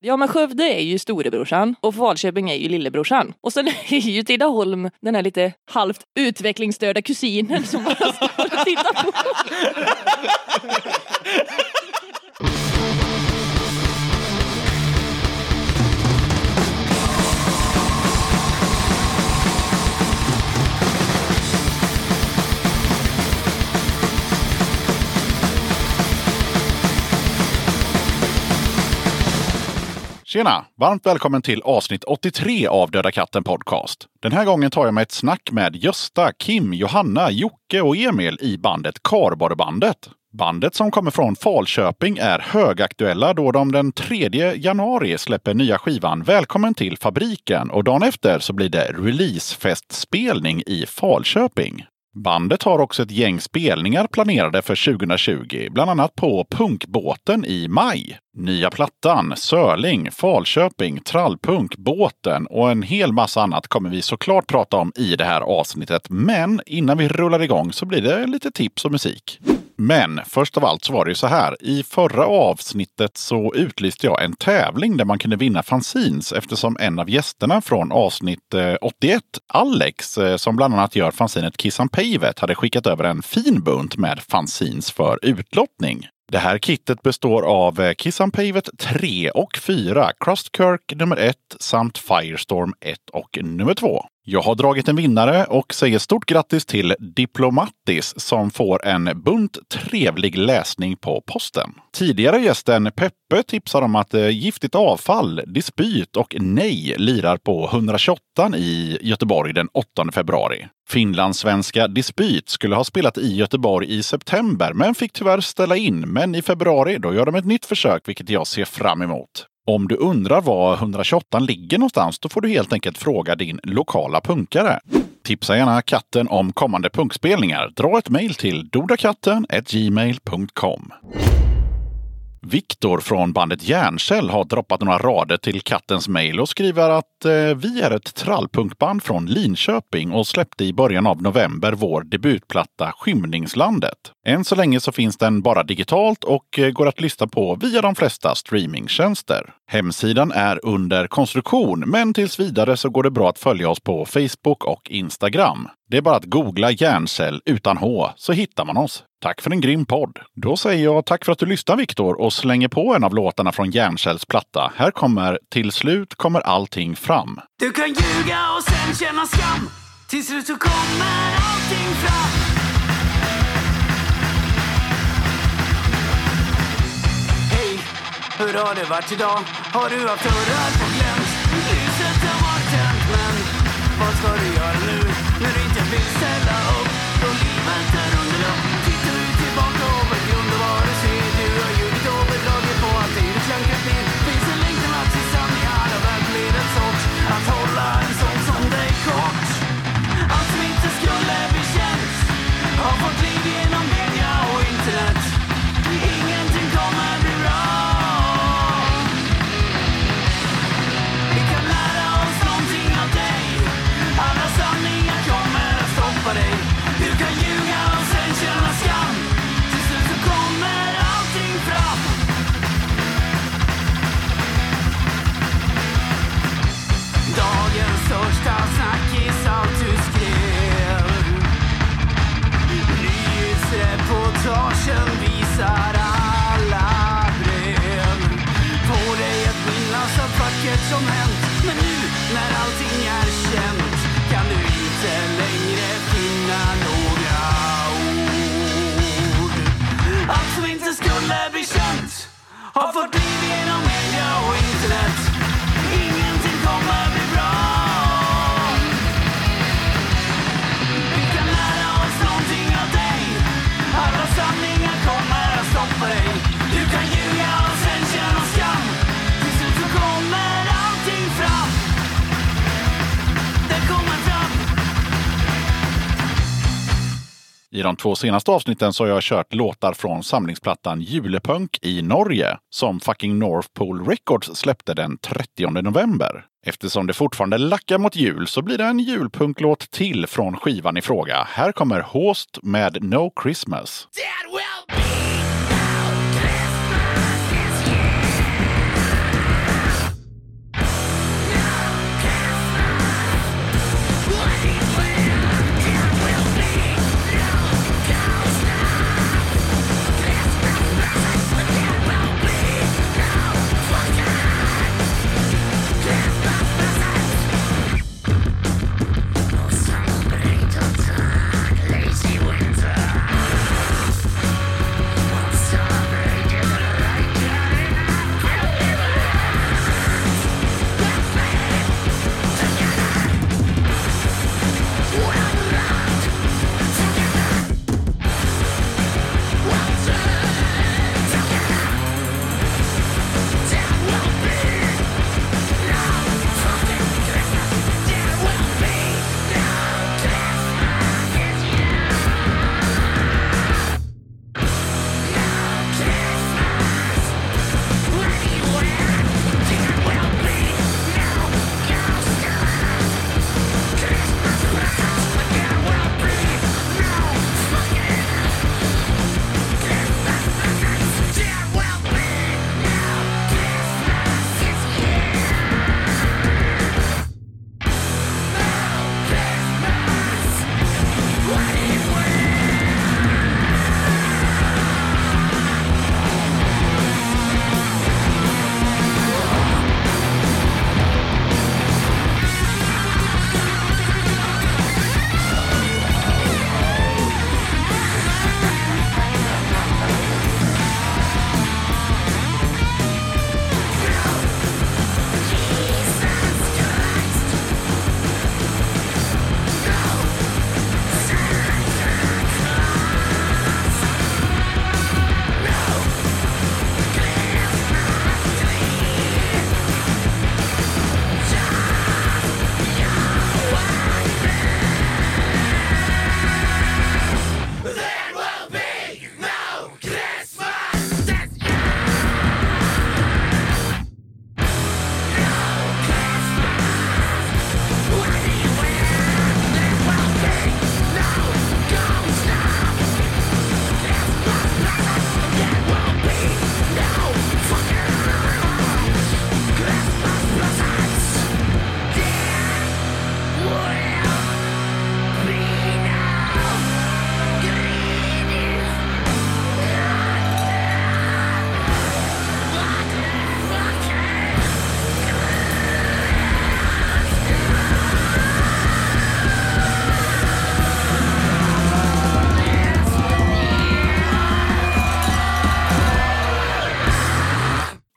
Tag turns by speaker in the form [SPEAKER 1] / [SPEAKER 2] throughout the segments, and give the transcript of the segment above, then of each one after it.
[SPEAKER 1] Ja men Skövde är ju storebrorsan och Falköping är ju lillebrorsan. Och sen är ju Tidaholm den här lite halvt utvecklingsstörda kusinen som bara står och tittar på.
[SPEAKER 2] Tjena! Varmt välkommen till avsnitt 83 av Döda katten podcast. Den här gången tar jag mig ett snack med Gösta, Kim, Johanna, Jocke och Emil i bandet Karborrebandet. Bandet som kommer från Falköping är högaktuella då de den 3 januari släpper nya skivan Välkommen till fabriken och dagen efter så blir det releasefestspelning i Falköping. Bandet har också ett gäng spelningar planerade för 2020, bland annat på Punkbåten i maj. Nya plattan, Sörling, Falköping, Trallpunk, Båten och en hel massa annat kommer vi såklart prata om i det här avsnittet. Men innan vi rullar igång så blir det lite tips och musik. Men först av allt så var det ju så här. I förra avsnittet så utlyste jag en tävling där man kunde vinna fanzines eftersom en av gästerna från avsnitt eh, 81, Alex, eh, som bland annat gör fanzinet Kissan Pavet, hade skickat över en fin bunt med fanzines för utlottning. Det här kittet består av eh, Kiss on Pavet 3 och 4, Crustkirk nummer 1 samt Firestorm 1 och nummer 2. Jag har dragit en vinnare och säger stort grattis till Diplomatis som får en bunt trevlig läsning på posten. Tidigare gästen Peppe tipsar om att eh, Giftigt avfall, Dispyt och Nej lirar på 128 i Göteborg den 8 februari. Finlandssvenska Dispyt skulle ha spelat i Göteborg i september men fick tyvärr ställa in. Men i februari då gör de ett nytt försök vilket jag ser fram emot. Om du undrar var 128 ligger någonstans då får du helt enkelt fråga din lokala punkare. Tipsa gärna katten om kommande punkspelningar. Dra ett mejl till dodakatten gmail.com. Viktor från bandet Järnkäll har droppat några rader till kattens mejl och skriver att eh, vi är ett trallpunkband från Linköping och släppte i början av november vår debutplatta Skymningslandet. Än så länge så finns den bara digitalt och eh, går att lyssna på via de flesta streamingtjänster. Hemsidan är under konstruktion, men tills vidare så går det bra att följa oss på Facebook och Instagram. Det är bara att googla Järncell utan H så hittar man oss. Tack för en grym podd! Då säger jag tack för att du lyssnar Viktor och slänger på en av låtarna från Järncells platta. Här kommer Till slut kommer allting fram.
[SPEAKER 3] Du kan ljuga och sen känna skam Till slut så kommer allting fram Hej, hur har det varit idag? Har du haft dörrar på glänt? Ljuset har varit tänt men vad ska du göra nu? När du inte vill ställa upp då livet är under lupp Tittar du tillbaka och med grund och vad du ser Du har ljugit och bedragit på allt det du klankat ner Finns en längtan att se sanning i alla världsledens sort Att hålla en sån som dig kort Allt som inte skulle bli känt har fått liv genom media och internet Ingenting kommer bli bra vi kan lära oss någonting av dig Alla sanningar kommer att stoppa dig Du kan ljuga och sen känna skam Till slut så kommer allting fram Dagens största snackis, allt du skrev Nyhetsreportagen visar alla brev Får dig att minnas allt vackert som hänt Men nu när allting är känt kan du inte längre finna några ord Allt som inte skulle bli känt har fått liv genom media och internet Ingenting kommer bli bra vi kan lära oss någonting av dig Alla sanningar kommer att stoppa dig Du kan ljuga och sen känna skam Till slut så kommer allting fram Det kommer fram
[SPEAKER 2] I de två senaste avsnitten så har jag kört låtar från samlingsplattan Julepunk i Norge som fucking North Pole Records släppte den 30 november. Eftersom det fortfarande lackar mot jul så blir det en julpunklåt till från skivan i fråga. Här kommer Host med No Christmas.
[SPEAKER 3] That will be no Christmas this year.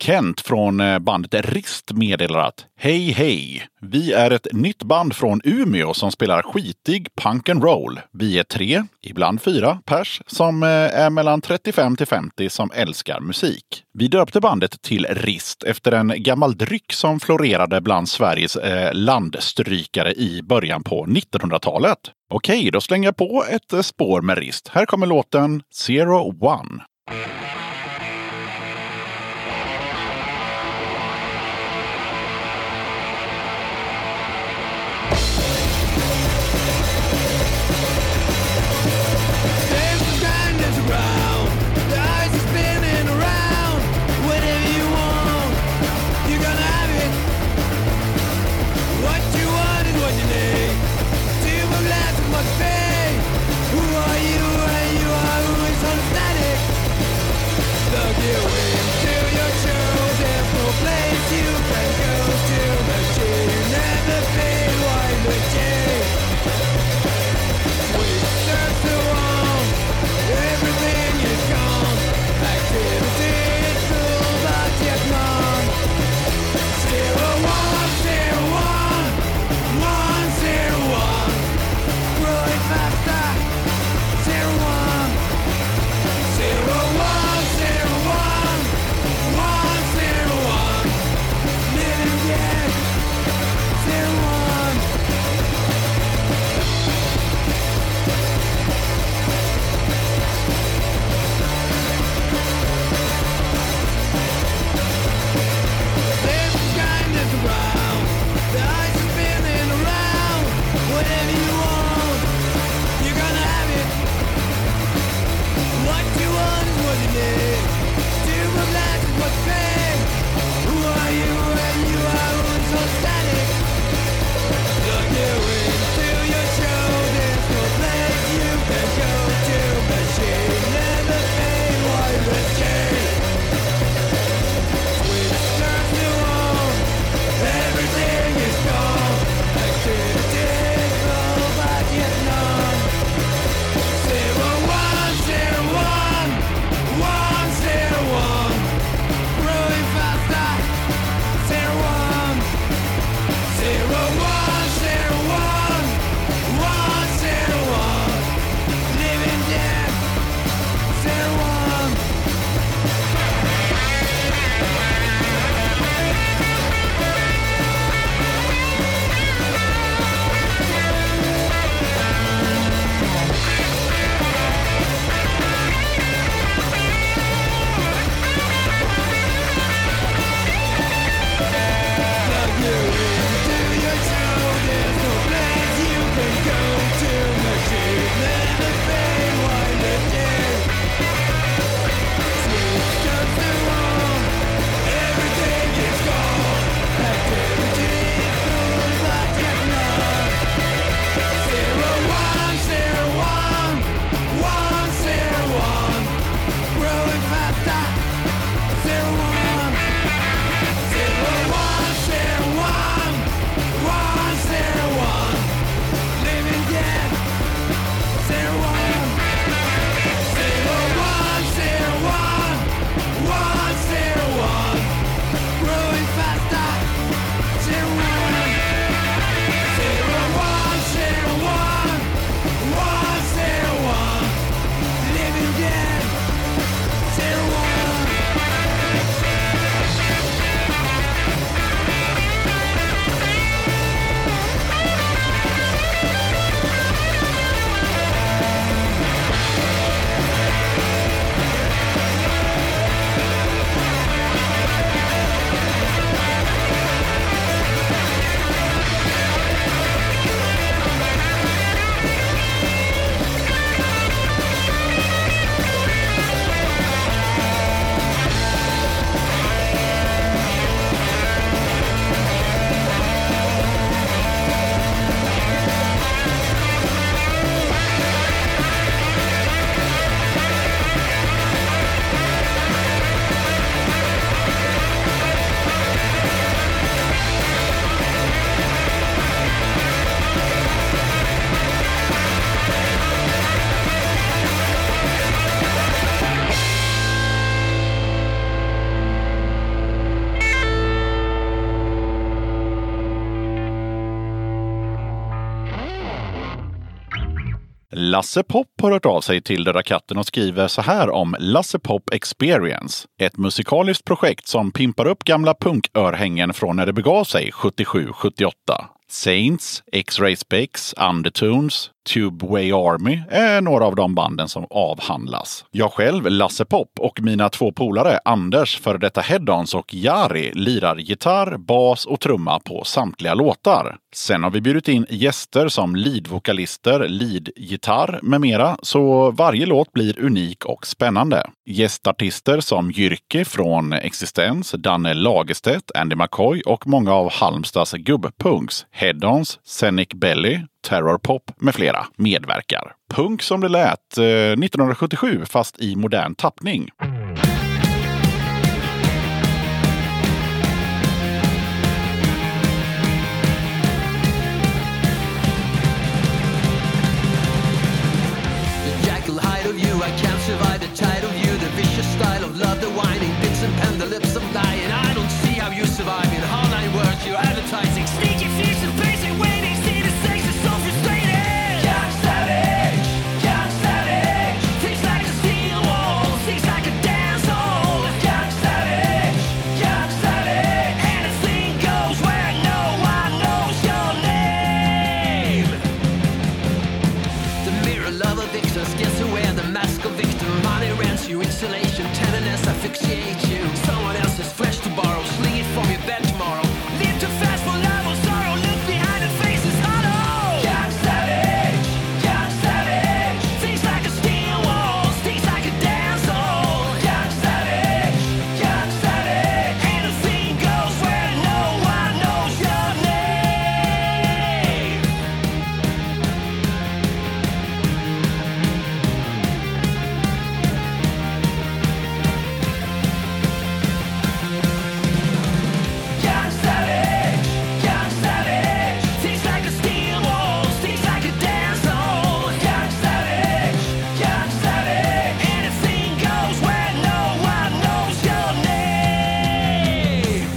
[SPEAKER 2] Kent från eh, bandet Rist meddelar att Hej hej! Vi är ett nytt band från Umeå som spelar skitig punk and roll. Vi är tre, ibland fyra pers, som eh, är mellan 35 till 50 som älskar musik. Vi döpte bandet till Rist efter en gammal dryck som florerade bland Sveriges eh, landstrykare i början på 1900-talet. Okej, då slänger jag på ett eh, spår med Rist. Här kommer låten Zero One.
[SPEAKER 3] Zero one, zero one, one zero.
[SPEAKER 2] Lasse Pop har hört av sig till Döda katten och skriver så här om Lasse Pop Experience. Ett musikaliskt projekt som pimpar upp gamla punkörhängen från när det begav sig 77-78. Saints, X-Ray Specs, Undertones, Tubeway Army är några av de banden som avhandlas. Jag själv, Lasse Pop, och mina två polare Anders, före detta Heddons och Jari lirar gitarr, bas och trumma på samtliga låtar. Sen har vi bjudit in gäster som leadvokalister, leadgitarr med mera, så varje låt blir unik och spännande. Gästartister som Jyrki från Existens, Danne Lagerstedt, Andy McCoy och många av Halmstads gubbpunks, Heddons, Scenic Belly, Terrorpop med flera medverkar. Punk som det lät eh, 1977 fast i modern tappning.
[SPEAKER 3] The jackal hide of you, I can't survive the tide of you. The vicious style of love, the whining bits and pen, the lips of lying. I don't see how you survive in hard nine words, you're advertising. Sneaky, fierce, and pacing, waiting, see the sex is so frustrating. Young savage, young savage. Things like a steel wall, things like a dance hall. Young savage, young savage. And a thing goes where no one knows your name. The mirror lover vixens gets away the mask of victim Money rents you, insulation, tenderness asphyxiates you Someone else's flesh to borrow, sling it from your bed tomorrow Live too fast for love or sorrow, look behind the faces hollow Young savage, young savage Things like a steel wall, things like a dance hall Young savage, young savage Anything goes where no one knows your name Young savage, young savage. Things like a steel wall, things like a dance hall. Young savage, young savage. Anything goes where no one knows your name.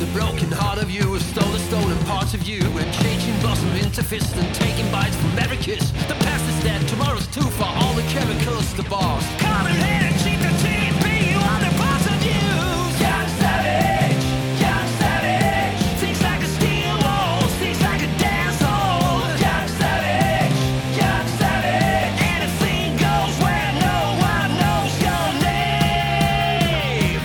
[SPEAKER 3] The broken heart of you has stolen stolen parts of you And changing blossom into fist and taking bites from every kiss The past is dead, tomorrow's too far, all the chemicals, the bars Come and let it cheat the TP, you are the parts of you Young savage, young savage Things like a steel wall, things like a dance hall Young savage, young savage Anything goes where no one knows your name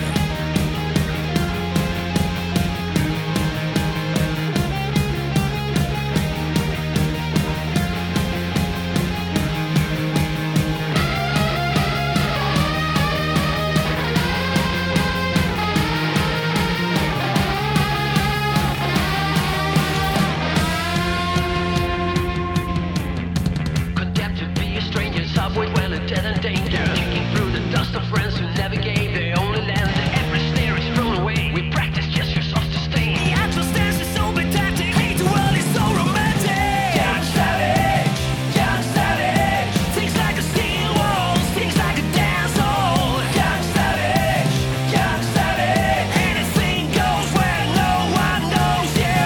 [SPEAKER 3] Condemned to be a stranger, subway well and dead and danger. Kicking through the dust of friends who navigate their only land. Every snare is thrown away. We practice gestures of disdain. The actual stance is so pedantic. Hate the world is so romantic. Young savage, young savage. Things like a steel wall, things like a dance hall. Young savage, young savage. Anything goes where no one knows you.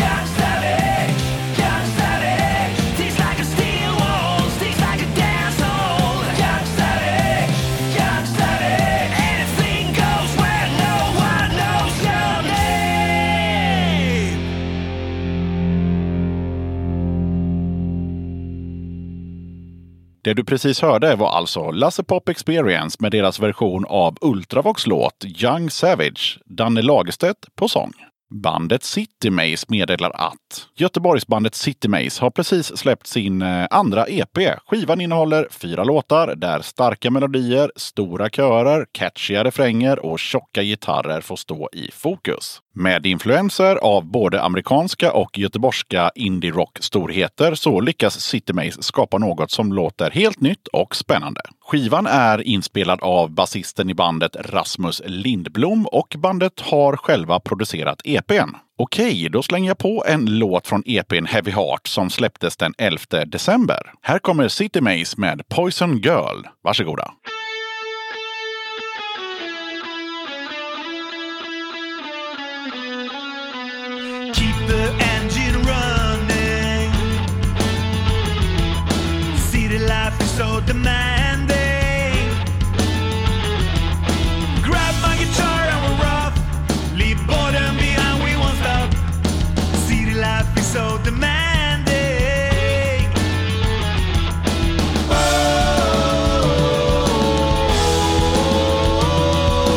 [SPEAKER 3] Young savage, young savage. Things like a steel wall, things like a dance hall. Young savage, young savage. Anything goes where no one knows your name.
[SPEAKER 2] Det du precis hörde var alltså Lasse Pop Experience med deras version av Ultravox låt Young Savage, Danne Lagerstedt på sång. Bandet City Maze meddelar att Göteborgsbandet City Maze har precis släppt sin eh, andra EP. Skivan innehåller fyra låtar där starka melodier, stora körer, catchiga refränger och tjocka gitarrer får stå i fokus. Med influenser av både amerikanska och göteborgska indie-rock-storheter så lyckas City Maze skapa något som låter helt nytt och spännande. Skivan är inspelad av basisten i bandet Rasmus Lindblom och bandet har själva producerat EPn. Okej, då slänger jag på en låt från EPn Heavy Heart som släpptes den 11 december. Här kommer City Maze med Poison Girl. Varsågoda!
[SPEAKER 3] Keep the engine running. demanding. Grab my guitar and we're off. Leave boredom behind, we won't stop. City life is so demanding. Oh,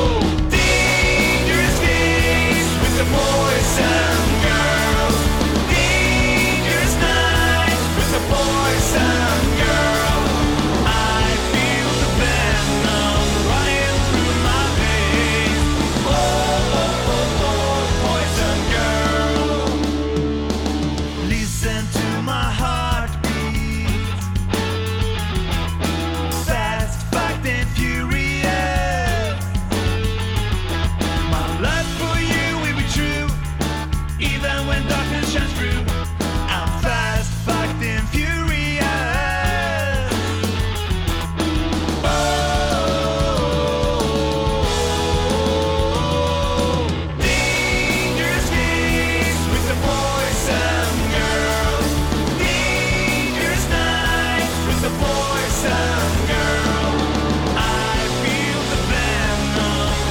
[SPEAKER 3] oh. Dangerous days with the boys and girls. Dangerous nights with the boys and girls. I feel the venom running through my veins. Oh, oh, oh, oh, boys and girls. Listen to my heartbeat. Fast, fucked, and furious. My love for you will be true, even when darkness shines through. I'm fast, fucked, and furious. Oh, Dangerous days with the boys and girls. Dangerous nights with the boys and girls. I feel the venom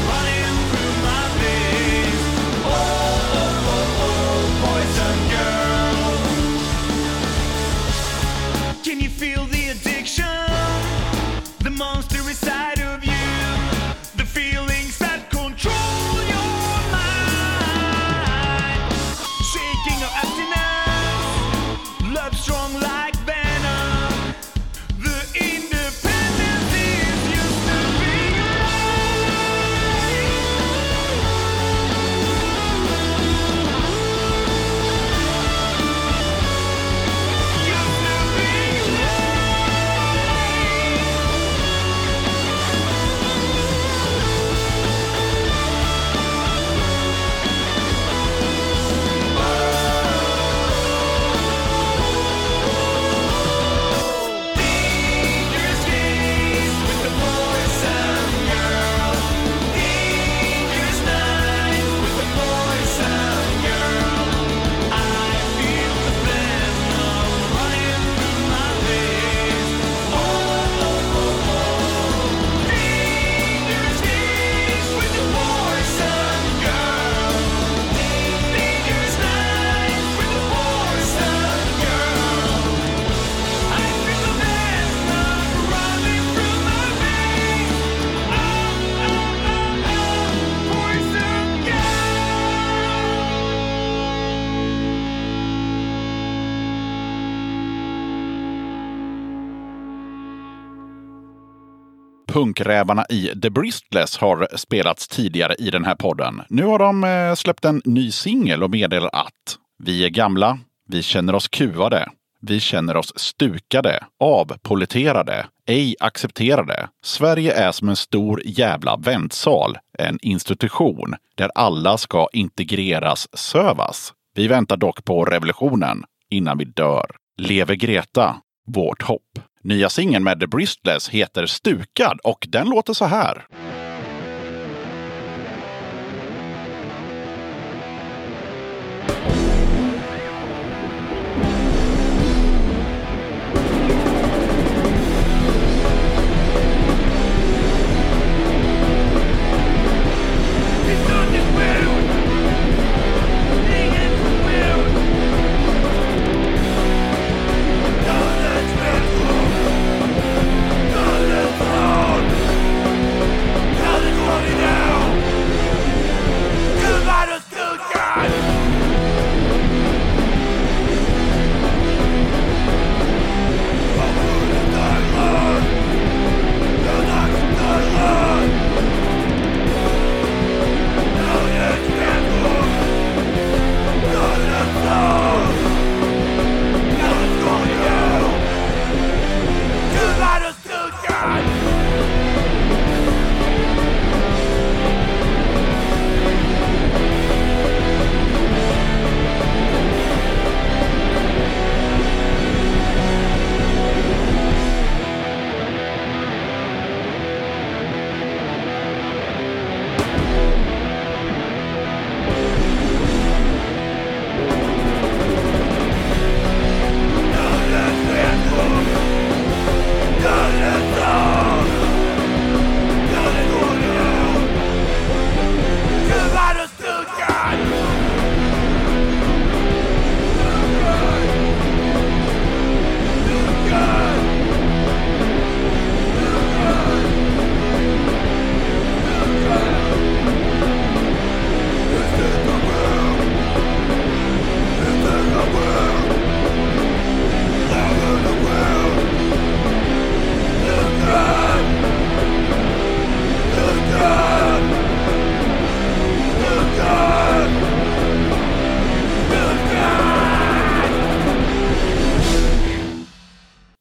[SPEAKER 3] running through my veins. Oh, oh, oh, oh, boys and girls. Can you feel the addiction? The monster inside of you. The feelings that control your mind. Shaking your emptiness. Love strong like venom. The independence is used to be. Used to be. Dangerous days with the boys and girls. Dangerous nights with the boys and girls. I feel the venom running through my veins. Oh, oh, oh, oh. Dangerous days with the boys and girls. Dangerous nights with the boys and girls. I feel the venom running through my veins. Oh, oh, oh, oh, poison gas.
[SPEAKER 2] Punkrävarna i The Bristless har spelats tidigare i den här podden. Nu har de eh, släppt en ny singel och meddelar att vi är gamla, vi känner oss kuvade, vi känner oss stukade, avpoliterade, ej accepterade. Sverige är som en stor jävla väntsal, en institution där alla ska integreras, sövas. Vi väntar dock på revolutionen innan vi dör. Leve Greta, vårt hopp. Nya singeln med The Bristless heter Stukad och den låter så här.
[SPEAKER 3] Down!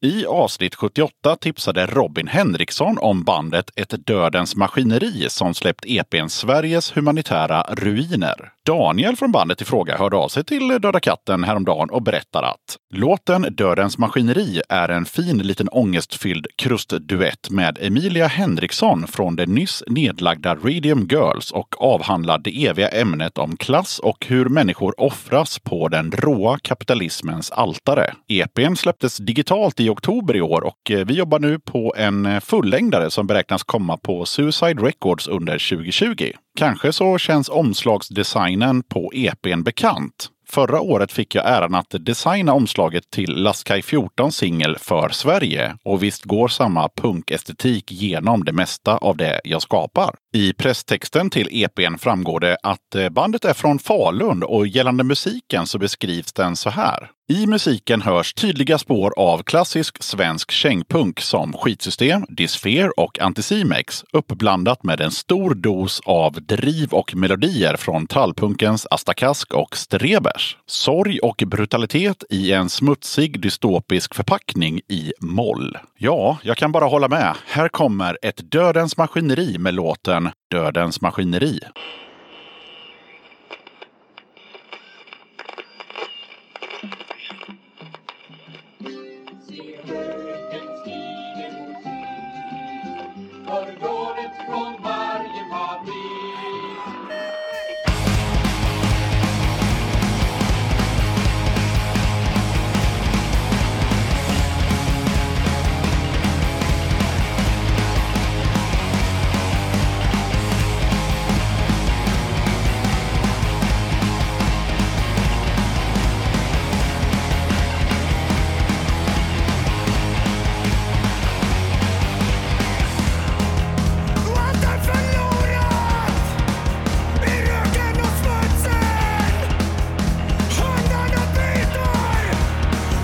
[SPEAKER 2] I avsnitt 78 tipsade Robin Henriksson om bandet Ett Dödens Maskineri som släppt EPn Sveriges humanitära ruiner. Daniel från bandet i fråga hörde av sig till Döda katten häromdagen och berättar att låten Dödens Maskineri är en fin liten ångestfylld krustduett med Emilia Henriksson från det nyss nedlagda Radium Girls och avhandlar det eviga ämnet om klass och hur människor offras på den råa kapitalismens altare. EPn släpptes digitalt i oktober i år och eh, vi jobbar nu på en eh, fullängdare som beräknas komma på Suicide Records under 2020. Kanske så känns omslagsdesignen på EPn bekant. Förra året fick jag äran att designa omslaget till Laskaj 14 singel för Sverige. Och visst går samma punkestetik genom det mesta av det jag skapar. I presstexten till EPn framgår det att eh, bandet är från Falun och gällande musiken så beskrivs den så här. I musiken hörs tydliga spår av klassisk svensk kängpunk som skitsystem, Disfear och Anticimex uppblandat med en stor dos av driv och melodier från trallpunkens Astakask och Strebers. Sorg och brutalitet i en smutsig dystopisk förpackning i moll. Ja, jag kan bara hålla med. Här kommer ett Dödens maskineri med låten Dödens maskineri.
[SPEAKER 3] Allt är förlorat i röken och smutsen. Hundarna biter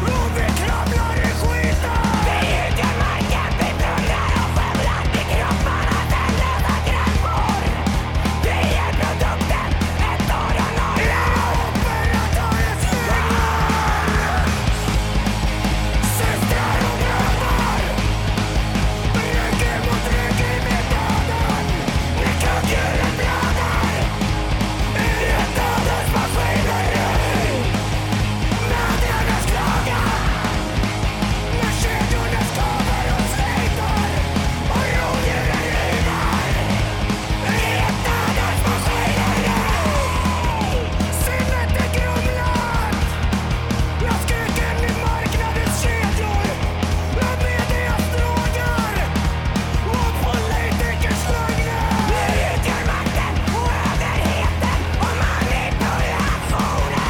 [SPEAKER 3] och vi kravlar i skiten. Vi hugger marken, vi brullar och skövlar till kropparna sen lösa krämpor. Vi är produkten, ett år och noll. Ja, operatörens vingar. Systrar och bröder Rygg mot rygg i med döden Vi kugghjulen blöder Ur ett dödens maskineri Mödrarnas klagan När kedjorna skaver och sliter Och rovdjuren river I ett dödens maskineri Sinnet är grumlat jag skriker i marknadens kedjor Med medias droger Och politikers lögner Vi utgör makten och överheten Och manipulationen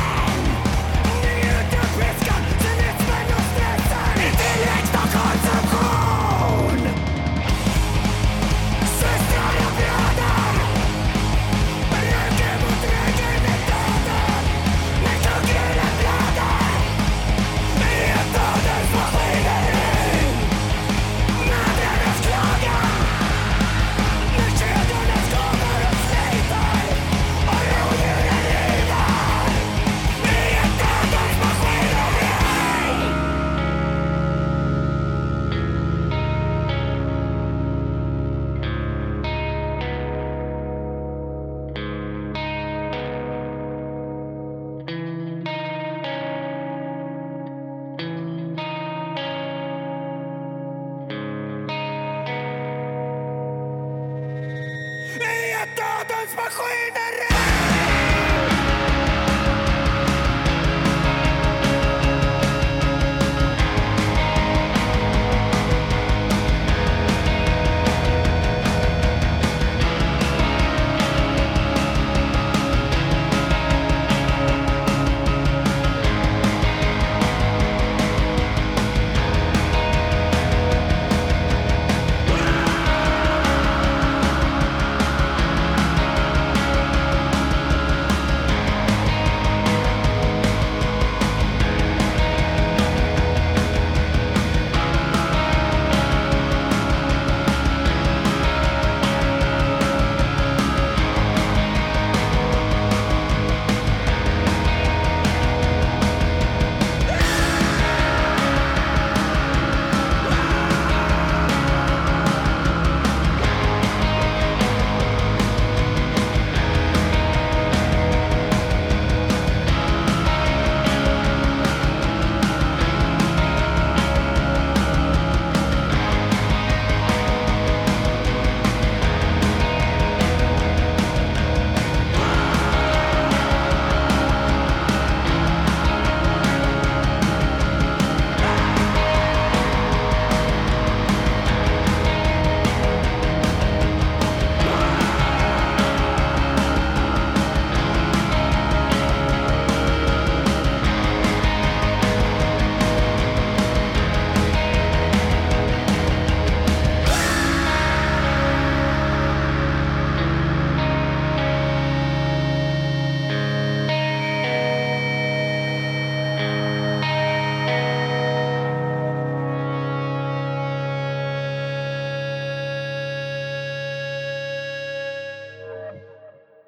[SPEAKER 3] Ni utgör piskan, cynismen och stressen I tillväxt och konsumtion Systrar och bröder Rygg mot rygg i med döden Med kugghjulen blöder Maskineri! Dödens maskineri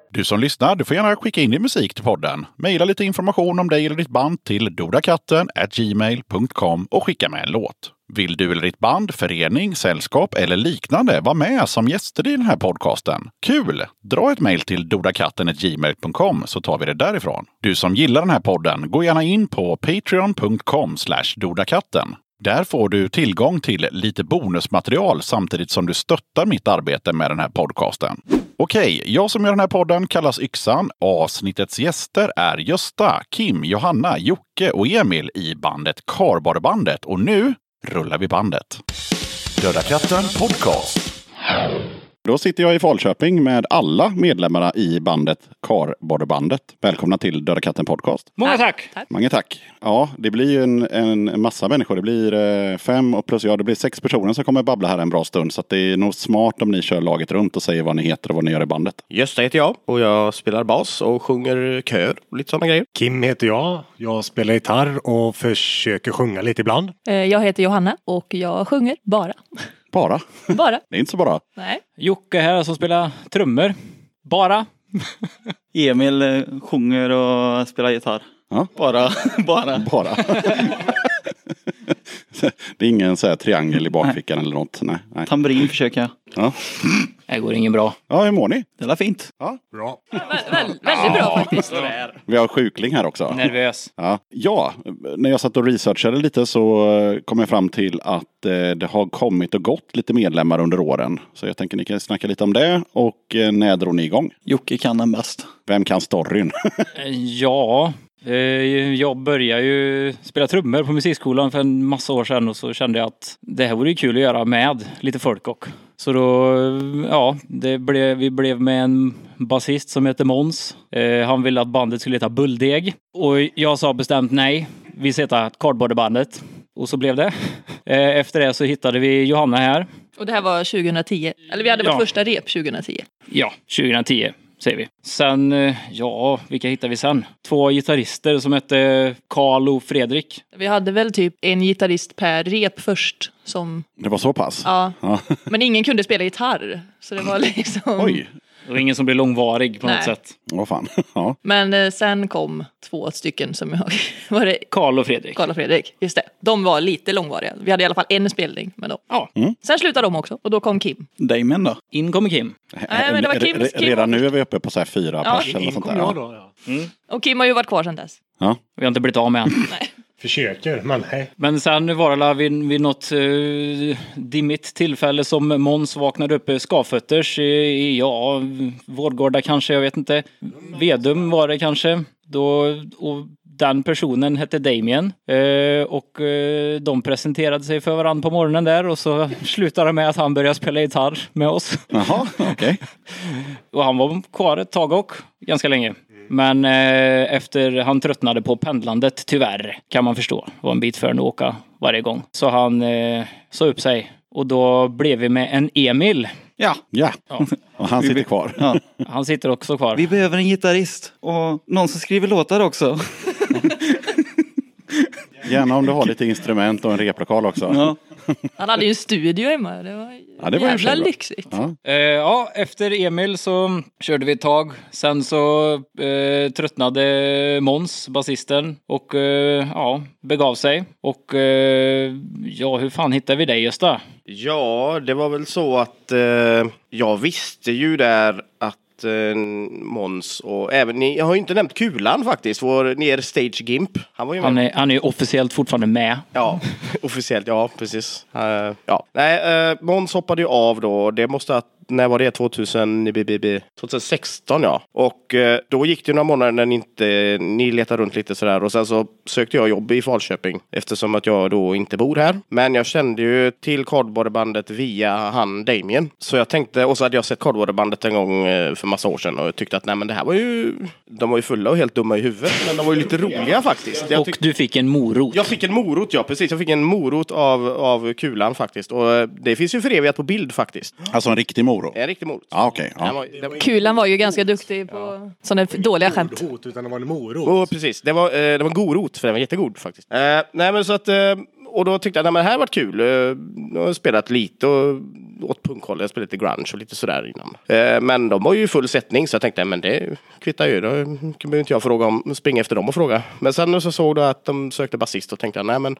[SPEAKER 2] Du som lyssnar, du får gärna skicka in din musik till podden. Maila lite information om dig eller ditt band till dodakatten gmail.com och skicka med en låt. Vill du eller ditt band, förening, sällskap eller liknande vara med som gäster i den här podcasten? Kul! Dra ett mejl till dodakatten.gmail.com så tar vi det därifrån. Du som gillar den här podden, gå gärna in på patreon.com dodakatten. Där får du tillgång till lite bonusmaterial samtidigt som du stöttar mitt arbete med den här podcasten. Okej, jag som gör den här podden kallas Yxan. Avsnittets gäster är Gösta, Kim, Johanna, Jocke och Emil i bandet Kardborrebandet. Och nu rullar vi bandet. Döda katten podcast. Då sitter jag i Falköping med alla medlemmarna i bandet Kardborrebandet. Välkomna till Döda katten podcast.
[SPEAKER 4] Många tack!
[SPEAKER 2] Många tack. Ja, det blir ju en, en massa människor. Det blir eh, fem och plus jag, det blir sex personer som kommer babbla här en bra stund. Så att det är nog smart om ni kör laget runt och säger vad ni heter och vad ni gör i bandet.
[SPEAKER 5] Gösta heter jag och jag spelar bas och sjunger kör och lite sådana grejer.
[SPEAKER 4] Kim heter jag. Jag spelar gitarr och försöker sjunga lite ibland.
[SPEAKER 1] Eh, Jag heter Johanna och jag sjunger bara.
[SPEAKER 2] Bara.
[SPEAKER 1] Bara.
[SPEAKER 2] Det är inte så bara.
[SPEAKER 1] Nej.
[SPEAKER 6] Jocke här som spelar trummor. Bara.
[SPEAKER 7] Emil eh, sjunger och spelar gitarr.
[SPEAKER 2] Ja.
[SPEAKER 7] Bara, bara.
[SPEAKER 2] Bara. det är ingen så här triangel i bakfickan eller något. Nej. Nej.
[SPEAKER 7] Tambrin försöker jag.
[SPEAKER 2] Ja.
[SPEAKER 6] Det går ingen bra.
[SPEAKER 2] ja, hur mår ni?
[SPEAKER 7] Det är fint.
[SPEAKER 4] Bra.
[SPEAKER 1] Vä- väl- väldigt bra faktiskt.
[SPEAKER 2] Vi har sjukling här också.
[SPEAKER 6] Nervös.
[SPEAKER 2] Ja. ja, när jag satt och researchade lite så eh, kom jag fram till att eh, det har kommit och gått lite medlemmar under åren. Så jag tänker ni kan snacka lite om det och eh, när drog ni igång?
[SPEAKER 7] Jocke kan den bäst.
[SPEAKER 2] Vem kan storyn?
[SPEAKER 6] Eh, Ja, eh, jag började ju spela trummor på musikskolan för en massa år sedan och så kände jag att det här vore ju kul att göra med lite folk och. Så då, eh, ja, det blev, vi blev med en basist som heter Måns. Eh, Han ville att bandet skulle heta Bulldeg och jag sa bestämt nej. Vi ska heta Kardborrebandet. Och så blev det. Eh, Efter det så hittade vi Johanna här.
[SPEAKER 1] Och det här var 2010. Eller vi hade vårt
[SPEAKER 6] Ja.
[SPEAKER 1] första rep 2010.
[SPEAKER 6] Ja, 2010 säger vi. Sen, eh, ja, vilka hittar vi sen? Två gitarrister som hette Karl och Fredrik.
[SPEAKER 1] Vi hade väl typ en gitarrist per rep först. Som,
[SPEAKER 2] Det var så pass?
[SPEAKER 1] ja.
[SPEAKER 2] Ja.
[SPEAKER 1] Men ingen kunde spela gitarr. Så det var liksom...
[SPEAKER 2] Oj,
[SPEAKER 6] Det var ingen som blev långvarig på
[SPEAKER 1] Nej.
[SPEAKER 6] något sätt.
[SPEAKER 2] vad fan. Ja.
[SPEAKER 1] Men eh, sen kom två stycken som jag... Var det
[SPEAKER 6] Karl och Fredrik.
[SPEAKER 1] Karl och Fredrik? Just det. De var lite långvariga. Vi hade i alla fall en spelning med dem.
[SPEAKER 6] Ja,
[SPEAKER 1] Sen slutade de också och då kom Kim.
[SPEAKER 7] Mm. Damien då?
[SPEAKER 6] in kommer Kim.
[SPEAKER 1] Nej, men det var Kims-
[SPEAKER 2] Eh, Re- re-
[SPEAKER 1] Kim-
[SPEAKER 2] Redan nu är vi uppe på så här fyra
[SPEAKER 1] Ja.
[SPEAKER 2] pers eller något
[SPEAKER 4] In
[SPEAKER 2] sånt
[SPEAKER 4] kom
[SPEAKER 2] där.
[SPEAKER 4] jag
[SPEAKER 2] Ja. Mm.
[SPEAKER 4] då. Ja.
[SPEAKER 1] Och Kim har ju varit kvar sedan dess.
[SPEAKER 2] Ja.
[SPEAKER 6] Vi har inte blivit av med än.
[SPEAKER 4] Försöker, men hej.
[SPEAKER 6] Men sen var det alla vid, vid något eh, dimmigt tillfälle som Måns vaknade upp eh, skavfötters i, i ja, Vårgårda kanske, jag vet inte. Vedum var det kanske. Då, och den personen hette Damien eh, och eh, de presenterade sig för varandra på morgonen där och så slutade det med att han började spela gitarr med oss.
[SPEAKER 2] Jaha, okej.
[SPEAKER 6] Och han var kvar ett tag och ganska länge. Men eh, efter han tröttnade på pendlandet, tyvärr, kan man förstå. Det var en bit för honom att åka varje gång. Så han eh, sa upp sig. Och då blev vi med en Emil.
[SPEAKER 7] Ja.
[SPEAKER 2] Ja. Och han sitter kvar.
[SPEAKER 7] ja.
[SPEAKER 6] Han sitter också kvar.
[SPEAKER 7] Vi behöver en gitarrist och någon som skriver låtar också.
[SPEAKER 2] Gärna om du har lite instrument och en replokal också.
[SPEAKER 7] Ja.
[SPEAKER 1] Han hade ju en studio hemma. Det var,
[SPEAKER 2] Ja, det var i och för sig
[SPEAKER 1] jävla
[SPEAKER 2] bra.
[SPEAKER 1] lyxigt.
[SPEAKER 2] Ja.
[SPEAKER 6] Eh, ja, efter Emil så körde vi ett tag. Sen så eh, tröttnade Mons, basisten, och eh, ja, begav sig. Och eh, ja, hur fan hittade vi dig Gösta?
[SPEAKER 5] Ja, det var väl så att eh, jag visste ju där att eh, Måns och även, ni jag har ju inte nämnt Kulan faktiskt, vår ner stage gimp. Han var ju med.
[SPEAKER 6] Han är, han är ju officiellt fortfarande med.
[SPEAKER 5] Ja, officiellt, ja precis. Eh, ja. Nej, eh, Måns hoppade ju av då, det måste ha när var det? 2000, bi- bi- bi- 2016 ja. Och eh, då gick det några månader när ni inte, ni letade runt lite sådär och sen så sökte jag jobb i Falköping eftersom att jag då inte bor här. Men jag kände ju till kardborrebandet via han Damien. Så jag tänkte, och så hade jag sett kardborrebandet en gång eh, för massa år sedan och jag tyckte att nej men det här var ju, de var ju fulla och helt dumma i huvudet men de var ju lite roliga faktiskt. Jag
[SPEAKER 6] Och
[SPEAKER 5] tyck-
[SPEAKER 6] du fick en morot.
[SPEAKER 5] jag fick en morot, ja precis. Jag fick en morot av, av kulan faktiskt. Och eh, det finns ju förevigat på bild faktiskt.
[SPEAKER 2] Alltså en riktig morot.
[SPEAKER 5] En riktig morot.
[SPEAKER 2] Ja, okej.
[SPEAKER 5] Den
[SPEAKER 2] Ja.
[SPEAKER 5] var- den var-
[SPEAKER 1] Kulan var ju ganska duktig på sådana f- dåliga skämt.
[SPEAKER 4] Hot, utan det var en morot.
[SPEAKER 5] Oh, precis, det var, eh, det var en god rot för den var jättegod faktiskt. Eh, nej men så att, eh, och då tyckte jag, nej men det här var kul. Eh, Jag har spelat lite och åt punkhållet, jag spelat lite grunge och lite sådär innan. Eh, Men de var ju i full sättning så jag tänkte, men det kvittar ju. Då behöver inte jag fråga om, springa efter dem och fråga. Men sen så såg jag att de sökte basist och tänkte, jag, nej men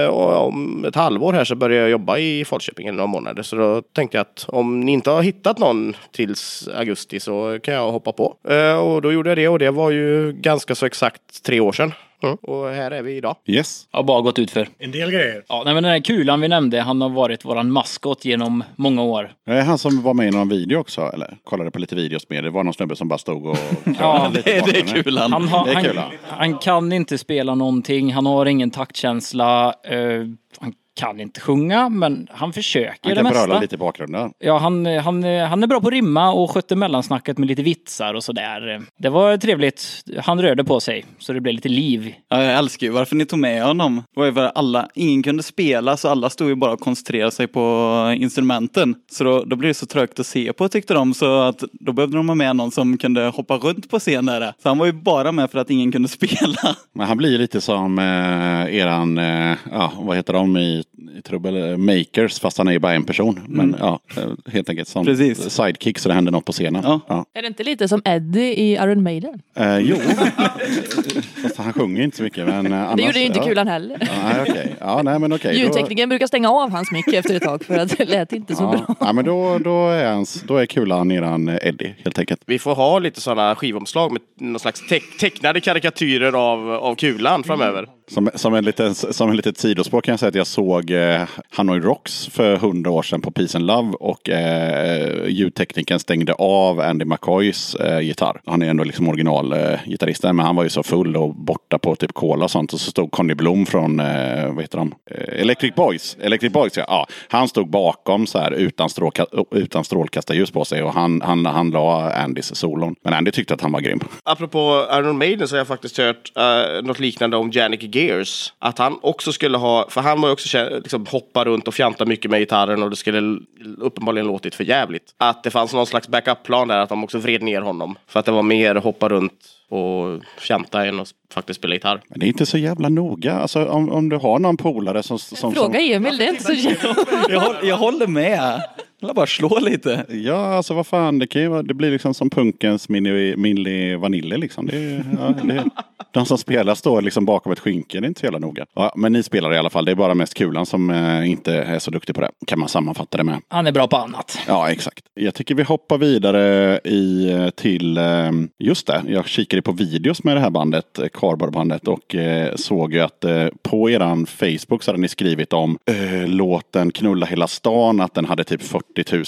[SPEAKER 5] eh, och om ett halvår här så börjar jag jobba i Falköping eller några månader. Så då tänkte jag att om ni inte har hittat någon tills augusti så kan jag hoppa på. Eh, Och då gjorde jag det och det var ju ganska så exakt tre år sedan. Mm. Och här är vi idag.
[SPEAKER 2] Yes.
[SPEAKER 6] Har bara gått ut för.
[SPEAKER 8] En del grejer.
[SPEAKER 6] Ja, nej, men den här kulan vi nämnde, han har varit våran maskot genom många år.
[SPEAKER 2] Det är han som var med i någon video också, eller kollade på lite videos med. Det var någon snubbe som bara stod och
[SPEAKER 6] Ja,
[SPEAKER 7] Det är, det är kulan.
[SPEAKER 6] Han, har,
[SPEAKER 2] Mm. Det är
[SPEAKER 6] han,
[SPEAKER 2] kul, ja.
[SPEAKER 6] han kan inte spela någonting, han har ingen taktkänsla, eh, han kan inte sjunga, men han försöker
[SPEAKER 2] Han
[SPEAKER 6] det
[SPEAKER 2] kan
[SPEAKER 6] mesta.
[SPEAKER 2] bröla lite i bakgrunden.
[SPEAKER 6] Ja, han, han, han är bra på att rimma och skötte mellansnacket med lite vitsar och sådär. Det var trevligt. Han rörde på sig, så det blev lite liv.
[SPEAKER 7] Ja, jag älskar ju varför ni tog med honom. Det var ju för att alla, ingen kunde spela så alla stod ju bara och koncentrerade sig på instrumenten. Så då, då blev det så trögt att se på tyckte de så att då behövde de ha med någon som kunde hoppa runt på scen där. Så han var ju bara med för att ingen kunde spela.
[SPEAKER 2] Men han blir lite som eh, eran, eh, ja vad heter de i, i trubbel? Eh, Makers, fast han är ju bara en person.
[SPEAKER 6] Mm.
[SPEAKER 2] Men ja, eh, helt enkelt som
[SPEAKER 7] Precis.
[SPEAKER 2] sidekick så det händer något på scenen.
[SPEAKER 7] Ja.
[SPEAKER 1] Är det inte lite som Eddie i Iron Maiden?
[SPEAKER 2] Eh, jo, fast han sjunger inte så mycket. Men, eh, annars,
[SPEAKER 1] Det gjorde ju inte
[SPEAKER 2] ja.
[SPEAKER 1] Kulan heller.
[SPEAKER 2] Ja, nej, okej. Ja, nej, men okej. Då-
[SPEAKER 1] Ljudteknikern brukar stänga av hans mick efter ett tag för att det lät inte så
[SPEAKER 2] Ja,
[SPEAKER 1] bra.
[SPEAKER 2] ja, men då, då, är hans, då är Kulan eran eh, Eddie helt enkelt.
[SPEAKER 5] Vi får ha lite sådana skivomslag med någon slags teck- tecknade karikatyrer av, av kulan framöver.
[SPEAKER 2] Som, som, en liten, som en litet sidospår kan jag säga att jag såg eh, Hanoi Rocks för hundra år sedan på Peace and Love och eh, ljudteknikern stängde av Andy McCoys eh, gitarr. Han är ändå liksom originalgitarristen men han var ju så full och borta på typ cola och sånt och så stod Conny Blom från, eh, vad heter de, eh, Electric Boys. Electric Boys ja. ja. Han stod bakom så här utan, strålka, utan strålkastarljus på sig och han, han, han la Andys solon. Men Andy tyckte att han var grym.
[SPEAKER 5] Apropå Iron Maiden så har jag faktiskt hört eh, något liknande om Jannik Gears. Att han också skulle ha, för han var ju också kä- liksom hoppa runt och fjanta mycket med gitarren och det skulle l- uppenbarligen låtit för jävligt. Att det fanns någon slags backup-plan där, att de också vred ner honom. För att det var mer hoppa runt och fjanta än att s- faktiskt spela gitarr.
[SPEAKER 2] Men det är inte så jävla noga. Alltså, om, om du har någon polare som... som
[SPEAKER 1] Fråga
[SPEAKER 2] som,
[SPEAKER 1] Emil, det är inte så jävla...
[SPEAKER 7] Jag, håll, jag håller med. Jag vill bara slå lite.
[SPEAKER 2] Ja, alltså vad fan, det, kan ju, vara- det blir liksom som punkens Milli, Milli Vanilli liksom. Det, är- ja, det, de som spelar står liksom bakom ett skynke, det är inte så jävla noga. Ja, men ni spelar i alla fall, det är bara mest kulan som eh, inte är så duktig på det. Kan man sammanfatta det med.
[SPEAKER 6] Han är bra på annat.
[SPEAKER 2] Ja, exakt. Jag tycker vi hoppar vidare i, eh, till, eh, just det, jag kikade på videos med det här bandet, eh, Kardborrebandet, och eh, såg ju att eh, på eran Facebook så hade ni skrivit om eh, låten Knulla hela stan, att den hade typ 40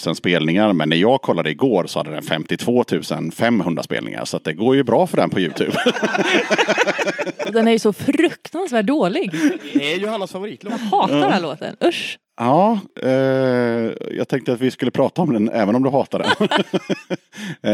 [SPEAKER 2] 000 spelningar. Men när jag kollade igår så hade den 52 500 spelningar, så att det går ju bra för den på YouTube.
[SPEAKER 1] Den är ju så fruktansvärt dålig.
[SPEAKER 5] Det är Johannas favoritlåt.
[SPEAKER 1] Hatar den här låten, usch.
[SPEAKER 2] Ja, eh, jag tänkte att vi skulle prata om den även om du hatar den.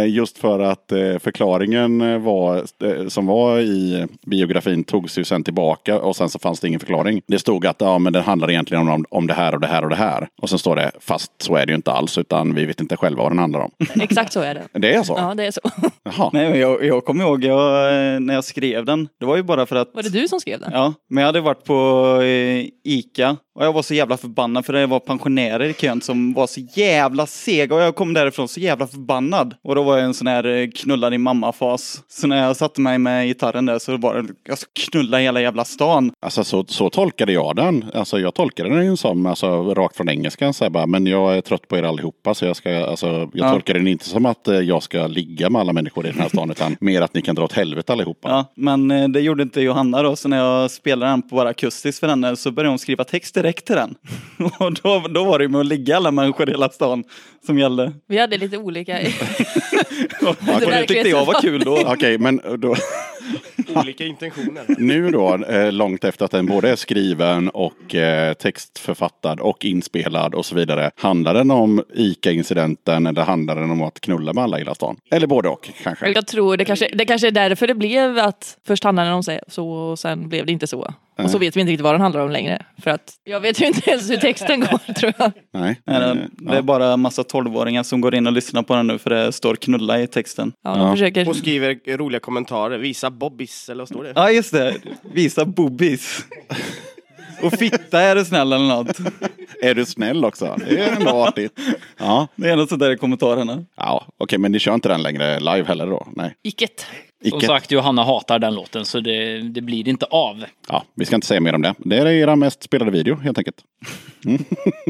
[SPEAKER 2] Eh, Just för att eh, förklaringen eh, var, eh, som var i biografin togs ju sen tillbaka och sen så fanns det ingen förklaring. Det stod att ja, men den handlar egentligen om, om det här och det här och det här. Och sen står det fast så är det ju inte alls utan vi vet inte själva vad den handlar om.
[SPEAKER 1] Exakt så är det.
[SPEAKER 2] Det är så?
[SPEAKER 1] Ja, det är så.
[SPEAKER 2] Jaha.
[SPEAKER 7] Nej, men jag, jag kommer ihåg jag, eh, när jag skrev den. Det var ju bara för att
[SPEAKER 1] Var det du som skrev den?
[SPEAKER 7] Ja, men jag hade varit på eh, Ica och jag var så jävla förbannad för det var pensionärer i kön som var så jävla sega och jag kom därifrån så jävla förbannad. Och då var jag i en sån här eh, knulla din mamma-fas. Så när jag satte mig med gitarren där så var det, jag ska knulla hela jävla stan.
[SPEAKER 2] Alltså så, så tolkade jag den. Alltså jag tolkade den ju som, alltså rakt från engelskan så här bara, men jag är trött på er allihopa så jag ska, alltså jag
[SPEAKER 7] Ja.
[SPEAKER 2] tolkar den inte som att eh, jag ska ligga med alla människor i den här stan utan mer att ni kan dra åt helvete allihopa.
[SPEAKER 7] Ja, men eh, det gjorde inte Johanna då, så när jag spelade den på bara akustiskt för henne så började hon skriva text direkt till den. Och då, då var det ju med att ligga alla människor i hela stan som gällde.
[SPEAKER 1] Vi hade lite olika...
[SPEAKER 7] Och det tyckte jag var kul då.
[SPEAKER 2] Okej, men då,
[SPEAKER 5] Olika intentioner.
[SPEAKER 2] nu då, eh, långt efter att den både är skriven och eh, textförfattad och inspelad och så vidare. Handlar den om ICA-incidenten eller handlar den om att knulla med alla i hela stan? Eller både och kanske?
[SPEAKER 1] Jag tror det kanske, det kanske är därför det blev att först handlade den om sig- så och sen blev det inte så. Och så vet vi inte riktigt vad den handlar om längre. För att jag vet ju inte ens hur texten går tror jag.
[SPEAKER 2] Nej.
[SPEAKER 7] Nej,
[SPEAKER 2] Eh,
[SPEAKER 7] det, det är bara massa tolvåringar som går in och lyssnar på den nu för det står knulla i texten.
[SPEAKER 1] Ja, de försöker.
[SPEAKER 5] Och skriver roliga kommentarer. Visa Bobbis, eller vad står det?
[SPEAKER 7] Ja just det, visa boobies. Och fitta är du snäll eller något.
[SPEAKER 2] Är du snäll också? Det är ändå artigt. Ja,
[SPEAKER 7] Det är något sånt där i kommentarerna.
[SPEAKER 2] ja okej, men ni kör inte den längre live heller då? Nej.
[SPEAKER 1] Icket.
[SPEAKER 6] Som
[SPEAKER 2] Icke.
[SPEAKER 6] sagt, Johanna hatar den låten så det, det blir inte av.
[SPEAKER 2] Ja, vi ska inte säga mer om det. Det är era mest spelade video helt enkelt. Mm.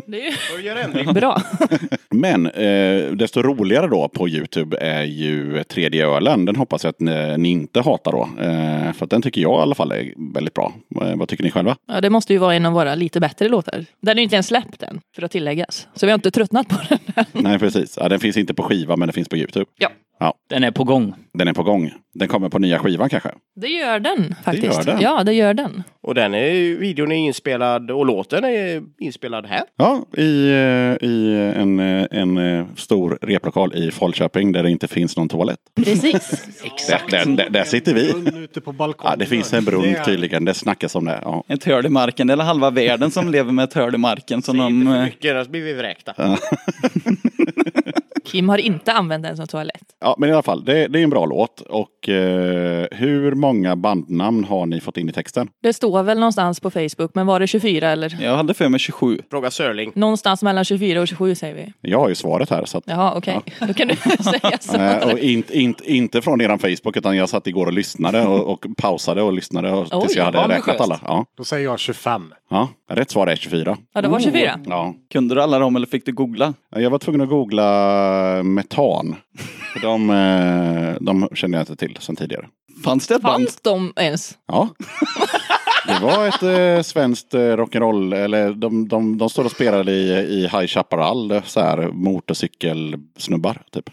[SPEAKER 1] Det är bra.
[SPEAKER 2] Men eh, desto roligare då på Youtube är ju tredje ölen. Den hoppas jag att ni, ni inte hatar då. Eh, för att den tycker jag i alla fall är väldigt bra. Eh, vad tycker ni själva?
[SPEAKER 1] Ja, det måste ju vara en av våra lite bättre låtar. Den är ju inte ens släppt än, för att tilläggas. Så vi har inte tröttnat på den än.
[SPEAKER 2] Nej, precis. Ja, den finns inte på skiva, men den finns på Youtube.
[SPEAKER 1] Ja,
[SPEAKER 6] Den är på gång.
[SPEAKER 2] Den är på gång. Den kommer på nya skivan kanske.
[SPEAKER 1] det gör den faktiskt.
[SPEAKER 2] gör den.
[SPEAKER 1] Ja, det gör den.
[SPEAKER 5] Och den är, ju- videon är inspelad och låten är inspelad här.
[SPEAKER 2] Ja, i, eh, i en, eh, en eh, stor replokal i Falköping där det inte finns någon toalett.
[SPEAKER 1] Precis.
[SPEAKER 2] Där, där, där, där sitter vi.
[SPEAKER 4] Ute på balkongen.
[SPEAKER 2] Ja, det finns en brunn tydligen. Det snackas om det. Ja.
[SPEAKER 7] Ett hörd i marken. Eller halva världen som lever med ett hörd i marken. Som
[SPEAKER 5] Inte
[SPEAKER 7] de,
[SPEAKER 5] för
[SPEAKER 7] eh,
[SPEAKER 5] mycket, annars blir vi vräkta.
[SPEAKER 1] Kim har inte använt den som toalett.
[SPEAKER 2] Ja, men i alla fall, det, det är en bra låt. Och eh, hur många bandnamn har ni fått in i texten?
[SPEAKER 1] Det står väl någonstans på Facebook, men var det 24 eller?
[SPEAKER 7] jag hade för mig 27.
[SPEAKER 5] Fråga Sörling.
[SPEAKER 1] Någonstans mellan 24 och 27 säger vi.
[SPEAKER 2] Jag har ju svaret här. Så att,
[SPEAKER 1] Jaha, okej. Då kan du säga så.
[SPEAKER 2] eh, och inte, inte, inte från eran Facebook, utan jag satt igår och lyssnade och, och pausade och lyssnade och, tills
[SPEAKER 1] Oj,
[SPEAKER 2] jag hade
[SPEAKER 6] vad
[SPEAKER 2] räknat
[SPEAKER 6] ambitiöst.
[SPEAKER 2] alla. Ja,
[SPEAKER 4] Då säger jag 25.
[SPEAKER 2] ja. Rätt svar är 24.
[SPEAKER 1] Ja, det var 24.
[SPEAKER 2] Ja.
[SPEAKER 7] Kunde du alla dem eller fick du googla?
[SPEAKER 2] Jag var tvungen att googla metan. För de, eh, de kände jag inte till sedan tidigare.
[SPEAKER 7] Fanns det ett band?
[SPEAKER 1] Fanns de ens?
[SPEAKER 2] Ja. Det var ett eh, svenskt eh, rock'n'roll, eller de, de, de står och spelar i, i High Chaparral, så här motorcykelsnubbar typ.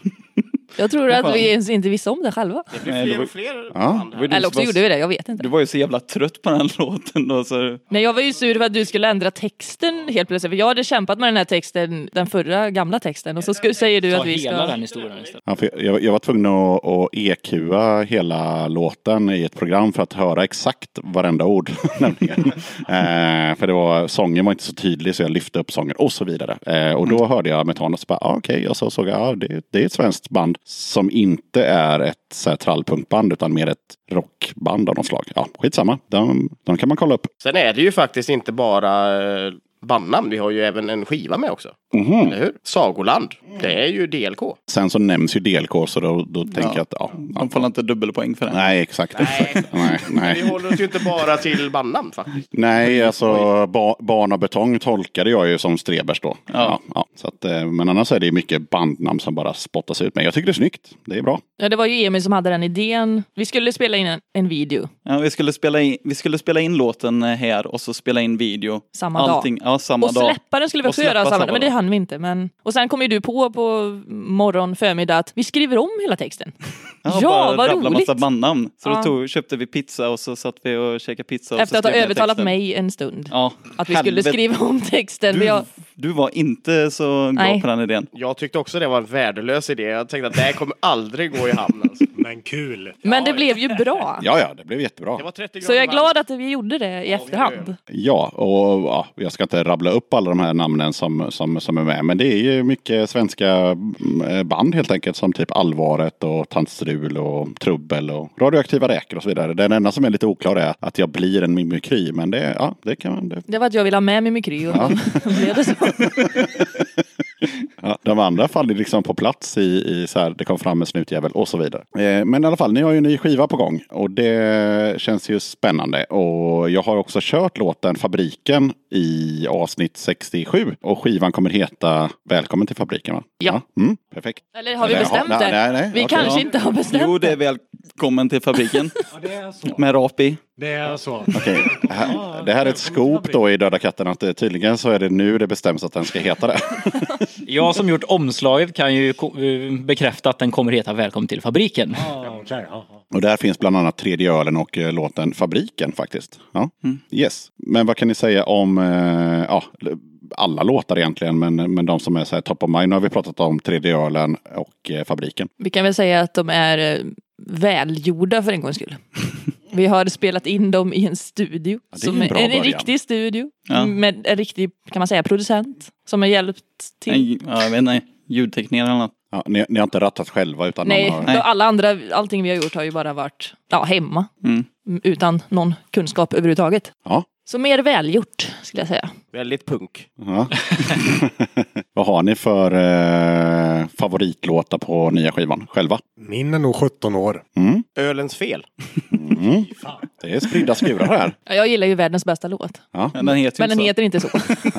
[SPEAKER 1] Jag tror att vi ens inte visste om det själva.
[SPEAKER 7] Nej, det var,
[SPEAKER 5] Fler?
[SPEAKER 2] Ja.
[SPEAKER 7] det var ju du
[SPEAKER 1] Eller
[SPEAKER 7] som
[SPEAKER 1] också
[SPEAKER 7] var,
[SPEAKER 1] gjorde vi det, jag vet inte.
[SPEAKER 7] Du var ju så jävla trött på den här låten då så
[SPEAKER 1] Nej, jag var ju sur för att du skulle ändra texten helt plötsligt. För jag hade kämpat med den här texten, den förra gamla texten. Och så skulle, säger du
[SPEAKER 6] Ta
[SPEAKER 1] att vi
[SPEAKER 6] hela
[SPEAKER 1] ska...
[SPEAKER 6] den historien istället.
[SPEAKER 2] Ja, för jag, jag var tvungen att, att EQa hela låten i ett program för att höra exakt varenda ord. nämligen. Eh, för det var, sången var inte så tydlig så jag lyfte upp sången och så vidare. Eh, och då hörde jag metan och så bara, ah, okej, och så såg jag, ah, det, det är ett svenskt band som inte är ett så här, trallpunkband utan mer ett rockband av något slag. Ja, skitsamma, de, de kan man kolla upp.
[SPEAKER 5] Sen är det ju faktiskt inte bara eh, bandnamn. Vi har ju även en skiva med också.
[SPEAKER 7] Mm.
[SPEAKER 2] Mhm.
[SPEAKER 5] Eller hur? Sagoland. Det är ju DLK.
[SPEAKER 2] Sen så nämns ju DLK så då, då tänker jag att, ja. ja.
[SPEAKER 7] de får inte dubbelpoäng för det.
[SPEAKER 2] Nej, exakt. exakt. Nej, nej.
[SPEAKER 5] Vi håller oss ju inte bara till bandnamn faktiskt.
[SPEAKER 2] Nej, alltså ba- barn och betong tolkade jag ju som Strebers då. Ja. Ja, Så att, eh, men annars är det ju mycket bandnamn som bara spottas ut. Men jag tycker det är snyggt. Det är bra.
[SPEAKER 1] Ja, det var ju Emil som hade den idén. Vi skulle spela in en, en video.
[SPEAKER 7] Ja, vi, skulle spela in, vi skulle spela in låten eh, här och så spela in video.
[SPEAKER 1] Samma dag.
[SPEAKER 7] dag. Ja, samma
[SPEAKER 1] och
[SPEAKER 7] dag.
[SPEAKER 1] släppa den skulle vi
[SPEAKER 7] Och
[SPEAKER 1] också göra
[SPEAKER 7] släppa
[SPEAKER 1] samma
[SPEAKER 7] samma
[SPEAKER 1] men det
[SPEAKER 7] dag.
[SPEAKER 1] hann vi inte. Men... Och sen kom ju du på på morgon, förmiddag att vi skriver om hela texten. Ja,
[SPEAKER 7] bara
[SPEAKER 1] vad
[SPEAKER 7] rabbla
[SPEAKER 1] roligt!
[SPEAKER 7] massa bandnamn. Så
[SPEAKER 1] Ja.
[SPEAKER 7] då tog, köpte vi pizza och så satt vi och käkade pizza. Och
[SPEAKER 1] Efter
[SPEAKER 7] så
[SPEAKER 1] att ha
[SPEAKER 7] skrev vi
[SPEAKER 1] övertalat
[SPEAKER 7] texten.
[SPEAKER 1] mig en stund.
[SPEAKER 7] Ja.
[SPEAKER 1] Att vi skulle
[SPEAKER 7] Helvete.
[SPEAKER 1] skriva om texten.
[SPEAKER 7] Du,
[SPEAKER 1] men jag-
[SPEAKER 7] du var inte så
[SPEAKER 1] Nej.
[SPEAKER 7] glad på den idén.
[SPEAKER 5] Jag tyckte också det var en värdelös idé. Jag tänkte att det här kommer aldrig gå i hamn. Alltså.
[SPEAKER 4] Men kul.
[SPEAKER 1] Men det blev ju bra.
[SPEAKER 2] Ja, ja, det blev jättebra.
[SPEAKER 5] Det var 30
[SPEAKER 1] Så jag är
[SPEAKER 5] grader varmt.
[SPEAKER 1] glad att vi gjorde det i efterhand.
[SPEAKER 2] Ja, och ja, jag ska inte rabbla upp alla de här namnen som, som, som är med. Men det är ju mycket svenska mm, band helt enkelt. Som typ Allvaret och Tant Strul och Trubbel och Radioaktiva Räkor och så vidare. Den enda som är lite oklar är att jag blir en mimikry. Men det, ja, det kan man... Det,
[SPEAKER 1] Det var att jag ville ha med mimikry och då blev det så.
[SPEAKER 2] Ja, de andra faller liksom på plats i, i så här, det kom fram en snutjävel och så vidare. Eh, men i alla fall, ni har ju en ny skiva på gång och det känns ju spännande. Och jag har också kört låten Fabriken i avsnitt 67 och skivan kommer heta Välkommen till fabriken va?
[SPEAKER 1] Ja.
[SPEAKER 2] Mm, perfekt.
[SPEAKER 1] Eller har vi
[SPEAKER 2] Eller,
[SPEAKER 1] bestämt
[SPEAKER 2] ja,
[SPEAKER 1] det?
[SPEAKER 2] nej, nej, nej,
[SPEAKER 1] vi
[SPEAKER 2] okej.
[SPEAKER 1] kanske
[SPEAKER 7] Ja.
[SPEAKER 1] inte har bestämt
[SPEAKER 7] Jo, det
[SPEAKER 1] det.
[SPEAKER 7] är välkommen till fabriken.
[SPEAKER 4] Ja, det är så.
[SPEAKER 7] Med rap i.
[SPEAKER 4] Det är så.
[SPEAKER 2] Okej, det här- Det här är ett scoop då i Döda katten att eh, tydligen så är det nu det bestäms att den ska heta det.
[SPEAKER 6] Jag som gjort omslaget kan ju ko- eh, bekräfta att den kommer heta Välkommen till fabriken.
[SPEAKER 4] Ja, Ah, okej, ja, ja.
[SPEAKER 2] Och där finns bland annat tredje ölen och eh, låten Fabriken faktiskt. Ja.
[SPEAKER 7] Mm.
[SPEAKER 2] Yes. Men vad kan ni säga om eh, ja, alla låtar egentligen, men, men de som är så här top of mind. Nu har vi pratat om tredje ölen och eh, Fabriken.
[SPEAKER 1] Vi kan väl säga att de är eh, välgjorda för en gångs skull. Vi har spelat in dem i en studio.
[SPEAKER 2] det är
[SPEAKER 1] som
[SPEAKER 2] ju en bra
[SPEAKER 1] en, en
[SPEAKER 2] början.
[SPEAKER 1] riktig studio.
[SPEAKER 7] Ja.
[SPEAKER 1] Med en riktig, kan man säga, producent. Som har hjälpt till. Nej,
[SPEAKER 7] Nej, ja, jag vet inte. Ljudtekniker eller något.
[SPEAKER 2] Ja, ni, ni har inte rattat själva utan någon har...
[SPEAKER 1] då alla andra, allting vi har gjort har ju bara varit ja, hemma. Mm, Utan någon kunskap överhuvudtaget.
[SPEAKER 2] Ja.
[SPEAKER 1] Så mer välgjort skulle jag säga.
[SPEAKER 5] Väldigt punk.
[SPEAKER 2] Ja. Vad har ni för eh, favoritlåtar på nya skivan själva?
[SPEAKER 4] Min är nog 17 år.
[SPEAKER 2] Mm.
[SPEAKER 5] Ölens fel.
[SPEAKER 2] Mm. Det är spridda skurar här.
[SPEAKER 1] Ja, Jag gillar ju världens bästa låt.
[SPEAKER 2] Ja.
[SPEAKER 7] Men den
[SPEAKER 1] Men
[SPEAKER 7] heter ju
[SPEAKER 1] den heter
[SPEAKER 7] inte
[SPEAKER 1] inte så.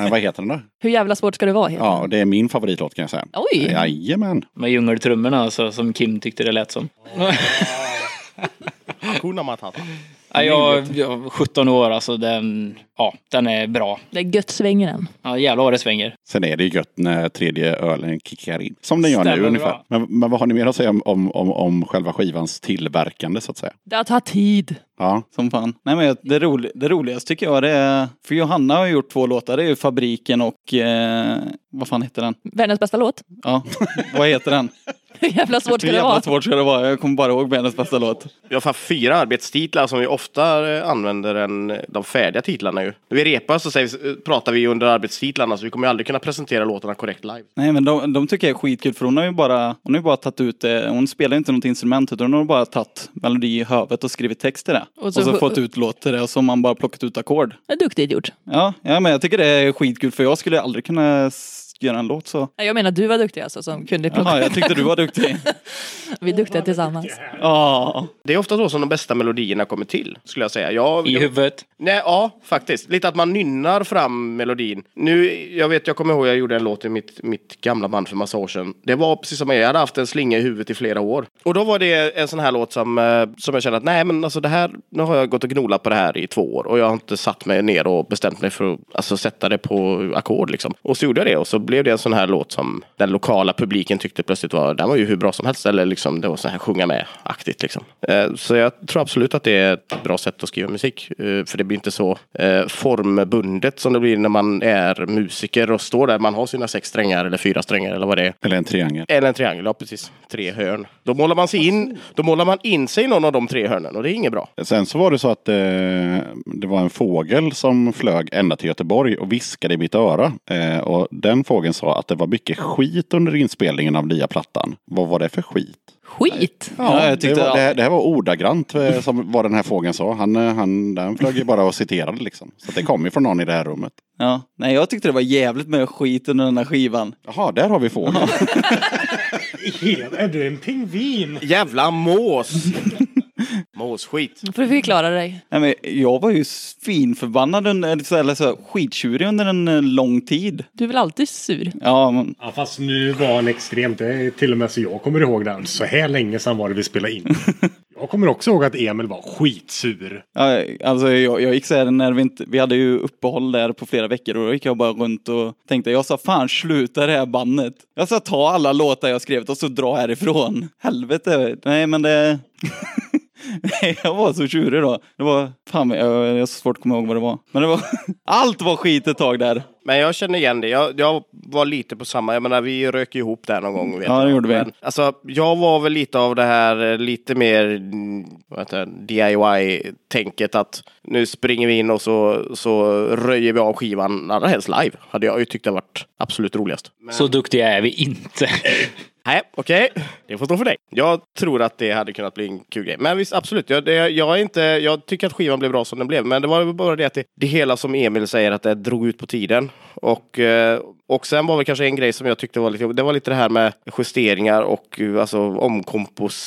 [SPEAKER 2] Eh, Vad heter den då?
[SPEAKER 1] Hur jävla svårt ska det vara? Helt?
[SPEAKER 2] Ja, det är min favoritlåt kan jag säga.
[SPEAKER 1] Oj.
[SPEAKER 2] Jajamän.
[SPEAKER 6] Med djungeltrummorna alltså, som Kim tyckte det lät som.
[SPEAKER 5] Hakuna Matata.
[SPEAKER 6] Ja, jag, jag, 17 år alltså, den, ja, den är bra.
[SPEAKER 1] Det är gött svänger den.
[SPEAKER 6] Ja, jävlar vad det svänger.
[SPEAKER 2] Sen är det ju gött när Eh, tredje ölen kickar in. Som den gör
[SPEAKER 6] Stämmer
[SPEAKER 2] nu
[SPEAKER 6] bra.
[SPEAKER 2] ungefär. Men, men vad har ni mer att säga om, om, om, om själva skivans tillverkande så att säga?
[SPEAKER 1] Det tar tid.
[SPEAKER 2] Ja.
[SPEAKER 7] Som fan. Nej men det, roli- det roligaste tycker jag det är, för Johanna har ju gjort två låtar, det är ju Fabriken och, eh, vad fan heter den?
[SPEAKER 1] Världens bästa låt.
[SPEAKER 7] Ja, vad heter den?
[SPEAKER 1] Hur jävla svårt
[SPEAKER 7] Hur
[SPEAKER 1] ska det
[SPEAKER 7] jävla
[SPEAKER 1] vara?
[SPEAKER 7] svårt ska det vara? Jag kommer bara ihåg världens bästa låt.
[SPEAKER 5] Vi har fan fyra arbetstitlar som vi ofta eh, använder än eh, de färdiga titlarna ju. När vi repar så säger vi, eh, pratar vi under arbetstitlarna så vi kommer ju aldrig kunna presentera låtarna korrekt live.
[SPEAKER 7] Nej men de, de tycker jag är skitkul för hon har ju bara, hon har ju bara tagit ut det, hon spelar ju inte något instrument utan hon har bara tagit melodi i huvudet och skrivit text till det. Och så,
[SPEAKER 1] så-
[SPEAKER 7] fått ut låt till det och så har man bara plockat ut ackord.
[SPEAKER 1] Det är duktigt gjort.
[SPEAKER 7] Ja, ja men jag tycker det är skitkul för jag skulle aldrig kunna s- göra en låt så.
[SPEAKER 1] Nej, Jag menar du var duktig alltså som kunde plocka.
[SPEAKER 7] Jaha, jag tyckte du var duktig.
[SPEAKER 1] Vi är duktiga tillsammans.
[SPEAKER 7] Ja.
[SPEAKER 5] Det är ofta då som de bästa melodierna kommer till, skulle jag säga. Jag,
[SPEAKER 6] I huvudet.
[SPEAKER 5] Nej, ja, faktiskt. Lite att man nynnar fram melodin. Nu, jag vet, jag kommer ihåg jag gjorde en låt i mitt, mitt gamla band för massa år sedan. Det var precis som jag, jag hade haft en slinga i huvudet i flera år. Och då var det en sån här låt som, eh, som jag kände att nej, men alltså det här, nu har jag gått och gnolat på det här i två år och jag har inte satt mig ner och bestämt mig för att alltså, sätta det på ackord liksom. Och så gjorde jag det och så blev det en sån här låt som den lokala publiken tyckte plötsligt var, den var ju hur bra som helst. Eller liksom, det var så här sjunga med-aktigt liksom. Eh, Så jag tror absolut att det är ett bra sätt att skriva musik. eh, För det blir inte så eh, formbundet som det blir när man är musiker och står där. Man har sina sex strängar eller fyra strängar eller vad det är.
[SPEAKER 2] Eller en triangel.
[SPEAKER 5] Eller en triangel, ja precis. Tre hörn. Då målar man sig in, då målar man in sig i någon av de tre hörnen och det är inget bra.
[SPEAKER 2] Sen så var det så att eh, det var en fågel som flög ända till Göteborg och viskade i mitt öra. Eh, och den fågeln sa att det var mycket skit under inspelningen av nya plattan. Vad var det för skit?
[SPEAKER 1] Skit!
[SPEAKER 7] Ja, jag tyckte
[SPEAKER 2] det, var,
[SPEAKER 7] all-
[SPEAKER 2] det, här- det här var ordagrant eh, som vad den här fågeln sa. Han, eh, han den flög ju bara och citerade liksom. Så att det kom ju från någon i det här rummet.
[SPEAKER 7] Ja, nej jag tyckte det var jävligt med skit under den här skivan.
[SPEAKER 2] Jaha, där har vi fågeln.
[SPEAKER 4] Är du en pingvin?
[SPEAKER 5] Jävla mås! Måsskit.
[SPEAKER 1] För att förklara dig.
[SPEAKER 7] Nej, men jag var ju svinförbannad under, eller så- eller så skittjurig under en eh, lång tid.
[SPEAKER 1] Du är väl alltid sur?
[SPEAKER 7] Ja,
[SPEAKER 5] Mm.
[SPEAKER 7] men,
[SPEAKER 4] Ja, fast nu var han extremt. Det är till och med så jag kommer ihåg den. Så här länge sedan var det vi spelade in. Jag kommer också ihåg att Emil var skitsur.
[SPEAKER 7] ja, alltså jag, jag gick så här när vi inte, vi hade ju uppehåll där på flera veckor och då gick jag bara runt och tänkte, jag sa fan sluta det här bandet. Jag sa ta alla låtar jag skrivit och så dra härifrån. Helvete, nej men det... Nej, jag var så tjurig då. Det var, fan jag, jag har så svårt att komma ihåg vad det var. Men det var, allt var skit ett tag där.
[SPEAKER 5] Men jag känner igen det. Jag, jag var lite på samma. Jag menar, vi rök ihop där någon gång. Vet
[SPEAKER 7] Ja,
[SPEAKER 5] jag.
[SPEAKER 7] det gjorde vi.
[SPEAKER 5] Men, alltså, jag var väl lite av det här eh, lite mer mm, vad heter det, DIY-tänket att nu springer vi in och så, så röjer vi av skivan, allra helst live. Hade jag ju tyckt det varit absolut roligast.
[SPEAKER 6] Så duktiga är vi inte.
[SPEAKER 5] Nej, okej. Det får stå för dig. Jag tror att det hade kunnat bli en kul grej. Men visst, absolut. Jag, det, jag, är inte, jag tycker att skivan blev bra som den blev. Men det var väl bara det att det, det hela som Emil säger att det drog ut på tiden. Och, eh, och sen var väl kanske en grej som jag tyckte var lite jobbig. Det var lite det här med justeringar och eh, alltså,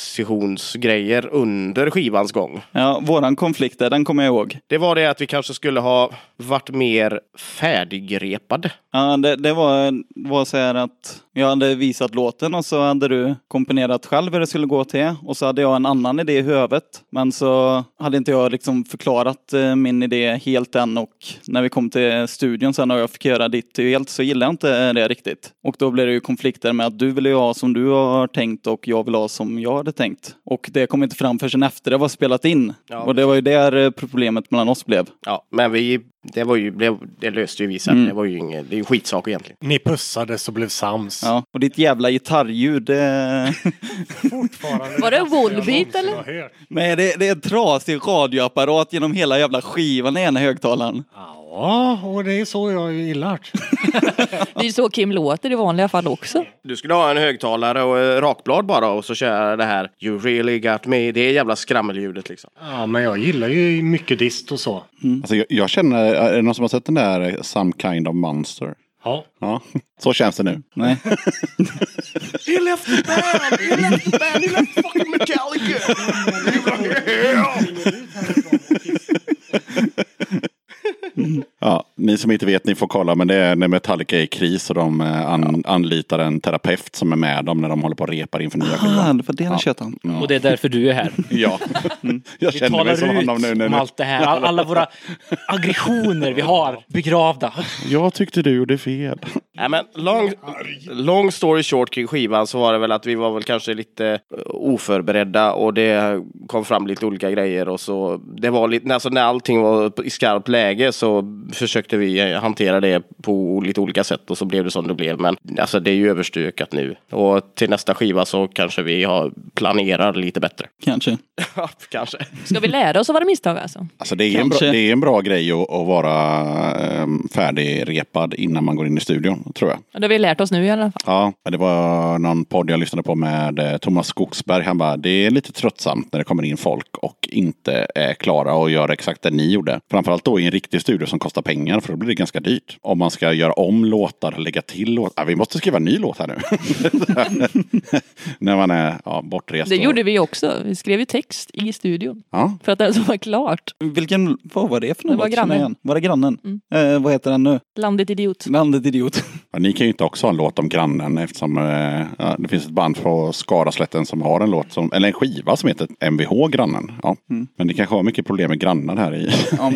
[SPEAKER 5] omkompositionsgrejer under skivans gång.
[SPEAKER 7] Ja, våran konflikt där, den kommer jag ihåg.
[SPEAKER 5] Det var det att vi kanske skulle ha varit mer färdigrepade.
[SPEAKER 7] Ja, det, det var, var så här att jag hade visat låten och så hade du komponerat själv hur det skulle gå till och så hade jag en annan idé i huvudet. Men så hade inte jag liksom förklarat eh, min idé helt än och när vi kom till studion sen och jag fick göra ditt helt så gillade jag inte det riktigt. Och då blev det ju konflikter med att du ville ju ha som du har tänkt och jag vill ha som jag hade tänkt. Och det kom inte fram förrän efter det var spelat in.
[SPEAKER 5] Ja,
[SPEAKER 7] och det var ju där eh, problemet mellan oss blev.
[SPEAKER 5] Ja, men vi, det, var ju, det, det löste ju vi
[SPEAKER 7] Mm.
[SPEAKER 5] sen. Det var ju ingen, det är ju en skitsak egentligen.
[SPEAKER 4] Ni pussades och blev sams.
[SPEAKER 7] Ja, och ditt jävla gitarrljud. eh, Det...
[SPEAKER 4] Fortfarande
[SPEAKER 1] Var det
[SPEAKER 4] bästa jag
[SPEAKER 1] Volbeat,
[SPEAKER 4] någonsin
[SPEAKER 1] eller?
[SPEAKER 4] har hört.
[SPEAKER 7] Nej, det, det är en trasig radioapparat genom hela jävla skivan i ena högtalaren.
[SPEAKER 4] Ja, Ja, och det är så jag gillar det.
[SPEAKER 1] Det är ju så Kim låter i vanliga fall också.
[SPEAKER 5] Du skulle ha en högtalare och eh, rakblad bara och så köra det här You really got me. Det jävla skrammeljudet liksom.
[SPEAKER 4] Ja, men jag gillar ju mycket dist och så.
[SPEAKER 2] Alltså, jag, jag känner, är det någon som har sett den där Some kind of monster?
[SPEAKER 4] Ja.
[SPEAKER 2] Ja, så känns det nu.
[SPEAKER 7] Nej.
[SPEAKER 5] He left the band! He left the band! He left fucking Metallica!
[SPEAKER 2] Ja, ni som inte vet, ni får kolla, men det är när Metallica är i kris och de eh, an, anlitar en terapeut som är med dem när de håller på och repar inför nya
[SPEAKER 7] Ah,
[SPEAKER 2] skivan.
[SPEAKER 7] det var det han tjötade om.
[SPEAKER 6] Och det är därför du är här.
[SPEAKER 2] Ja, jag
[SPEAKER 6] Vi
[SPEAKER 2] känner mig som
[SPEAKER 6] talar ut
[SPEAKER 2] honom nu. nu,
[SPEAKER 6] om
[SPEAKER 2] nu.
[SPEAKER 6] allt det här. All, alla våra aggressioner vi har begravda.
[SPEAKER 2] Jag tyckte du gjorde fel.
[SPEAKER 5] Nej men long, long story short kring skivan så var det väl att vi var väl kanske lite eh, oförberedda och det kom fram lite olika grejer och så det var lite, alltså när allting var i skarpt läge så försökte vi eh, hantera det på lite olika sätt och så blev det som det blev men alltså det är ju överstökat nu och till nästa skiva så kanske vi har, planerar lite bättre.
[SPEAKER 7] Kanske.
[SPEAKER 5] Ja, kanske.
[SPEAKER 1] Ska vi lära oss av våra misstag alltså?
[SPEAKER 2] Alltså det, är en bra,
[SPEAKER 7] Kanske.
[SPEAKER 2] det är en bra grej att, att vara ehm, färdigrepad innan man går in i studion, tror jag.
[SPEAKER 1] Ja, Det har vi lärt oss nu i alla fall.
[SPEAKER 2] Ja, det var någon podd jag lyssnade på med eh, Thomas Skogsberg. Han bara, det är lite tröttsamt när det kommer in folk och inte är klara och gör exakt det ni gjorde. Framförallt då i en riktig studio som kostar pengar, för då blir det ganska dyrt. Om man ska göra om låtar, lägga till låtar. Ah, vi måste skriva en ny låt här nu. när man är ja, bortrest.
[SPEAKER 1] Det
[SPEAKER 2] och-
[SPEAKER 1] gjorde vi också. Vi skrev ju text i studion
[SPEAKER 2] Ja,
[SPEAKER 1] för att det som var klart.
[SPEAKER 7] Vilken, vad var det för
[SPEAKER 1] Det
[SPEAKER 7] något?
[SPEAKER 1] var grannen. Mm.
[SPEAKER 7] Var det grannen? Eh, vad heter den nu?
[SPEAKER 1] Landet idiot.
[SPEAKER 7] Landet idiot.
[SPEAKER 2] Ja, ni kan ju inte också ha en låt om grannen eftersom eh, ja, det finns ett band från Skaraslätten som har en låt som, eller en skiva som heter MVH Grannen. Ja.
[SPEAKER 1] Mm.
[SPEAKER 2] Men det kanske har mycket problem med grannar här i,
[SPEAKER 7] Ja,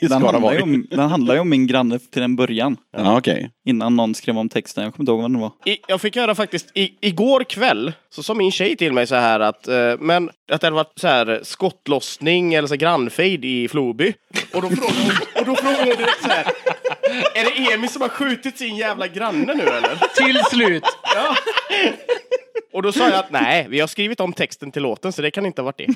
[SPEAKER 2] i
[SPEAKER 7] den, handlar ju
[SPEAKER 2] Skaraborg.
[SPEAKER 7] om, den handlar ju om min granne till en början.
[SPEAKER 2] Ja, okej.
[SPEAKER 7] Innan någon skrev om texten. Jag kommer inte ihåg vad den var.
[SPEAKER 5] I, jag fick höra faktiskt, i, igår kväll så sa min tjej till mig så här att, eh, men, att det hade varit så här skottlossning eller så här grannfejd i Floby. Och då frågade hon, och då frågade hon direkt så här, är det Emil som har skjutit sin jävla granne nu eller?
[SPEAKER 6] Till slut.
[SPEAKER 5] Och då sa jag att nej, vi har skrivit om texten till låten så det kan inte ha varit det.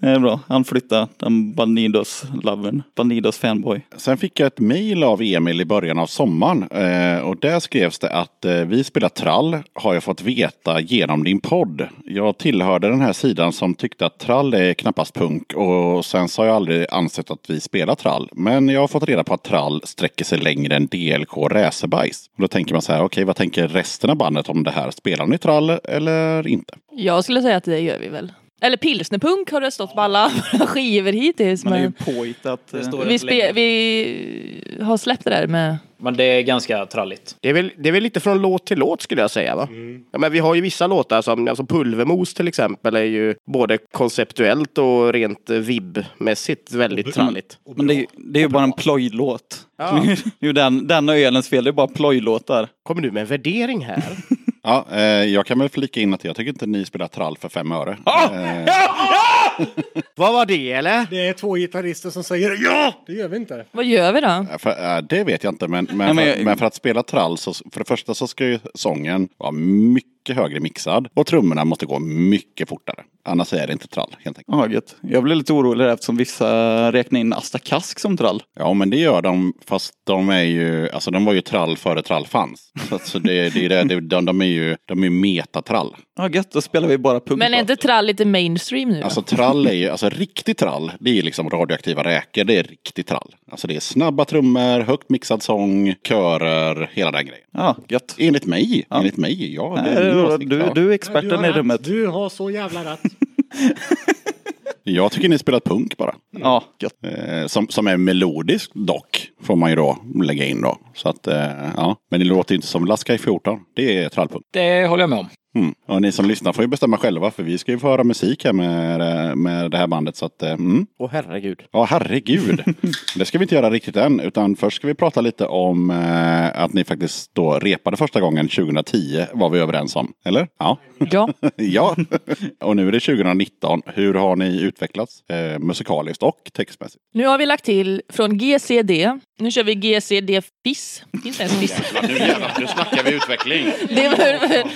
[SPEAKER 7] Det är bra. Han flyttade. Den Bandidos-lovern. Bandidos-fanboy.
[SPEAKER 2] Sen fick jag ett mejl av Emil i början av sommaren. Eh, och där skrevs det att eh, vi spelar trall har jag fått veta genom din podd. Jag tillhörde den här sidan som tyckte att trall är knappast punk och sen så har jag aldrig ansett att vi spelar trall. Men jag har fått reda på att trall sträcker sig längre än DLK Räsebajs. Och då tänker man så här, okej vad tänker resten av bandet om det här? Spelar ni trall eller inte?
[SPEAKER 1] Jag skulle säga att det gör vi väl. Eller pilsnerpunk har det stått på alla våra skivor hittills.
[SPEAKER 7] Man är ju
[SPEAKER 1] Men
[SPEAKER 7] påhittat. eh,
[SPEAKER 6] står-
[SPEAKER 1] vi, spe- vi har släppt det där med...
[SPEAKER 6] Men det är ganska tralligt.
[SPEAKER 5] Det är väl, det är väl lite från låt till låt skulle jag säga va? Ja, men vi har ju vissa låtar som alltså Pulvermos till exempel är ju både konceptuellt och rent eh, vibbmässigt väldigt tralligt.
[SPEAKER 7] Men det är, ju- det är ju bara en plojlåt. det är ju den, den och ölens fel. Det är bara plojlåtar.
[SPEAKER 5] Kommer du med en värdering här?
[SPEAKER 2] Ja, eh, jag kan väl flika in att jag tycker inte ni spelar trall för fem öre.
[SPEAKER 7] Ah!
[SPEAKER 2] Eh,
[SPEAKER 5] Vad var det eller?
[SPEAKER 4] Det är två gitarrister som säger ja! Det gör vi inte.
[SPEAKER 1] Vad gör vi då?
[SPEAKER 2] För, äh, det vet jag inte, men, men,
[SPEAKER 7] men
[SPEAKER 2] för,
[SPEAKER 7] jag-
[SPEAKER 2] men för att spela trall så för det första så ska ju sången vara mycket högre mixad och trummorna måste gå mycket fortare. Annars är det inte trall helt enkelt.
[SPEAKER 7] Ja, gött. Jag blev lite orolig där eftersom vissa räknar in Asta Kask som trall.
[SPEAKER 2] Ja, men det gör de, fast de är ju, alltså de var ju trall före trall fanns. Så, att- så det, det, är det, det, de, de är ju, de är ju metatrall.
[SPEAKER 7] Ja, gött. Då spelar vi bara punk.
[SPEAKER 1] Men är
[SPEAKER 7] då.
[SPEAKER 1] inte trall lite mainstream nu? då?
[SPEAKER 2] Alltså trall är ju, alltså riktig trall, det är ju liksom radioaktiva räkor, det är riktig trall. Alltså det är snabba trummor, högt mixad sång, körer, hela den grejen.
[SPEAKER 7] Ja, gött.
[SPEAKER 2] Enligt mig, enligt mig, ja. det
[SPEAKER 7] Nej,
[SPEAKER 2] är min åsikt,
[SPEAKER 7] du,
[SPEAKER 2] ja.
[SPEAKER 7] du är experten i rummet.
[SPEAKER 4] Du har så jävla rätt.
[SPEAKER 2] Jag tycker ni spelar punk bara.
[SPEAKER 7] Ja, gött.
[SPEAKER 2] Eh, som, som är melodisk dock, får man ju då lägga in då. Så att, eh, ja. Men det låter ju inte som Laska i 14. Det är trallpunk.
[SPEAKER 6] Det håller jag med om.
[SPEAKER 2] Mm. Och ni som lyssnar får ju bestämma själva, för vi ska ju få höra musik här med, eh, med det här bandet. Så att, eh, mm.
[SPEAKER 5] Åh herregud.
[SPEAKER 2] Ja, herregud. det ska vi inte göra riktigt än, utan först ska vi prata lite om eh, att ni faktiskt då repade första gången 2010, var vi överens om. Eller? Ja.
[SPEAKER 1] Ja.
[SPEAKER 2] ja. och nu är det 2019. Hur har ni utvecklats eh, musikaliskt och textmässigt?
[SPEAKER 1] Nu har vi lagt till från GCD. Nu kör vi GCD FIS. Finns det ens FIS?
[SPEAKER 2] Nu jävlar, nu snackar vi utveckling.
[SPEAKER 1] Det var,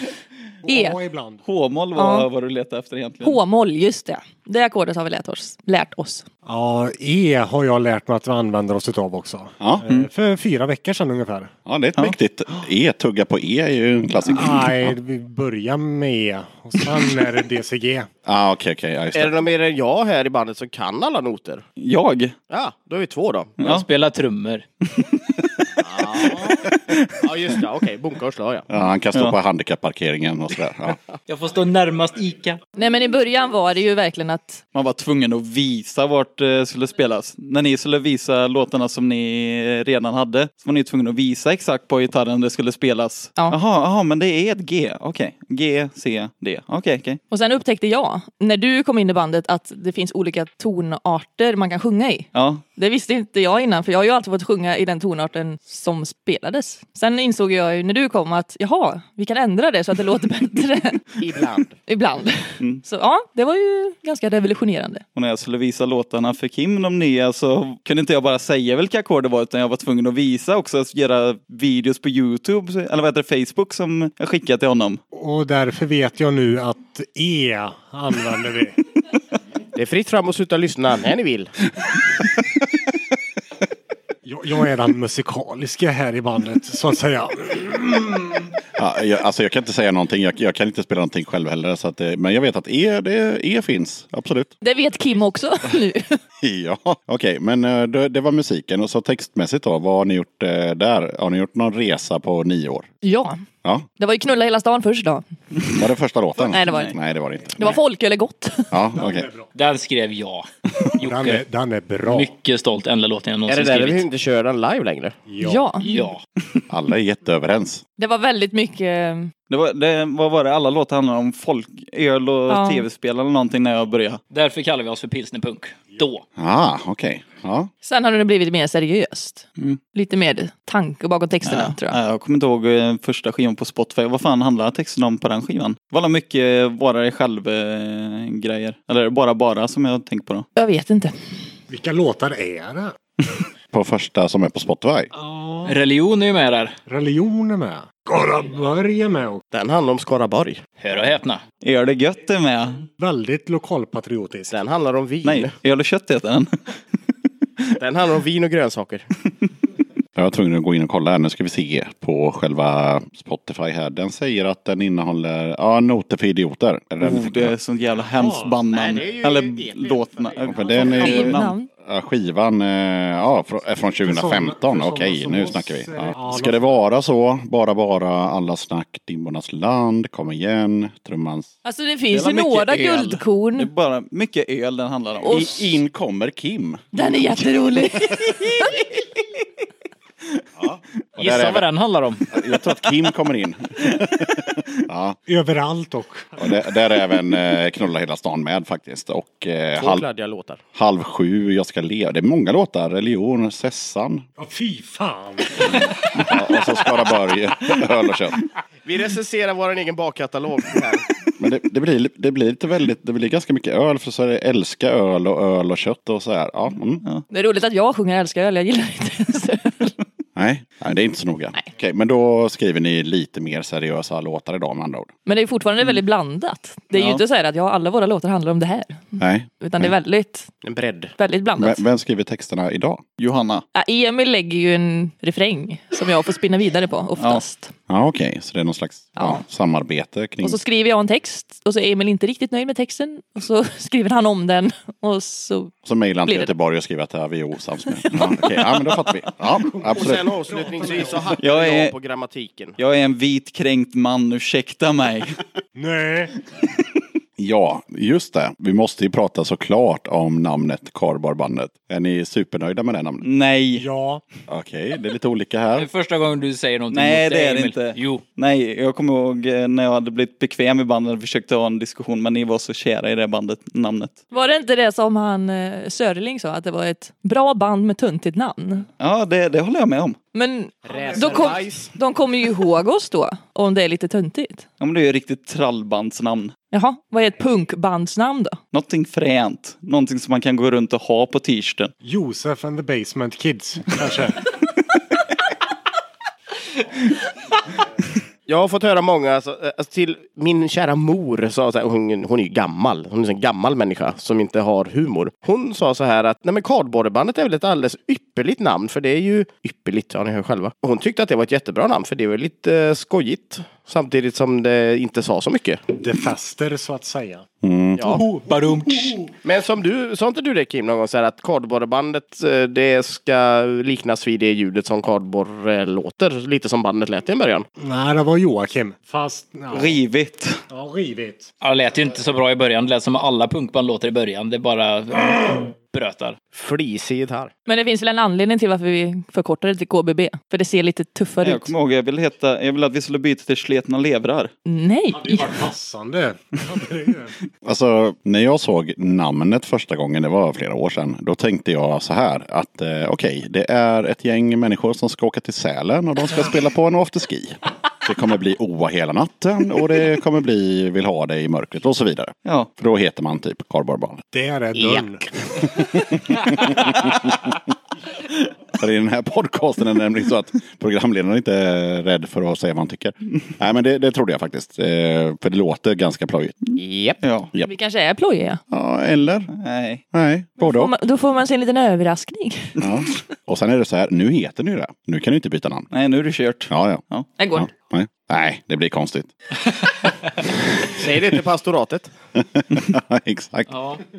[SPEAKER 1] E.
[SPEAKER 4] Ja, ibland.
[SPEAKER 7] H-moll var
[SPEAKER 1] Ja.
[SPEAKER 7] vad du letade efter egentligen.
[SPEAKER 1] H-moll, just det. Det ackordet har vi lärt oss. Lärt oss.
[SPEAKER 4] Ja, E har jag lärt mig att vi använder oss utav också.
[SPEAKER 2] Ja.
[SPEAKER 4] Eh,
[SPEAKER 5] Mm.
[SPEAKER 4] För fyra veckor sedan ungefär.
[SPEAKER 2] Ja, det är ett mäktigt. E, tugga på E är ju en klassiker. Ja,
[SPEAKER 4] Nej, vi börjar med E och sen är det DCG.
[SPEAKER 2] ah, okej, okej. ja, just
[SPEAKER 5] Är det
[SPEAKER 2] det.
[SPEAKER 5] någon mer än jag här i bandet som kan alla noter?
[SPEAKER 7] Jag?
[SPEAKER 5] Ja, då är vi två då.
[SPEAKER 6] Jag spelar trummor.
[SPEAKER 5] Ja, just det. Okej, bunka och slå ja.
[SPEAKER 2] Ja, han kan stå på handikappparkeringen och sådär. Ja.
[SPEAKER 6] Jag får stå närmast ICA.
[SPEAKER 1] Nej men i början var det ju verkligen att
[SPEAKER 7] Man var tvungen att visa vart det skulle spelas. När ni skulle visa låtarna som ni eh, redan hade så var ni tvungna att visa exakt på gitarren det skulle spelas.
[SPEAKER 1] Ja.
[SPEAKER 7] Jaha, aha, men det är ett G. Okej. G, C, D. Okej, okej.
[SPEAKER 1] Och sen upptäckte jag, när du kom in i bandet, att det finns olika tonarter man kan sjunga i.
[SPEAKER 7] Ja.
[SPEAKER 1] Det visste inte jag innan, för jag har ju alltid fått sjunga i den tonarten som spelades. Sen insåg jag ju när du kom att, jaha, vi kan ändra det så att det låter bättre.
[SPEAKER 5] Ibland.
[SPEAKER 1] Ibland. Så ja, det var ju ganska revolutionerande.
[SPEAKER 7] Och när jag skulle visa låtarna för Kim, de nya, så kunde inte jag bara säga vilka ackord det var utan jag var tvungen att visa också, att göra videos på Youtube, eller vad heter det, Facebook som jag skickade till honom.
[SPEAKER 4] Och därför vet jag nu att E använder vi.
[SPEAKER 5] Det är fritt fram att sluta lyssna när ni vill.
[SPEAKER 4] Jag, jag är den musikaliska här i bandet, så att säga.
[SPEAKER 2] Ja, jag, alltså jag kan inte säga någonting, jag, jag kan inte spela någonting själv heller. Så att, det- men jag vet att E, det, e finns, absolut.
[SPEAKER 1] Det vet Kim också nu.
[SPEAKER 2] Ja, okej, men eh, det, det var musiken. Och så textmässigt då, vad har ni gjort eh, där? Har ni gjort någon resa på nio år?
[SPEAKER 1] Ja,
[SPEAKER 2] Ja,
[SPEAKER 1] det var ju knulla hela stan först då.
[SPEAKER 2] var det första låten?
[SPEAKER 1] Nej, det var det inte.
[SPEAKER 2] Nej, det var det inte.
[SPEAKER 1] Det var folköl är gott.
[SPEAKER 2] Ja, okej.
[SPEAKER 6] Den skrev jag.
[SPEAKER 4] Den är,
[SPEAKER 6] Jocke.
[SPEAKER 4] den är bra.
[SPEAKER 6] Mycket stolt. Enda låten jag
[SPEAKER 5] Är det
[SPEAKER 6] någonsin
[SPEAKER 5] där vi
[SPEAKER 6] skrivit.
[SPEAKER 5] inte kör den live längre?
[SPEAKER 1] Ja,
[SPEAKER 6] Ja.
[SPEAKER 2] Alla är jätteöverens.
[SPEAKER 1] det var väldigt mycket.
[SPEAKER 7] Det var, det, vad var det, alla låtar handlade om folköl och
[SPEAKER 1] Ja.
[SPEAKER 7] tv-spel eller någonting när jag började.
[SPEAKER 6] Därför kallar vi oss för pilsnerpunk. Då.
[SPEAKER 2] Ah, okej. Ja.
[SPEAKER 1] Sen har det blivit mer seriöst. Lite mer tanke bakom texterna tror jag.
[SPEAKER 7] Nej, jag kommer inte ihåg eh, första skivan på Spotify. Vad fan handlade texten om på den skivan? Det var alla mycket eh, vara dig själv-grejer. Eller bara bara som jag tänker på då.
[SPEAKER 1] Jag vet inte.
[SPEAKER 4] Vilka låtar är det?
[SPEAKER 2] På första som är på Spotify.
[SPEAKER 6] Religion är ju med där.
[SPEAKER 4] Religion är med. Skaraborg är med och
[SPEAKER 5] Den handlar om Skaraborg.
[SPEAKER 6] Hör och häpna.
[SPEAKER 7] Öl och gött är med.
[SPEAKER 4] väldigt lokalpatriotisk.
[SPEAKER 5] Den handlar om vin.
[SPEAKER 7] Nej, öl och kött heter den.
[SPEAKER 5] Den handlar om vin och grönsaker.
[SPEAKER 2] Jag var tvungen att gå in och kolla här. Nu ska vi se på själva Spotify här. Den säger att den innehåller ja, noter för idioter. Är det den vi
[SPEAKER 7] Oh,
[SPEAKER 2] fick?
[SPEAKER 7] det är sånt jävla hemskt bandnamn.
[SPEAKER 5] det är ju
[SPEAKER 7] Eller
[SPEAKER 5] episkt
[SPEAKER 7] låtna.
[SPEAKER 2] för den är ju-
[SPEAKER 1] Skivnamn.
[SPEAKER 2] Ja, Skivan eh, ja, frå- är från 2015.
[SPEAKER 4] För såna-
[SPEAKER 2] Okej,
[SPEAKER 4] för såna
[SPEAKER 2] nu
[SPEAKER 4] som
[SPEAKER 2] snackar vi.
[SPEAKER 4] oss är det-
[SPEAKER 2] Ja.
[SPEAKER 4] ja,
[SPEAKER 2] Ska det vara så? Bara, bara, alla snack, Dimbornas land, kom igen, trummans.
[SPEAKER 1] Alltså det finns
[SPEAKER 7] Det
[SPEAKER 1] ju
[SPEAKER 7] var mycket
[SPEAKER 1] några
[SPEAKER 7] öl.
[SPEAKER 1] guldkorn.
[SPEAKER 7] Det är bara mycket öl den handlar om.
[SPEAKER 1] Och-
[SPEAKER 2] I, in kommer Kim.
[SPEAKER 1] Den är jätterolig.
[SPEAKER 2] Och där
[SPEAKER 6] Gissa
[SPEAKER 2] är
[SPEAKER 6] vad den handlar om.
[SPEAKER 2] Jag tror att Kim kommer in.
[SPEAKER 4] Överallt och
[SPEAKER 2] Och där, där är även eh, Knulla hela stan med faktiskt. Och eh,
[SPEAKER 5] Två
[SPEAKER 2] halv,
[SPEAKER 5] kladdiga låtar.
[SPEAKER 2] halv sju, Jag ska leva. Det är många låtar. Religion, Sessan
[SPEAKER 4] ja, fy fan.
[SPEAKER 2] ja, och så Skaraborg, öl och kött.
[SPEAKER 5] Vi recenserar vår egen bakkatalog här.
[SPEAKER 2] Men det, det, blir, det blir lite väldigt, det blir ganska mycket öl för så är det älska öl och öl och kött och så här. Ja, mm.
[SPEAKER 1] Det är roligt att jag sjunger älskar öl, jag gillar inte ens öl.
[SPEAKER 2] Nej, nej, det är inte så noga. Okej, men då skriver ni lite mer seriösa låtar idag med andra ord.
[SPEAKER 1] Men det är fortfarande väldigt blandat. Det är ju
[SPEAKER 7] Ja.
[SPEAKER 1] inte så här att ja, alla våra låtar handlar om det här.
[SPEAKER 2] Nej.
[SPEAKER 1] Utan det är väldigt,
[SPEAKER 5] En bredd.
[SPEAKER 1] väldigt
[SPEAKER 2] Vem,
[SPEAKER 1] blandat.
[SPEAKER 2] vem skriver texterna idag?
[SPEAKER 7] Johanna.
[SPEAKER 1] Ja, Emil lägger ju en refräng som jag får spinna vidare på oftast.
[SPEAKER 2] Ja, okej, så det är någon slags ja.
[SPEAKER 1] Ja.
[SPEAKER 2] samarbete kring...
[SPEAKER 1] Och så skriver jag en text och så är Emil inte riktigt nöjd med texten. Och så skriver han om den. Och så...
[SPEAKER 2] Så mejlar han till
[SPEAKER 1] Blir det-
[SPEAKER 2] Göteborg och skriver att det här vi är osams med. Ja, okej. ja, men då fattar vi. Ja,
[SPEAKER 5] Och
[SPEAKER 2] absolut.
[SPEAKER 5] sen avslutningsvis så hackar
[SPEAKER 7] Jag
[SPEAKER 5] jag,
[SPEAKER 7] är-
[SPEAKER 5] på grammatiken.
[SPEAKER 7] Jag är en vit kränkt man, ursäkta mig.
[SPEAKER 4] Nej.
[SPEAKER 2] Ja, just det. Vi måste ju prata såklart om namnet Karbarbandet. Är ni supernöjda med det namnet?
[SPEAKER 7] Nej.
[SPEAKER 4] Ja.
[SPEAKER 2] Okej, det är lite olika
[SPEAKER 6] Det är
[SPEAKER 2] här.
[SPEAKER 6] första gången du säger någonting
[SPEAKER 7] Nej,
[SPEAKER 6] mot
[SPEAKER 7] det är det
[SPEAKER 6] Emil.
[SPEAKER 7] inte.
[SPEAKER 6] Jo.
[SPEAKER 7] Nej, jag kommer ihåg eh, när jag hade blivit bekväm i bandet och försökte ha en diskussion, men ni var så kära i det bandet, namnet.
[SPEAKER 1] Var det inte det som han eh, Sörling sa, att det var ett bra band med tuntigt namn?
[SPEAKER 7] Ja, det, det håller jag med om.
[SPEAKER 1] Men då kom, de kommer ju ihåg oss då, om det är lite tuntigt.
[SPEAKER 7] Ja, men det är ju ett riktigt trallbandsnamn.
[SPEAKER 1] Jaha, vad är ett punkbandsnamn då?
[SPEAKER 7] Någonting fränt, någonting som man kan gå runt och ha på t-shirten.
[SPEAKER 4] Josef and the Basement Kids, kanske.
[SPEAKER 5] Jag har fått höra många, alltså, eh, alltså, till min kära mor, sa så här, hon, hon är ju gammal, hon är en gammal människa som inte har humor. Hon sa så här att, nej men kardborrebandet är väl ett alldeles ypperligt namn, för det är ju ypperligt, ja ni hör själva. Och hon tyckte att det var ett jättebra namn, för det var lite eh, skojigt. Samtidigt som det inte sa så mycket.
[SPEAKER 4] Det fäster så att säga.
[SPEAKER 2] Mm.
[SPEAKER 5] Ja.
[SPEAKER 2] Oh,
[SPEAKER 5] Men som du, sa inte du det Kim någon gång, så här, att kardborrebandet eh, det ska liknas vid det ljudet som kardborre låter, lite som bandet lät i en början.
[SPEAKER 4] Nej, det var Joakim. Fast... Ja,
[SPEAKER 7] Rivigt.
[SPEAKER 4] ja rivigt.
[SPEAKER 9] Ja, det lät ju inte så bra i början. Det lät som alla punkband låter i början. Det bara brötar.
[SPEAKER 5] Flisig gitarr.
[SPEAKER 1] Men det finns väl en anledning till varför vi förkortar det till KBB? För det ser lite tuffare
[SPEAKER 7] Jag
[SPEAKER 1] ut.
[SPEAKER 7] kommer ihåg, jag ville, heta, jag ville att vi skulle byta till Sletna levrar.
[SPEAKER 1] Nej!
[SPEAKER 4] Det var passande. Ja, det är ju-
[SPEAKER 2] Alltså, när jag såg namnet första gången, det var flera år sedan, då tänkte jag så här att eh, okej, det är ett gäng människor som ska åka till Sälen och de ska spela på en afterski. Det kommer bli OA hela natten och det kommer bli Vill ha dig i mörkret och så vidare.
[SPEAKER 7] Ja.
[SPEAKER 2] För då heter man typ Kardborrebarn.
[SPEAKER 4] Där är dörren.
[SPEAKER 2] För i den här podcasten är det nämligen så att programledaren inte är rädd för att säga vad han tycker. Nej men det, det trodde jag faktiskt. Eh, för det låter ganska plojigt.
[SPEAKER 5] Japp.
[SPEAKER 7] Ja.
[SPEAKER 1] Vi kanske är plojiga.
[SPEAKER 2] Ja, eller?
[SPEAKER 7] Nej.
[SPEAKER 2] Nej, både
[SPEAKER 1] Får
[SPEAKER 2] och.
[SPEAKER 1] man- Då får man sig en liten överraskning.
[SPEAKER 2] Ja. Och sen är det så här, nu heter ni ju det. Nu kan du inte byta namn.
[SPEAKER 7] Nej, nu är det kört.
[SPEAKER 2] Ja, ja.
[SPEAKER 7] Ja.
[SPEAKER 1] Det går
[SPEAKER 2] Ja,
[SPEAKER 1] inte.
[SPEAKER 2] nej. nej, det blir konstigt.
[SPEAKER 5] Säg det till pastoratet.
[SPEAKER 2] Exakt.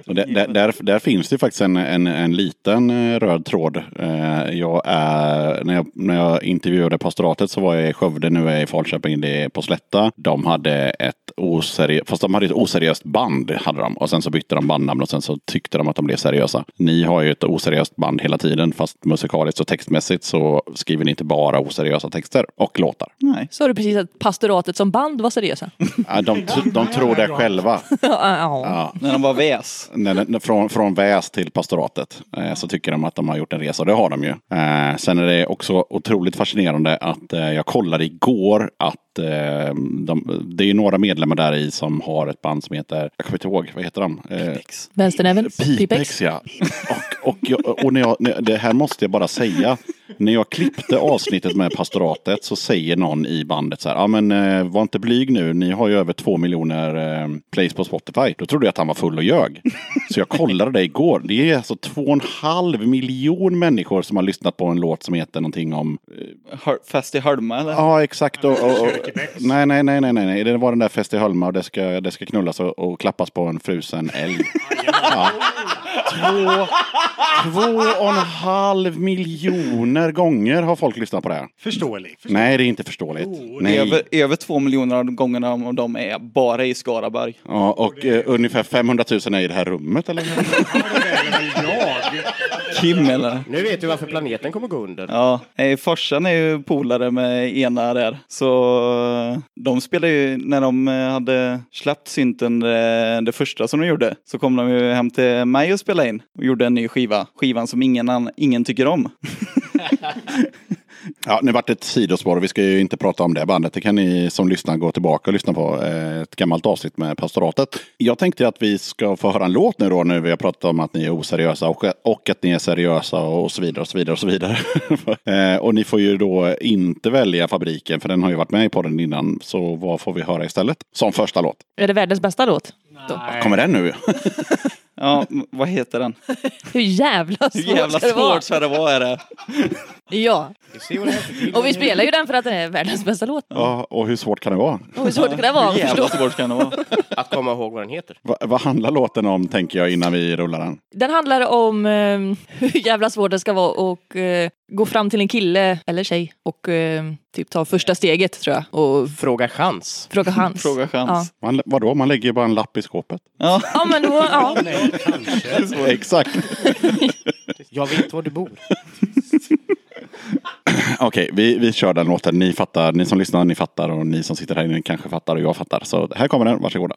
[SPEAKER 2] Och där, där, där, där finns det ju faktiskt en, en, en liten eh, röd tråd. Eh, Jag är, när, jag, när jag intervjuade pastoratet så var jag i Skövde, nu är jag i Falköping, det är på Slätta. De hade ett oseriöst, fast de hade ett oseriöst band hade de. Och sen så bytte de bandnamn och sen så tyckte de att de blev seriösa. Ni har ju ett oseriöst band hela tiden, fast musikaliskt och textmässigt så skriver ni inte bara oseriösa texter och låtar.
[SPEAKER 7] Nej.
[SPEAKER 1] Sa du precis att pastoratet som band var seriösa?
[SPEAKER 2] Ja, De, de tror det själva.
[SPEAKER 1] ja.
[SPEAKER 2] Ja.
[SPEAKER 7] När de var väs.
[SPEAKER 2] när, den- från, från väs till pastoratet eh, så tycker de att de har gjort en resa och det har de ju. Eh, sen är det också otroligt fascinerande att eh, jag kollade igår att eh, de, det är ju några medlemmar där i som har ett band som heter, jag kommer inte ihåg, vad heter de? Eh,
[SPEAKER 1] Vänsternäven?
[SPEAKER 2] Pipex ja. Och, och, jag, och när jag, när, det här måste jag bara säga. När jag klippte avsnittet med pastoratet så säger någon i bandet så här. Ja men eh, var inte blyg nu. Ni har ju över två miljoner eh, plays på Spotify. Då trodde jag att han var full och ljög. Så jag kollade det igår. Det är alltså två och en halv miljon människor som har lyssnat på en låt som heter någonting om eh,
[SPEAKER 7] Hör- Fast i Hölma eller?
[SPEAKER 2] Ja, exakt. Och, och, och, nej, nej, nej, nej, nej, nej. Det var den där fest i Hölma och det ska, det ska knullas och, och klappas på en frusen älg. ja. två, två och en halv miljoner gånger har folk lyssnat på det här.
[SPEAKER 4] Förståelig. Förstå-
[SPEAKER 2] Nej, det är inte förståeligt. Nej.
[SPEAKER 7] Över, över två miljoner av gångerna om de är bara i Skaraborg.
[SPEAKER 2] Ja, och eh, ungefär 500 000 är i det här rummet eller?
[SPEAKER 7] Kim eller?
[SPEAKER 5] Nu vet du varför planeten kommer gå under.
[SPEAKER 7] Ja, eh, farsan är ju polare med ena där. Så eh, de spelade ju, när de eh, hade släppt synten eh, det första som de gjorde, så kom de ju hem till mig och spelade in och gjorde en ny skiva. Skivan som ingen, ann- ingen tycker om.
[SPEAKER 2] Ja, nu vart det ett sidospår och vi ska ju inte prata om det bandet. Det kan ni som lyssnar gå tillbaka och lyssna på eh, ett gammalt avsnitt med pastoratet. Jag tänkte att vi ska få höra en låt nu då när vi har pratat om att ni är oseriösa och, och att ni är seriösa och så vidare och så vidare och så vidare. eh, och ni får ju då inte välja fabriken för den har ju varit med i podden innan. Så vad får vi höra istället? Som första låt.
[SPEAKER 1] Är det världens bästa låt?
[SPEAKER 2] Kommer den nu?
[SPEAKER 7] Ja, m- vad heter den?
[SPEAKER 1] Hur jävla svårt
[SPEAKER 7] Hur jävla
[SPEAKER 1] ska det vara?
[SPEAKER 7] svårt ska det vara är det?
[SPEAKER 1] Ja. Och vi spelar ju den för att den är världens bästa låt.
[SPEAKER 2] ja, och hur svårt kan det vara?
[SPEAKER 1] Och hur svårt kan det vara att förstå?
[SPEAKER 7] Jävla svårt kan det vara.
[SPEAKER 5] Att komma ihåg vad den heter.
[SPEAKER 2] Va, vad handlar låten om tänker jag innan vi rullar den?
[SPEAKER 1] Den handlar om eh, hur jävla svårt det ska vara att eh, gå fram till en kille eller tjej och eh, typ ta första steget tror jag och
[SPEAKER 5] Fråga chans.
[SPEAKER 1] fråga hans.
[SPEAKER 7] Fråga chans.
[SPEAKER 2] Man, vadå, man lägger ju bara en lapp i skåpet.
[SPEAKER 7] Ja.
[SPEAKER 1] Ja. ja men då, ja.
[SPEAKER 2] Exakt.
[SPEAKER 5] Jag vet var du bor.
[SPEAKER 2] Okej, vi, vi kör den låten. Ni fattar, ni som lyssnar, ni fattar och ni som sitter här inne kanske fattar och jag fattar. Så här kommer den, varsågoda.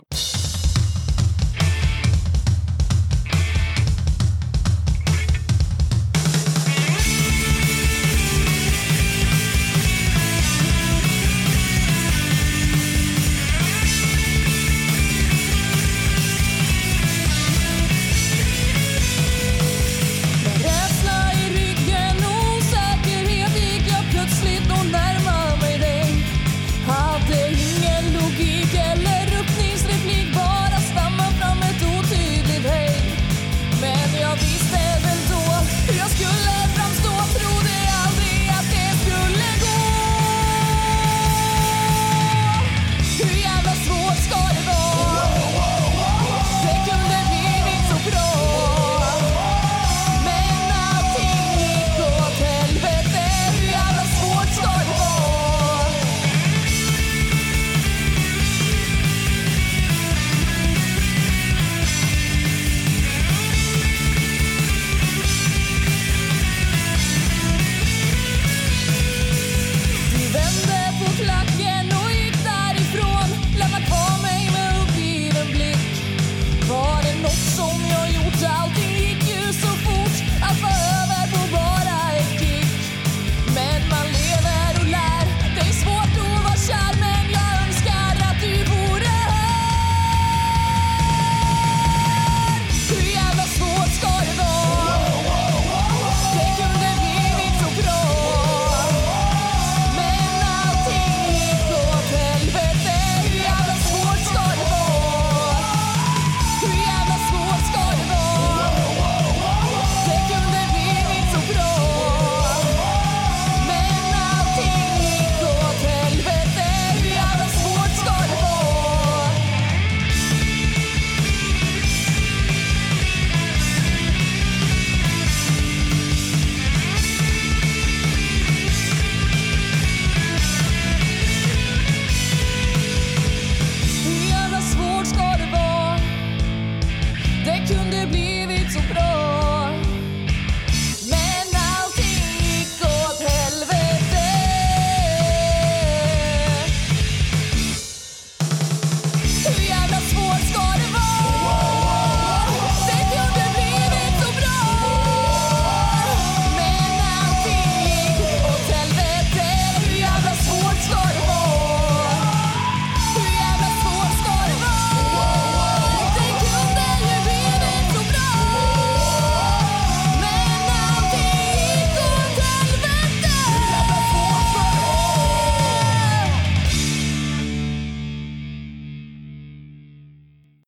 [SPEAKER 10] Rädsla i ryggen, osäkerhet gick jag plötsligt och närmade mig dig. Hade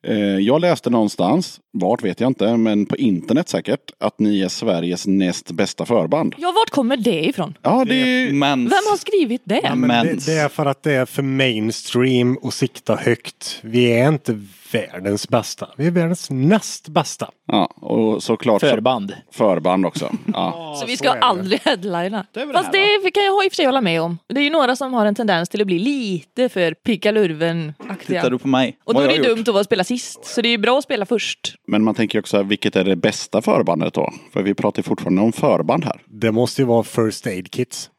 [SPEAKER 2] Eh, jag läste någonstans, vart vet jag inte, men på internet säkert, att ni är Sveriges näst bästa förband.
[SPEAKER 1] Ja, vart kommer det ifrån?
[SPEAKER 2] Ja, det...
[SPEAKER 7] Mens.
[SPEAKER 1] Vem har skrivit det?
[SPEAKER 4] Ja, men det,
[SPEAKER 7] Mens.
[SPEAKER 4] det är för att det är för mainstream och sikta högt. Vi är inte världens bästa. Vi är världens näst bästa.
[SPEAKER 2] Ja, och såklart så-
[SPEAKER 9] Förband.
[SPEAKER 2] förband också. Ja.
[SPEAKER 1] Så vi
[SPEAKER 4] så
[SPEAKER 1] ska
[SPEAKER 4] är det.
[SPEAKER 1] aldrig headlina.
[SPEAKER 5] väl
[SPEAKER 1] Fast
[SPEAKER 5] det
[SPEAKER 1] det kan jag i och för sig hålla med om. Det är ju några som har en tendens till att bli lite för
[SPEAKER 7] Tittar
[SPEAKER 1] pickalurven-aktiga.
[SPEAKER 7] du på mig?
[SPEAKER 1] Och då
[SPEAKER 7] Vad
[SPEAKER 1] är det
[SPEAKER 7] jag
[SPEAKER 1] ju
[SPEAKER 7] har
[SPEAKER 1] dumt att vara spela sist, så det är ju bra att spela först.
[SPEAKER 2] Men man tänker ju också, vilket är det bästa förbandet då? För vi pratar ju fortfarande om förband här.
[SPEAKER 4] Det måste ju vara First Aid Kits.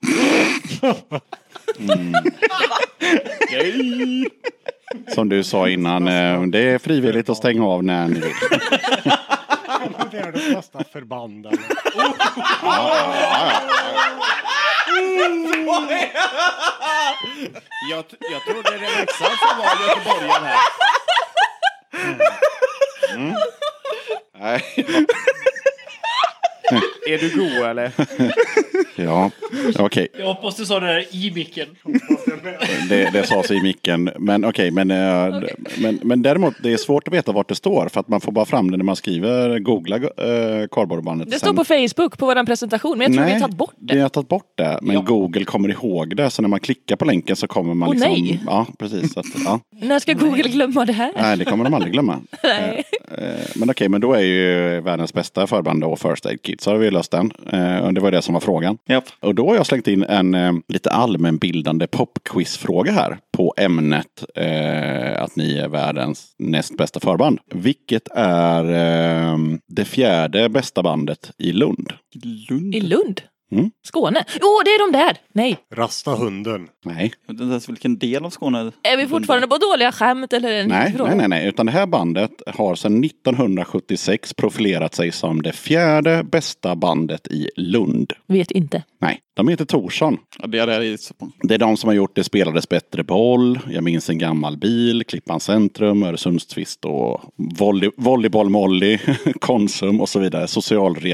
[SPEAKER 2] Som du sa innan, eh, det är frivilligt att stänga av när ni vill.
[SPEAKER 4] Världens bästa förband.
[SPEAKER 5] Jag, jag trodde det var Leksand som var göteborgaren här.
[SPEAKER 2] Mm. Nej.
[SPEAKER 5] Är du god eller?
[SPEAKER 2] Ja, okej.
[SPEAKER 9] Jag hoppas du sa det där i micken.
[SPEAKER 2] Det, det sades i micken. Men okej, men, eh, men, men däremot det är svårt att veta vart det står. För att man får bara fram det när man skriver, googla eh, kardborrebandet.
[SPEAKER 1] Det står på Facebook på vår presentation, men jag tror vi har tagit bort
[SPEAKER 2] Vi
[SPEAKER 1] det.
[SPEAKER 2] har tagit bort det. Men Google kommer ihåg det. Så när man klickar på länken så kommer man
[SPEAKER 1] Åh,
[SPEAKER 2] liksom...
[SPEAKER 1] nej.
[SPEAKER 2] Ja, precis. Så att, ja.
[SPEAKER 1] När ska Google glömma det här?
[SPEAKER 2] Nej, det kommer de aldrig glömma.
[SPEAKER 1] Nej.
[SPEAKER 2] Eh, eh, Men okej, men då är ju världens bästa förband då First Aid Kit. Så har vi löst den. Eh, och Det var det som var frågan.
[SPEAKER 7] Japp.
[SPEAKER 2] Och då har jag slängt in en eh, lite allmänbildande popquizfråga här på ämnet eh, att ni är världens näst bästa förband. Vilket är eh, det fjärde bästa bandet i Lund?
[SPEAKER 1] I Lund?
[SPEAKER 2] Mm.
[SPEAKER 1] Skåne? Jo, det är de där! Nej.
[SPEAKER 4] Rasta hunden.
[SPEAKER 2] Nej.
[SPEAKER 7] Jag vet inte ens vilken del av Skåne.
[SPEAKER 1] Är vi fortfarande på dåliga skämt eller en
[SPEAKER 2] Nej,
[SPEAKER 1] fråga?
[SPEAKER 2] nej, nej, nej, utan det här bandet har sedan 1976 profilerat sig som det fjärde bästa bandet i Lund.
[SPEAKER 1] Vet inte.
[SPEAKER 2] Nej, de heter Torsson.
[SPEAKER 7] Ja, det hade jag gissat på.
[SPEAKER 2] Det är de som har gjort Det spelades bättre boll, Jag minns en gammal bil, Klippan centrum, Öresundstvist och volley, Volleyboll Molly, Konsum och så vidare.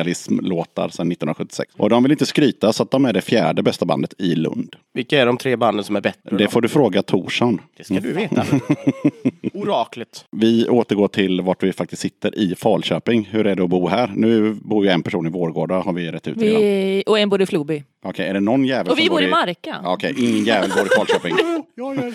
[SPEAKER 2] Socialrealism-låtar sedan 1976. Och de vill inte skryta så att de är det fjärde bästa bandet i Lund.
[SPEAKER 5] Vilka är de tre banden som är bättre?
[SPEAKER 2] Det får du fråga Torsson.
[SPEAKER 5] det ska du veta. Oraklet.
[SPEAKER 2] Vi återgår till vart vi faktiskt sitter i Falköping. Hur är det att bo här? Nu bor ju en person i Vårgårda har vi rätt ut redan. Okej,
[SPEAKER 1] Vi... Och en bor i Floby.
[SPEAKER 2] är det någon jävel
[SPEAKER 1] Och vi
[SPEAKER 2] som
[SPEAKER 1] bor i
[SPEAKER 2] Mark.
[SPEAKER 1] Marka.
[SPEAKER 2] Okej, ingen jävel bor i Falköping.
[SPEAKER 4] Jag gör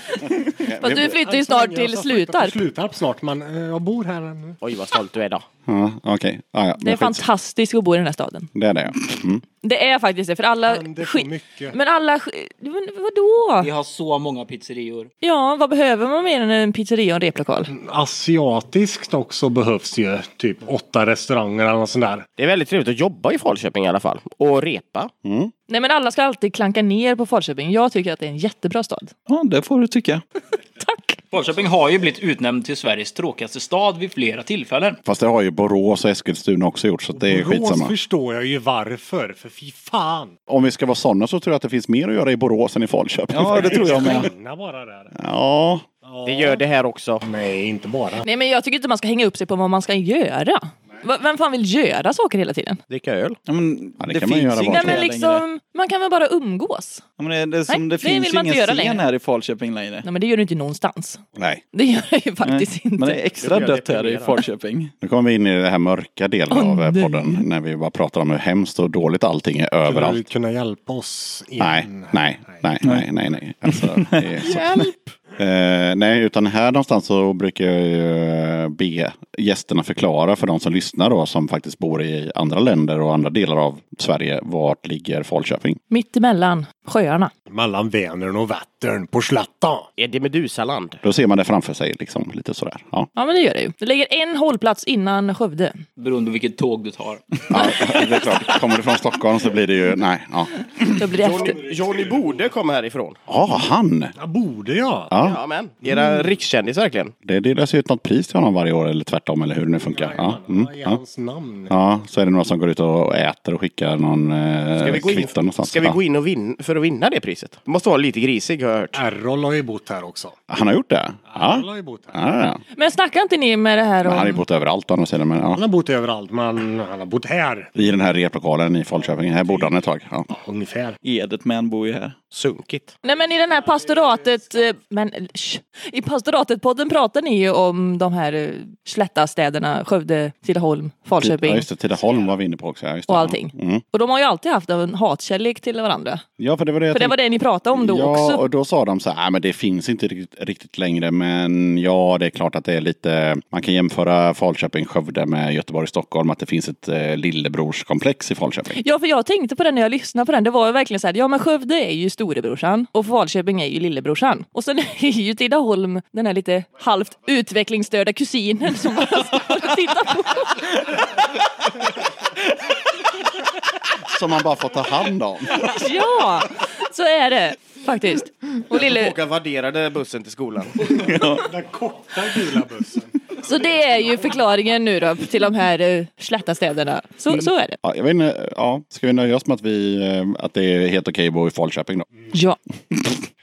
[SPEAKER 1] Fast du alltså, flyttar ju snart till Slutarp.
[SPEAKER 4] Slutarp snart, men eh, jag bor här ännu.
[SPEAKER 5] Oj vad stolt du är då.
[SPEAKER 2] Ja, Okej, Ah, ja, ja,
[SPEAKER 1] Det är
[SPEAKER 2] men skits.
[SPEAKER 1] fantastiskt att bo i den här staden.
[SPEAKER 2] Det är det ja. Mm.
[SPEAKER 1] Det är faktiskt det, för alla...
[SPEAKER 4] Händer så
[SPEAKER 1] skit-
[SPEAKER 4] mycket.
[SPEAKER 1] Men alla... sk- Men vadå?
[SPEAKER 9] Vi har så många pizzerior.
[SPEAKER 1] Ja, vad behöver man mer än en pizzeria och en replokal?
[SPEAKER 4] Asiatiskt också behövs ju typ åtta restauranger eller något sånt där.
[SPEAKER 5] Det är väldigt trevligt att jobba i Falköping i alla fall. Och repa.
[SPEAKER 2] Mm,
[SPEAKER 1] Nej, men alla ska alltid klanka ner på Falköping. Jag tycker att det är en jättebra stad.
[SPEAKER 7] Ja, det får du tycka.
[SPEAKER 1] Tack!
[SPEAKER 9] Falköping har ju blivit utnämnd till Sveriges tråkigaste stad vid flera tillfällen.
[SPEAKER 2] Fast det har ju Borås och Eskilstuna också gjort så att det är
[SPEAKER 4] Borås
[SPEAKER 2] skitsamma.
[SPEAKER 4] förstår jag ju varför, för fy fan.
[SPEAKER 2] Om vi ska vara sådana så tror jag att det finns mer att göra i Borås än i Falköping.
[SPEAKER 7] Ja, det tror jag med.
[SPEAKER 4] Regna bara där.
[SPEAKER 2] Ja,
[SPEAKER 5] Det gör det här också.
[SPEAKER 4] Nej, inte bara.
[SPEAKER 1] Nej, men jag tycker inte man ska hänga upp sig på vad man ska göra. Va- Vem fan vill göra saker hela tiden?
[SPEAKER 5] Dricka öl.
[SPEAKER 7] Ja, men,
[SPEAKER 2] Ja, det
[SPEAKER 7] det
[SPEAKER 2] kan man
[SPEAKER 7] finns
[SPEAKER 2] göra
[SPEAKER 7] ju
[SPEAKER 2] var
[SPEAKER 1] Nej
[SPEAKER 2] bara.
[SPEAKER 7] inget
[SPEAKER 1] men
[SPEAKER 7] träd längre.
[SPEAKER 1] liksom, man kan väl bara umgås?
[SPEAKER 7] Ja, men det, det, är som,
[SPEAKER 1] Nej,
[SPEAKER 7] det
[SPEAKER 1] det
[SPEAKER 7] finns
[SPEAKER 1] vill
[SPEAKER 7] ju
[SPEAKER 1] man inte
[SPEAKER 7] ingen
[SPEAKER 1] göra
[SPEAKER 7] scen
[SPEAKER 1] längre.
[SPEAKER 7] här i Falköping längre.
[SPEAKER 1] Nej men det gör du inte någonstans.
[SPEAKER 2] nej.
[SPEAKER 1] Det gör jag ju faktiskt
[SPEAKER 7] Nej,
[SPEAKER 1] inte.
[SPEAKER 7] Men det är extra
[SPEAKER 5] Det blir jag
[SPEAKER 7] dött här i
[SPEAKER 5] deprimerad.
[SPEAKER 7] Falköping.
[SPEAKER 2] Nu kommer vi in i det här mörka delen
[SPEAKER 1] Åh,
[SPEAKER 2] av eh,
[SPEAKER 1] nej.
[SPEAKER 2] podden. När vi bara pratar om hur hemskt och dåligt allting är
[SPEAKER 4] Skulle du
[SPEAKER 2] överallt.
[SPEAKER 4] kunna hjälpa oss? Igen?
[SPEAKER 2] Nej, nej, nej, nej, nej, nej. Alltså, det är så... Eh, nej, utan här någonstans så brukar jag ju eh, be gästerna förklara för de som lyssnar då, som faktiskt bor i andra länder och andra delar av Sverige, vart ligger Falköping?
[SPEAKER 1] Mitt emellan sjöarna.
[SPEAKER 4] Mellan Vänern och Vättern på Slätta.
[SPEAKER 5] Är det Medusaland?
[SPEAKER 2] Då ser man det framför sig, liksom lite sådär. Ja.
[SPEAKER 1] Ja men det gör det ju. Det ligger en hållplats innan Skövde.
[SPEAKER 9] Beroende på vilket tåg du tar.
[SPEAKER 2] Ja, det är klart. Kommer du från Stockholm så blir det ju, nej, ja.
[SPEAKER 1] Då blir det efter.
[SPEAKER 5] Johnny Bode kommer härifrån.
[SPEAKER 2] Ja, Ah, han!
[SPEAKER 4] Ja, borde jag?
[SPEAKER 2] Ja.
[SPEAKER 7] Mm.
[SPEAKER 5] Ja men. Era rikskändis verkligen.
[SPEAKER 2] Det delas ju ut något pris till honom varje år, eller tvärtom eller hur det nu funkar. Ja, mm,
[SPEAKER 4] I
[SPEAKER 2] ja.
[SPEAKER 4] hans namn.
[SPEAKER 2] ja, så är det några som går ut och äter och skickar någon eh,
[SPEAKER 5] Ska vi gå in,
[SPEAKER 2] kvitton någonstans.
[SPEAKER 5] ska vi
[SPEAKER 2] Ja.
[SPEAKER 5] gå in och vin, för att vinna det priset? Det måste vara lite grisig har jag hört.
[SPEAKER 4] Errol har ju bott här också.
[SPEAKER 2] Han har gjort det? Ja.
[SPEAKER 4] Errol har ju bott här.
[SPEAKER 2] ja, ja.
[SPEAKER 1] Men snackar inte ni med det här
[SPEAKER 2] Men han har ju
[SPEAKER 1] om...
[SPEAKER 2] bott överallt å andra sidan. Men, ja.
[SPEAKER 4] Han har bott överallt, men han har bott här.
[SPEAKER 2] I den här replokalen i Falköping. Här bodde han ett tag. Ja.
[SPEAKER 4] Ungefär.
[SPEAKER 7] Edet man bor ju här.
[SPEAKER 5] Sunkigt.
[SPEAKER 1] Nej men i den här pastoratet... eh, Men sh, i pastoratet-podden pratar ni ju om de här eh, slättastäderna Skövde, Tidaholm,
[SPEAKER 2] Ja,
[SPEAKER 1] Falköping.
[SPEAKER 2] just det. Tidaholm var vi inne på också. Ja, just det.
[SPEAKER 1] Och allting.
[SPEAKER 2] Mm.
[SPEAKER 1] Och de har ju alltid haft en hatkärlek till varandra.
[SPEAKER 2] Ja, för det var det jag
[SPEAKER 1] För det var det ni pratade om då
[SPEAKER 2] ja,
[SPEAKER 1] också.
[SPEAKER 2] och då sa de så här, "Nej, men det finns inte riktigt, riktigt längre, men ja, det är klart att det är lite, man kan jämföra Falköping, Skövde med Göteborg, Stockholm, att det finns ett eh, lillebrorskomplex i Falköping.
[SPEAKER 1] Ja för jag tänkte på det när jag lyssnade på den, det var ju verkligen så här, ja men Skövde är ju storebrorsan och Falköping är ju lillebrorsan. Och sen är ju Tidaholm den här lite halvt utvecklingsstörda kusinen som man står och tittar på.
[SPEAKER 2] Som man bara får ta hand om.
[SPEAKER 1] Ja, så är det faktiskt. Och lille,
[SPEAKER 5] Håkan värderade bussen till skolan.
[SPEAKER 4] Den korta gula bussen.
[SPEAKER 1] så det är ju förklaringen nu då till de här uh, slätta städerna.
[SPEAKER 2] Mm.
[SPEAKER 1] Så, så är det.
[SPEAKER 2] Ja, jag vet inte, ja, ska vi nöja oss med att, vi, eh, att det är helt okej att bo i Falköping då?
[SPEAKER 1] Ja.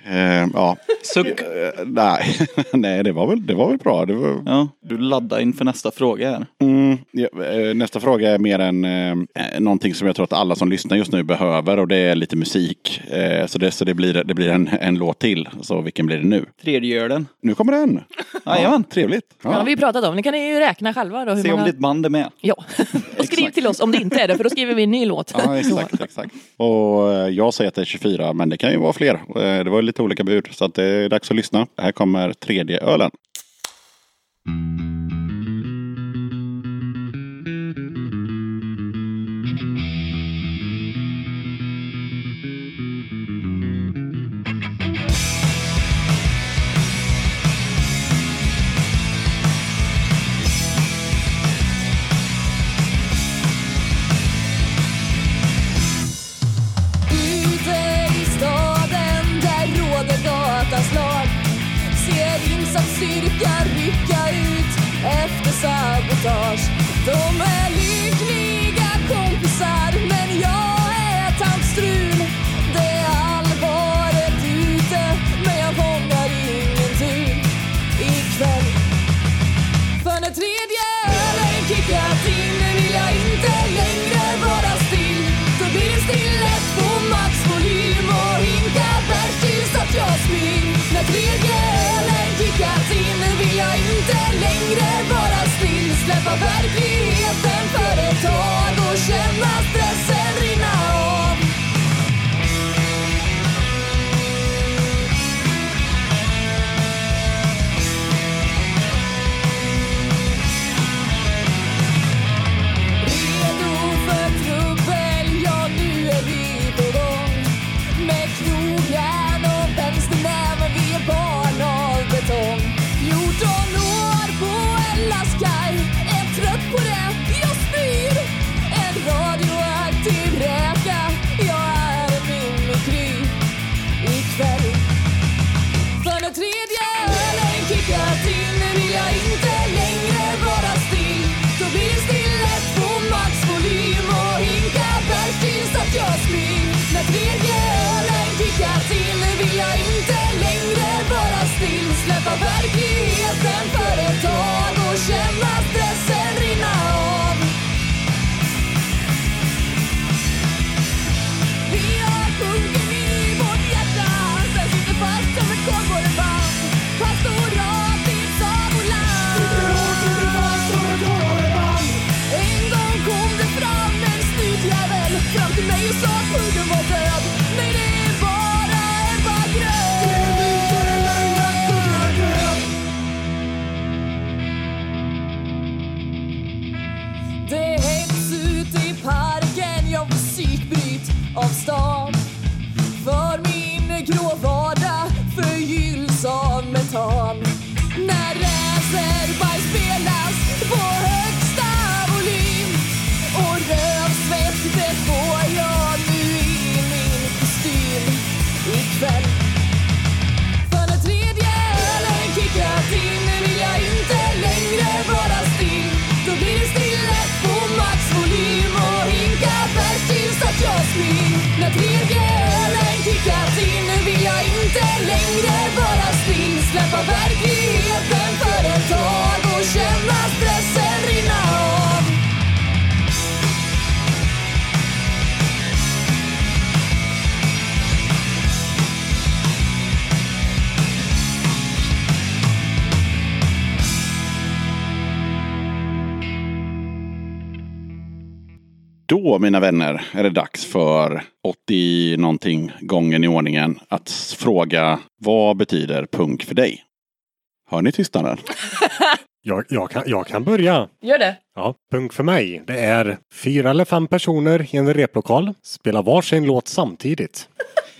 [SPEAKER 2] Eh, ja.
[SPEAKER 7] Suck.
[SPEAKER 2] Eh, nej, nej det, var väl, det var väl bra. Det var,
[SPEAKER 7] Ja, du laddar inför nästa fråga här.
[SPEAKER 2] Mm, ja, eh, nästa fråga är mer en eh, någonting som jag tror att alla som lyssnar just nu behöver och det är lite musik. Eh, så det, så det blir, det blir en, en låt till. Så vilken blir det nu?
[SPEAKER 7] Tredjegölen.
[SPEAKER 2] Nu kommer den!
[SPEAKER 7] Jajamän.
[SPEAKER 2] Trevligt!
[SPEAKER 1] Ja, det har
[SPEAKER 2] Ja.
[SPEAKER 1] vi ju pratat om. Nu kan ni ju räkna själva då. Hur
[SPEAKER 7] Se om
[SPEAKER 1] många...
[SPEAKER 7] ditt band är med.
[SPEAKER 1] Ja, och skriv till oss om det inte är det för då skriver vi en ny låt.
[SPEAKER 2] Ja, exakt, exakt. Och eh, jag säger att det är 24, men det kan ju vara fler. Eh, Det var lite olika bud, så att det är dags att lyssna. Här kommer tredje ölen.
[SPEAKER 11] Ute i staden där råder gatans lag ser insatsstyrkan rycka ut efter sabotage. De är lyckliga kompisar men jag är tantstrul. Det är allvaret ute men jag fångar ingen tur ikväll. För när tredje ölen kickat in vill jag inte längre vara still. Då blir det stillet på maxvolym och hinkar bärs tills att jag spyr. När tredje ölen kickat in vill jag inte längre vara still. Släppa verkligheten för ett tag och känna stressen rinna av. Redo för trubbel, ja nu är vi på gång Med knogjärn och vänsternäven, vi är barn av betong 14 år på en lastkaj, är trött på det, jag spyr En radioaktiv räka, jag är en mimikry ikväll för när tredje ölen kickat in vill jag inte längre vara still. Då blir det stillet på maxvolym och hinkar bärs tills att jag spyr. När tredje ölen kickat in vill jag inte längre vara still. Släppa verkligheten för ett tag och känna stressen rinna av. Vi har punken i vårt hjärta Den sitter fast som ett kardborreband Pastorat i sagoland En gång kom det fram en snutjävel fram till mig och sa att pungen var död Nej, det är bara en vagröt Det hängs ut i parken, jag får psykbryt av stan. För min grå vardag förgylls av metan. När Razerbaj spelas på högsta volym och rövsvett det får jag nu i min kostym ikväll. För när tredje ölen kickat in vill jag inte längre vara still.
[SPEAKER 2] Då, mina vänner, är det dags för 80 någonting gången i ordningen att s- fråga vad betyder punk för dig? Hör ni tystnaden?
[SPEAKER 4] Jag, jag, kan, jag kan börja.
[SPEAKER 1] Gör det.
[SPEAKER 4] Ja, punk för mig. Det är fyra eller fem personer i en replokal, spelar varsin låt samtidigt.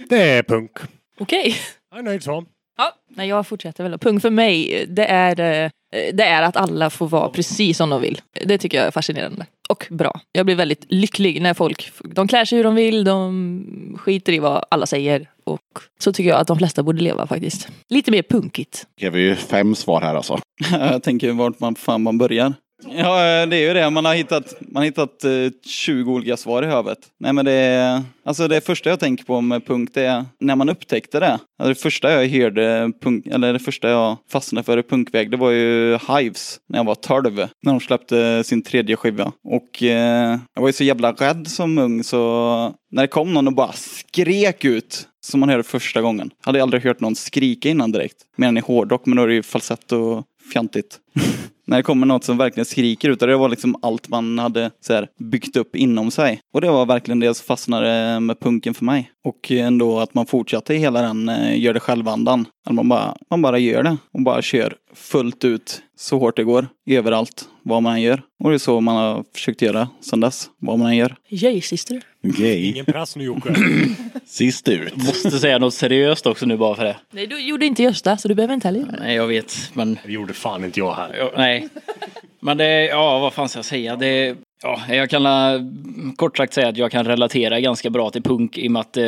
[SPEAKER 4] Det är punk.
[SPEAKER 1] Okej.
[SPEAKER 4] Jag är nöjd så.
[SPEAKER 1] Ja, nej, jag fortsätter väl. Punkt för mig, det är, eh, det är att alla får vara precis som de vill. Det tycker jag är fascinerande. Och bra. Jag blir väldigt lycklig när folk, de klär sig hur de vill, de skiter i vad alla säger. Och så tycker jag att de flesta borde leva faktiskt. Lite mer punkigt.
[SPEAKER 2] Det är ju fem svar här alltså.
[SPEAKER 7] Jag tänker vart man fan man börjar. Ja, eh, det är ju det. Man har hittat, man har hittat eh, 20 olika svar i huvudet. Nej, men det, är- alltså det första jag tänker på med punk det är när man upptäckte det. Alltså det första jag hörde punk, eller det första jag fastnade för i punkväg det var ju Hives när jag var 12. När de släppte sin tredje skiva. Och eh, jag var ju så jävla rädd som ung så när det kom någon och bara skrek ut som man hörde första gången. Hade jag aldrig hört någon skrika innan direkt. Mer än i hårdrock, men då är det ju falsett och fjantigt. När det kommer något som verkligen skriker ut och det var liksom allt man hade så här, byggt upp inom sig. Och det var verkligen det som fastnade med punken för mig. Och ändå att man fortsatte i hela den eh, gör det själv-andan. Att man bara, man bara gör det och bara kör fullt ut så hårt det går. Överallt, vad man än gör. Och det är så man har försökt göra sedan dess, vad man än gör.
[SPEAKER 1] Yay, syster.
[SPEAKER 2] Gay.
[SPEAKER 4] Press nu Jocke.
[SPEAKER 2] Sist ut.
[SPEAKER 6] Måste säga något seriöst också nu bara för det.
[SPEAKER 1] Nej, du gjorde inte Gösta, så du behöver inte heller göra det.
[SPEAKER 6] Nej, jag vet, men...
[SPEAKER 4] Det gjorde fan inte jag här.
[SPEAKER 6] Ja, nej. Men det, ja, vad fan ska jag säga? Det, ja, jag kan eh, kort sagt säga att jag kan relatera ganska bra till punk i och med att eh,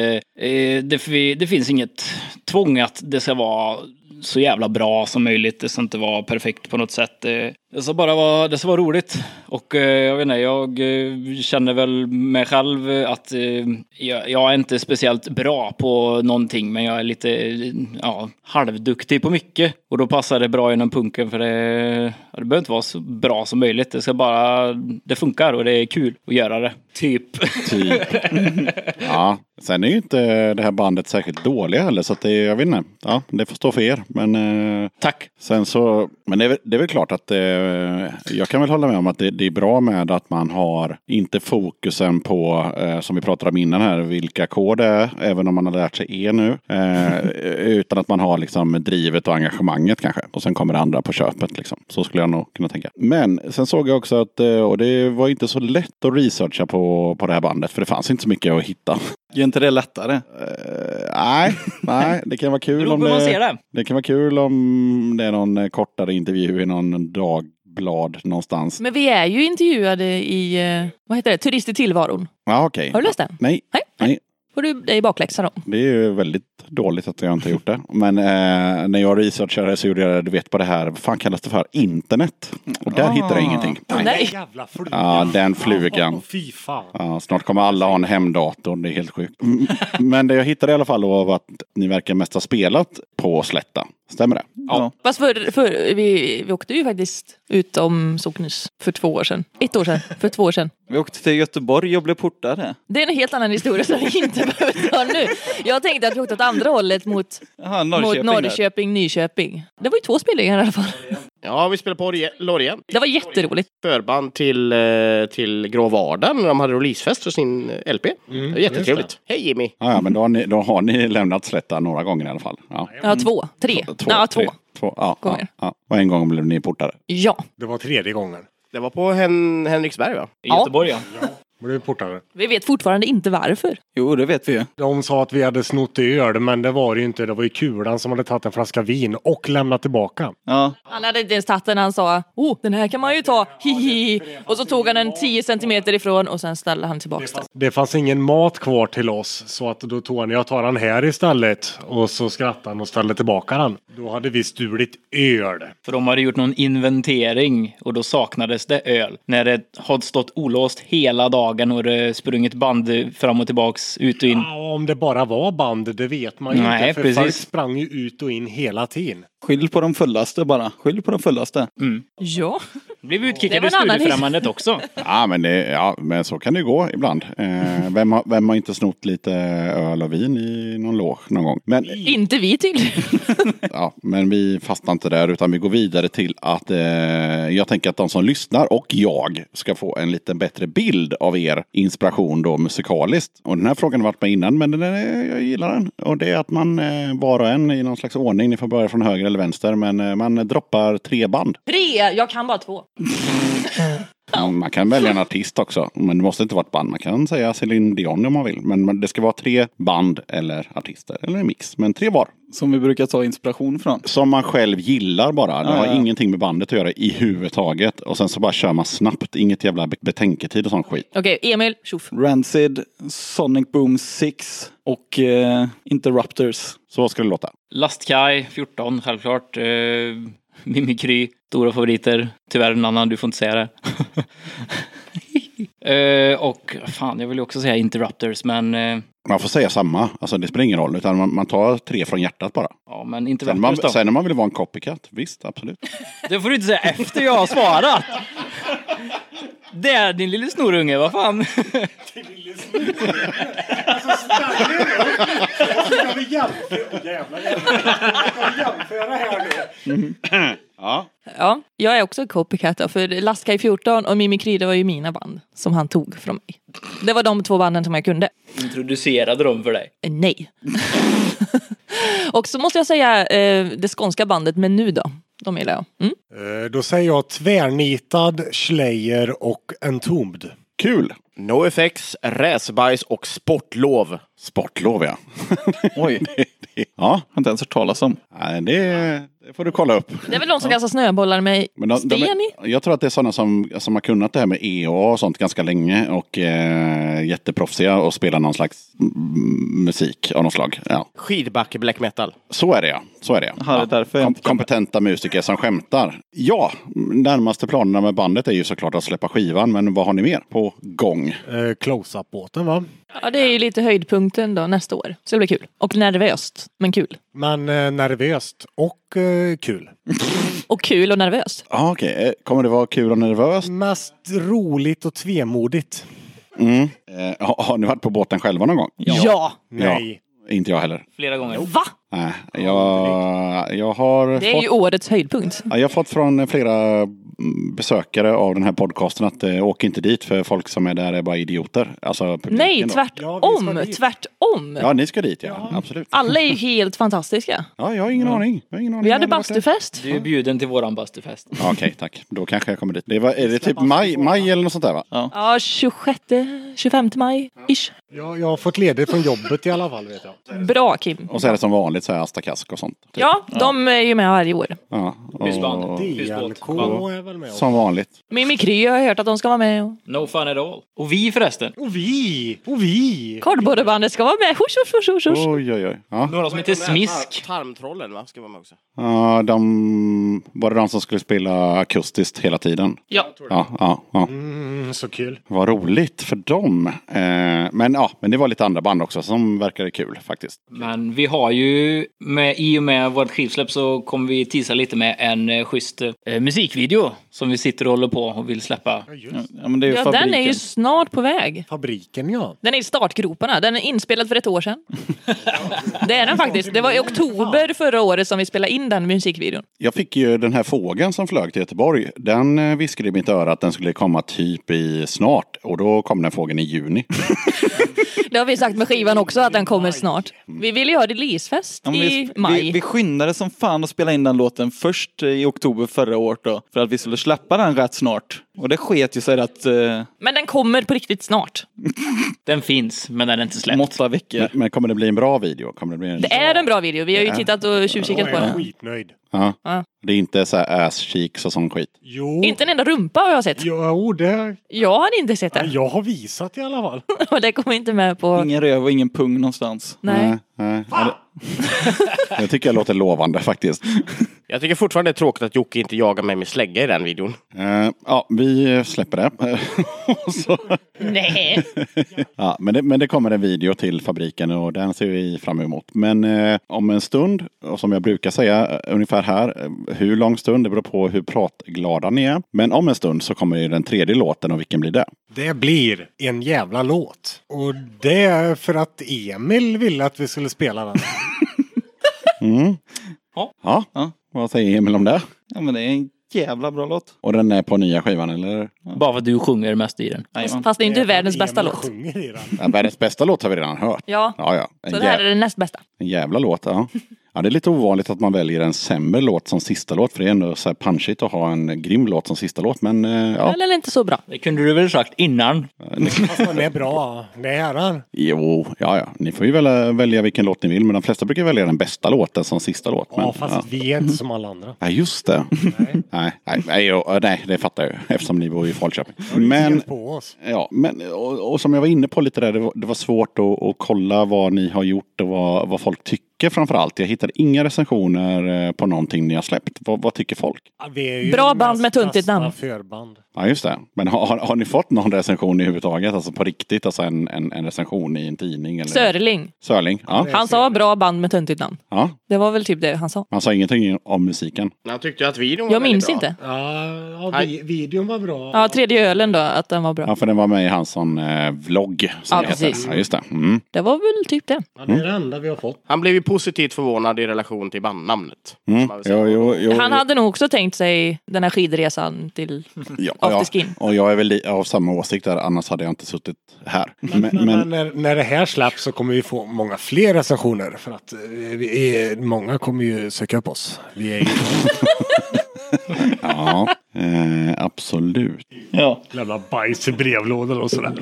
[SPEAKER 6] eh, det, fi- det finns inget tvång att det ska vara så jävla bra som möjligt. Det ska inte vara perfekt på något sätt. Eh, Det ska bara vara, det ska vara roligt. Och eh, jag vet inte, jag eh, känner väl mig själv eh, att eh, jag, jag är inte speciellt bra på någonting, men jag är lite eh, ja, halvduktig på mycket. Och då passar det bra inom punken för det, ja, det behöver inte vara så bra som möjligt. Det ska bara, det funkar och det är kul att göra det. Typ.
[SPEAKER 2] Typ. Ja, sen är ju inte det här bandet särskilt dåliga heller så att det, jag vet inte. Ja, det får stå för er. Men, eh,
[SPEAKER 6] Tack.
[SPEAKER 2] Sen så, men det är, väl- det är väl klart att eh, jag kan väl hålla med om att det, det är bra med att man har inte fokusen på, eh, som vi pratade om innan här, vilka kod det är, även om man har lärt sig E nu. Eh, utan att man har liksom drivet och engagemanget kanske. Och sen kommer det andra på köpet. Liksom. Så skulle jag nog kunna tänka. Men sen såg jag också att, eh, och det var inte så lätt att researcha på, på det här bandet, för det fanns inte så mycket att hitta.
[SPEAKER 7] Gör inte det lättare?
[SPEAKER 2] Eh, nej, nej, det kan vara kul
[SPEAKER 7] Beror
[SPEAKER 2] om
[SPEAKER 7] på hur man ser
[SPEAKER 2] det,
[SPEAKER 7] det.
[SPEAKER 2] eh, det kan vara kul om det är någon eh, kortare intervju i någon dagblad någonstans.
[SPEAKER 1] Men vi är ju intervjuade i, eh, vad heter det, Turist i tillvaron.
[SPEAKER 2] Ja, okej.
[SPEAKER 1] Har du läst den?
[SPEAKER 2] Nej.
[SPEAKER 1] Nej.
[SPEAKER 2] Nej,
[SPEAKER 1] Får du dig bakläxa då?
[SPEAKER 2] det är ju väldigt dåligt att jag inte har gjort det. Men eh, när jag researchade så gjorde jag, du vet på det här, vad fan kallas det för? Internet. Och där
[SPEAKER 4] Ah.
[SPEAKER 2] hittade jag ingenting.
[SPEAKER 4] Nej. Jävla flugan.
[SPEAKER 2] Ja, den flugan.
[SPEAKER 4] Fy fan.
[SPEAKER 2] Ja, snart kommer alla ha en hemdator, det är helt sjukt. Mm, Men det jag hittade i alla fall var att ni verkar mest ha spelat på Slätta. Stämmer det?
[SPEAKER 6] Ja.
[SPEAKER 1] Fast för, för, vi, vi åkte ju faktiskt utom Socknes för två år sedan. Ett år sedan, för två år sedan.
[SPEAKER 7] Vi åkte till Göteborg och blev portade.
[SPEAKER 1] Det är en helt annan historia som vi inte behöver ta nu. Jag tänkte att vi åkte åt andra hållet mot,
[SPEAKER 7] Aha,
[SPEAKER 1] mot Norrköping, Nyköping. Det var ju två spelningar i alla fall.
[SPEAKER 5] Ja, vi spelade på Orje- Loreen.
[SPEAKER 1] Det var jätteroligt.
[SPEAKER 5] Förband till, eh, till Grå Vardagen när de hade releasefest för sin eh, LP.
[SPEAKER 4] Mm,
[SPEAKER 5] det var jättetrevligt.
[SPEAKER 2] just
[SPEAKER 5] Hej Jimmy!
[SPEAKER 2] Ja, ja men då har, ni, då har ni lämnat Slätta några gånger i alla fall. Ja,
[SPEAKER 1] Ja, två, tre. ja, två.
[SPEAKER 2] Tre, två ja,
[SPEAKER 1] Gånger.
[SPEAKER 2] Ja, ja. Och en gång blev ni portade.
[SPEAKER 1] Ja.
[SPEAKER 4] Det var tredje gången.
[SPEAKER 5] Det var på Hen Henriksberg va?
[SPEAKER 1] I Ja. Göteborg, ja.
[SPEAKER 4] Blev portade.
[SPEAKER 1] Vi vet fortfarande inte varför.
[SPEAKER 7] Jo, det vet vi ju.
[SPEAKER 4] De sa att vi hade snott öl, men det var det ju inte. Det var ju kulan som hade tagit en flaska vin och lämnat tillbaka.
[SPEAKER 7] Ja.
[SPEAKER 1] Han hade inte ens tagit den, han sa oh, den här kan man ju ta, hihi. Och så tog han den 10 centimeter ifrån och sen ställde han tillbaks den.
[SPEAKER 4] Det fanns ingen mat kvar till oss, så att då tog han, jag tar den här istället. Och så skrattade han och ställde tillbaka den. Då hade vi stulit öl.
[SPEAKER 6] För de hade gjort någon inventering och då saknades det öl. När det hade stått olåst hela dagen och det sprungit band fram och tillbaks, ut och in.
[SPEAKER 4] Ja, om det bara var band, det vet man ju
[SPEAKER 6] Nej,
[SPEAKER 4] inte. För
[SPEAKER 6] precis.
[SPEAKER 4] folk sprang ju ut och in hela tiden.
[SPEAKER 2] Mm.
[SPEAKER 7] Skyll på de fullaste bara. Skyll på de fullaste.
[SPEAKER 1] Ja.
[SPEAKER 9] Blev utkickad
[SPEAKER 1] Det var
[SPEAKER 9] ur
[SPEAKER 1] en annan
[SPEAKER 9] studiefrämjandet
[SPEAKER 1] historia.
[SPEAKER 9] också.
[SPEAKER 2] Ja men, det, ja, men så kan det ju gå ibland. Eh, vem, har, vem har inte snott lite öl och vin i någon loge någon gång? Men,
[SPEAKER 1] Inte vi tydligen.
[SPEAKER 2] ja, men vi fastnar inte där utan vi går vidare till att eh, jag tänker att de som lyssnar och jag ska få en lite bättre bild av er inspiration då musikaliskt. Och den här frågan har varit med innan men den är, jag gillar den. Och det är att man eh, var och en i någon slags ordning, ni får börja från höger eller vänster, men eh, man droppar tre band.
[SPEAKER 1] Tre, jag kan bara två.
[SPEAKER 2] Ja, Man kan välja en artist också, men det måste inte vara ett band. Man kan säga Céline Dion om man vill. Men man- det ska vara tre band eller artister, eller en mix. Men tre var.
[SPEAKER 7] Som vi brukar ta inspiration från.
[SPEAKER 2] Som man själv gillar bara. Det
[SPEAKER 7] Ja,
[SPEAKER 2] har
[SPEAKER 7] ja.
[SPEAKER 2] ingenting med bandet att göra i huvud taget. Och sen så bara kör man snabbt, inget jävla be- betänketid och sån skit.
[SPEAKER 1] Okej, Emil, tjoff.
[SPEAKER 7] Rancid, Sonic Boom 6 och eh, Interrupters.
[SPEAKER 2] Så ska det låta.
[SPEAKER 9] Lastkaj 14 självklart. Eh, Mimikry, stora favoriter. Tyvärr en annan, du får inte säga det. eh, och fan, jag vill ju också säga Interrupters, men, eh,
[SPEAKER 2] Man får säga samma, alltså det spelar ingen roll. Utan man, man tar tre från hjärtat bara.
[SPEAKER 9] ja, men
[SPEAKER 2] Sen, man,
[SPEAKER 9] Interrupters då.
[SPEAKER 2] sen om man vill vara en copycat, visst absolut.
[SPEAKER 9] Det får du inte säga efter jag har svarat. Det är din lille snorunge, vad fan.
[SPEAKER 4] Ska vi jämföra? Jävlar, jävlar. Ska vi jämföra här nu?
[SPEAKER 2] Ja.
[SPEAKER 1] Ja, jag är också copycat då, för Laskaj 14 och Mimikry det var ju mina band som han tog från mig. Det var de två banden som jag kunde.
[SPEAKER 9] Introducerade dem för dig.
[SPEAKER 1] Eh, Nej. och så måste jag säga eh, det skånska bandet Men nu då. De gillar jag. Mm.
[SPEAKER 4] Eh, Då säger jag tvärnitad, Slayer och Entombed.
[SPEAKER 2] Kul!
[SPEAKER 5] No effects, räsbajs och sportlov.
[SPEAKER 2] Sportlov ja.
[SPEAKER 7] Oj,
[SPEAKER 2] Det- det- ja,
[SPEAKER 7] har inte ens hört talas om.
[SPEAKER 2] Nej, det, det får du kolla upp.
[SPEAKER 1] Det är väl de som kastar snöbollar med
[SPEAKER 2] Men de,
[SPEAKER 1] sten
[SPEAKER 2] de
[SPEAKER 1] i?
[SPEAKER 2] är, jag tror att det är sådana som, som har kunnat det här med EA och sånt ganska länge och eh, jätteproffsiga och spelar någon slags mm, musik av något slag. Ja.
[SPEAKER 5] Skidbacke black metal.
[SPEAKER 2] Så är det ja. Så är det ja.
[SPEAKER 7] Aha, det är därför jag
[SPEAKER 2] Kom,
[SPEAKER 7] inte kan-
[SPEAKER 2] kompetenta musiker som skämtar. Ja, närmaste planerna med bandet är ju såklart att släppa skivan, men vad har ni mer på gång?
[SPEAKER 4] Eh, Close-up-båten va?
[SPEAKER 1] Ja, det är ju lite höjdpunkten då nästa år. Så det blir kul. Och nervöst, men kul.
[SPEAKER 4] Men eh, nervöst och eh, kul.
[SPEAKER 1] Och kul och nervöst.
[SPEAKER 2] Ah, Okej, eh, kommer det vara kul och nervöst?
[SPEAKER 4] Mest roligt och tvemodigt.
[SPEAKER 2] Eh, har, har ni varit på båten själva någon gång?
[SPEAKER 1] Ja!
[SPEAKER 4] Nej.
[SPEAKER 2] Inte jag heller.
[SPEAKER 9] Flera gånger.
[SPEAKER 1] Va?
[SPEAKER 2] Nej, jag, jag har
[SPEAKER 1] Det
[SPEAKER 2] fått...
[SPEAKER 1] är ju årets höjdpunkt.
[SPEAKER 2] Ja, jag har fått från flera mm, besökare av den här podcasten att eh, åk inte dit för folk som är där är bara idioter. Alltså publiken
[SPEAKER 1] Nej,
[SPEAKER 2] då.
[SPEAKER 1] tvärtom!
[SPEAKER 4] Ja, vi ska
[SPEAKER 1] tvärtom!
[SPEAKER 2] Ja, ni ska dit ja. Absolut.
[SPEAKER 1] Alla är ju helt fantastiska.
[SPEAKER 2] Ja, jag har ingen
[SPEAKER 9] Mm.
[SPEAKER 2] aning. Jag har ingen aning.
[SPEAKER 1] Vi
[SPEAKER 2] Jag
[SPEAKER 1] hade
[SPEAKER 2] har aldrig varit där.
[SPEAKER 1] bastufest.
[SPEAKER 9] Du är bjuden till våran bastufest.
[SPEAKER 2] Ja, Okej, tack. Då kanske jag kommer dit. Det var, är det typ maj, maj eller något sånt där va?
[SPEAKER 1] Ja, 26, 25 maj ish.
[SPEAKER 4] Jag, jag har fått ledigt från jobbet i alla fall vet jag.
[SPEAKER 1] Bra Kim!
[SPEAKER 2] Och så är det som vanligt så här Asta Kask och sånt. typ.
[SPEAKER 1] Ja, de är ju med varje år.
[SPEAKER 2] Ja, och,
[SPEAKER 9] Husband.
[SPEAKER 4] DLK är väl med oss.
[SPEAKER 2] som vanligt.
[SPEAKER 1] Mimikry har jag hört att de ska vara med. och
[SPEAKER 9] No fun at all. Och vi förresten.
[SPEAKER 4] Och vi! Och vi!
[SPEAKER 1] Kardborrebandet ska vara med. Hush, hush, hush, hush, hush.
[SPEAKER 2] Oj, oj, oj. Ja.
[SPEAKER 9] Några som heter Smisk.
[SPEAKER 5] Tarmtrollen va? Ska vara med också.
[SPEAKER 2] Ja, de, var det de som skulle spela akustiskt hela tiden?
[SPEAKER 9] Ja.
[SPEAKER 2] Ja, ja, ja.
[SPEAKER 4] Mm, så kul.
[SPEAKER 2] Vad roligt för dem. Eh, men ja, men det var lite andra band också som verkade kul faktiskt.
[SPEAKER 9] Men vi har ju, med, i och med vårt skivsläpp så kommer vi teasa lite med en eh, schysst eh, musikvideo som vi sitter och håller på och vill släppa.
[SPEAKER 7] Ja, men det är ju
[SPEAKER 1] Ja,
[SPEAKER 7] fabriken.
[SPEAKER 1] den är ju snart på väg.
[SPEAKER 4] Fabriken ja.
[SPEAKER 1] Den är i startgroparna. Den är inspelad för ett år sedan. Det är den faktiskt. Det var i oktober förra året som vi spelade in den musikvideon.
[SPEAKER 2] Jag fick ju den här fågeln som flög till Göteborg. Den eh, viskade i mitt öra att den skulle komma typ i snart. Och då kom den fågeln i juni.
[SPEAKER 1] Det har vi sagt med skivan också att den kommer snart. Vi ville ju ha releasefest
[SPEAKER 7] Ja, men
[SPEAKER 1] i
[SPEAKER 7] vi, vi, vi
[SPEAKER 1] maj.
[SPEAKER 7] skyndade som fan att spela in den låten först eh, i oktober förra året då. För att vi skulle släppa den rätt snart. Och det sket ju sig att eh,
[SPEAKER 1] Men den kommer på riktigt snart.
[SPEAKER 9] Den finns, men den är inte
[SPEAKER 7] om
[SPEAKER 9] släppt.
[SPEAKER 7] åtta veckor.
[SPEAKER 2] Men, men kommer det bli en bra video? Kommer det, bli en...
[SPEAKER 1] Det är en bra video. Vi har ju tittat och tjuvkikat
[SPEAKER 4] Jag
[SPEAKER 1] på
[SPEAKER 4] är
[SPEAKER 1] den.
[SPEAKER 4] skitnöjd.
[SPEAKER 2] Ja.
[SPEAKER 1] Ja.
[SPEAKER 2] det är inte så här ass cheeks och sån skit.
[SPEAKER 4] Jo.
[SPEAKER 1] Inte en enda rumpa har jag sett.
[SPEAKER 4] Jo, det...
[SPEAKER 1] Jag hade inte sett den.
[SPEAKER 4] Jag har visat i alla fall.
[SPEAKER 1] Och det kom inte med på...
[SPEAKER 2] Mm.
[SPEAKER 7] Ingen röv och ingen pung någonstans.
[SPEAKER 1] Nej.
[SPEAKER 2] Nej, nej. Ja, det- Det tycker jag låter lovande faktiskt.
[SPEAKER 5] Jag tycker fortfarande det är tråkigt att Jocke inte jagar mig med slägga i den videon.
[SPEAKER 2] Eh, ja, vi släpper det. Och så,
[SPEAKER 1] Nej.
[SPEAKER 2] ja, men, det, men det kommer en video till fabriken och den ser vi fram emot. Men eh, om en stund, och som jag brukar säga eh, ungefär här, eh, hur lång stund, det beror på hur pratglada ni är. Men om en stund så kommer ju den tredje låten och vilken blir det?
[SPEAKER 4] Det blir en jävla låt. Och det är för att Emil ville att vi skulle spela den.
[SPEAKER 2] Mm.
[SPEAKER 6] Ja.
[SPEAKER 2] Ja. vad säger Emil om det?
[SPEAKER 7] Ja, men det är en jävla bra låt.
[SPEAKER 2] Och den är på nya skivan eller?
[SPEAKER 6] Bara för att du sjunger mest i den.
[SPEAKER 7] Jajamän.
[SPEAKER 1] Fast det är inte världens bästa låt.
[SPEAKER 2] Ja, Världens bästa låt har vi redan hört.
[SPEAKER 1] Ja.
[SPEAKER 2] Ja, ja. En,
[SPEAKER 1] Så det här
[SPEAKER 2] jä-
[SPEAKER 1] är den näst bästa.
[SPEAKER 2] en jävla låt. Ja. Ja, det är lite ovanligt att man väljer en sämre låt som sista låt. För det är ändå så här punchigt att ha en grym låt som sista låt. Men eh, ja.
[SPEAKER 1] Eller inte så bra.
[SPEAKER 6] Det kunde du väl sagt innan.
[SPEAKER 4] Fast den är bra. Det är den.
[SPEAKER 2] Jo, ja, ja. Ni får ju välja, välja vilken låt ni vill. Men de flesta brukar välja den bästa låten som sista låt. Men,
[SPEAKER 4] Ja, fast
[SPEAKER 2] ja.
[SPEAKER 4] vi är inte som alla andra.
[SPEAKER 2] Ja, just det. Nej. Nej, nej, jo, nej, det fattar jag ju. Eftersom ni bor i Falköping. Men
[SPEAKER 4] Men... på oss.
[SPEAKER 2] Ja, men, och, och som jag var inne på lite där, det var, det var svårt att, att kolla vad ni har gjort och vad, vad folk tycker framför allt. Jag hittade inga recensioner eh, på någonting ni har släppt. Vad, vad tycker folk?
[SPEAKER 4] Ja, vi är ju
[SPEAKER 1] Bra
[SPEAKER 4] det
[SPEAKER 1] band
[SPEAKER 4] mest
[SPEAKER 1] med tuntigt
[SPEAKER 4] krassa
[SPEAKER 1] namn.
[SPEAKER 4] Förband.
[SPEAKER 2] Ja, just det. Men har, har, har ni fått någon recension i huvudtaget? Alltså på riktigt? Alltså en, en, en recension i en tidning? Eller?
[SPEAKER 1] Sörling.
[SPEAKER 2] Sörling? Ja.
[SPEAKER 1] Han sa bra band med töntigt namn.
[SPEAKER 2] ja.
[SPEAKER 1] Det var väl typ det han sa.
[SPEAKER 2] Man sa ingenting om musiken.
[SPEAKER 5] Han tyckte att videon var
[SPEAKER 1] Jag
[SPEAKER 5] väldigt
[SPEAKER 1] minns
[SPEAKER 5] bra.
[SPEAKER 1] inte.
[SPEAKER 4] Ja, ja vi, videon var bra.
[SPEAKER 1] Ja, tredje ölen då, att den var bra.
[SPEAKER 2] Ja, för den var med i hans sån eh, vlogg. Som
[SPEAKER 1] Ja,
[SPEAKER 2] det heter.
[SPEAKER 1] precis.
[SPEAKER 2] Ja, just det. Mm.
[SPEAKER 1] Det var väl typ det.
[SPEAKER 4] Ja, det är det enda vi har fått.
[SPEAKER 5] Mm. Han blev ju positivt förvånad i relation till bandnamnet. kan
[SPEAKER 2] Mm.
[SPEAKER 5] man väl säga.
[SPEAKER 2] Jo, jo, jo,
[SPEAKER 1] Han hade nog också tänkt sig den här skidresan till...
[SPEAKER 2] ja,
[SPEAKER 1] afterskin.
[SPEAKER 2] ja. Och jag är väl li- av samma åsikt där, annars hade jag inte suttit här.
[SPEAKER 5] Mm.
[SPEAKER 2] Men-
[SPEAKER 4] Men,
[SPEAKER 2] men-
[SPEAKER 4] när, när det här släpps så kommer vi få många fler recensioner för att eh, vi är, många kommer ju söka upp oss. Vi är ju
[SPEAKER 2] Ja, eh, absolut.
[SPEAKER 7] Ja.
[SPEAKER 4] lämna bajs i brevlådor och sådär.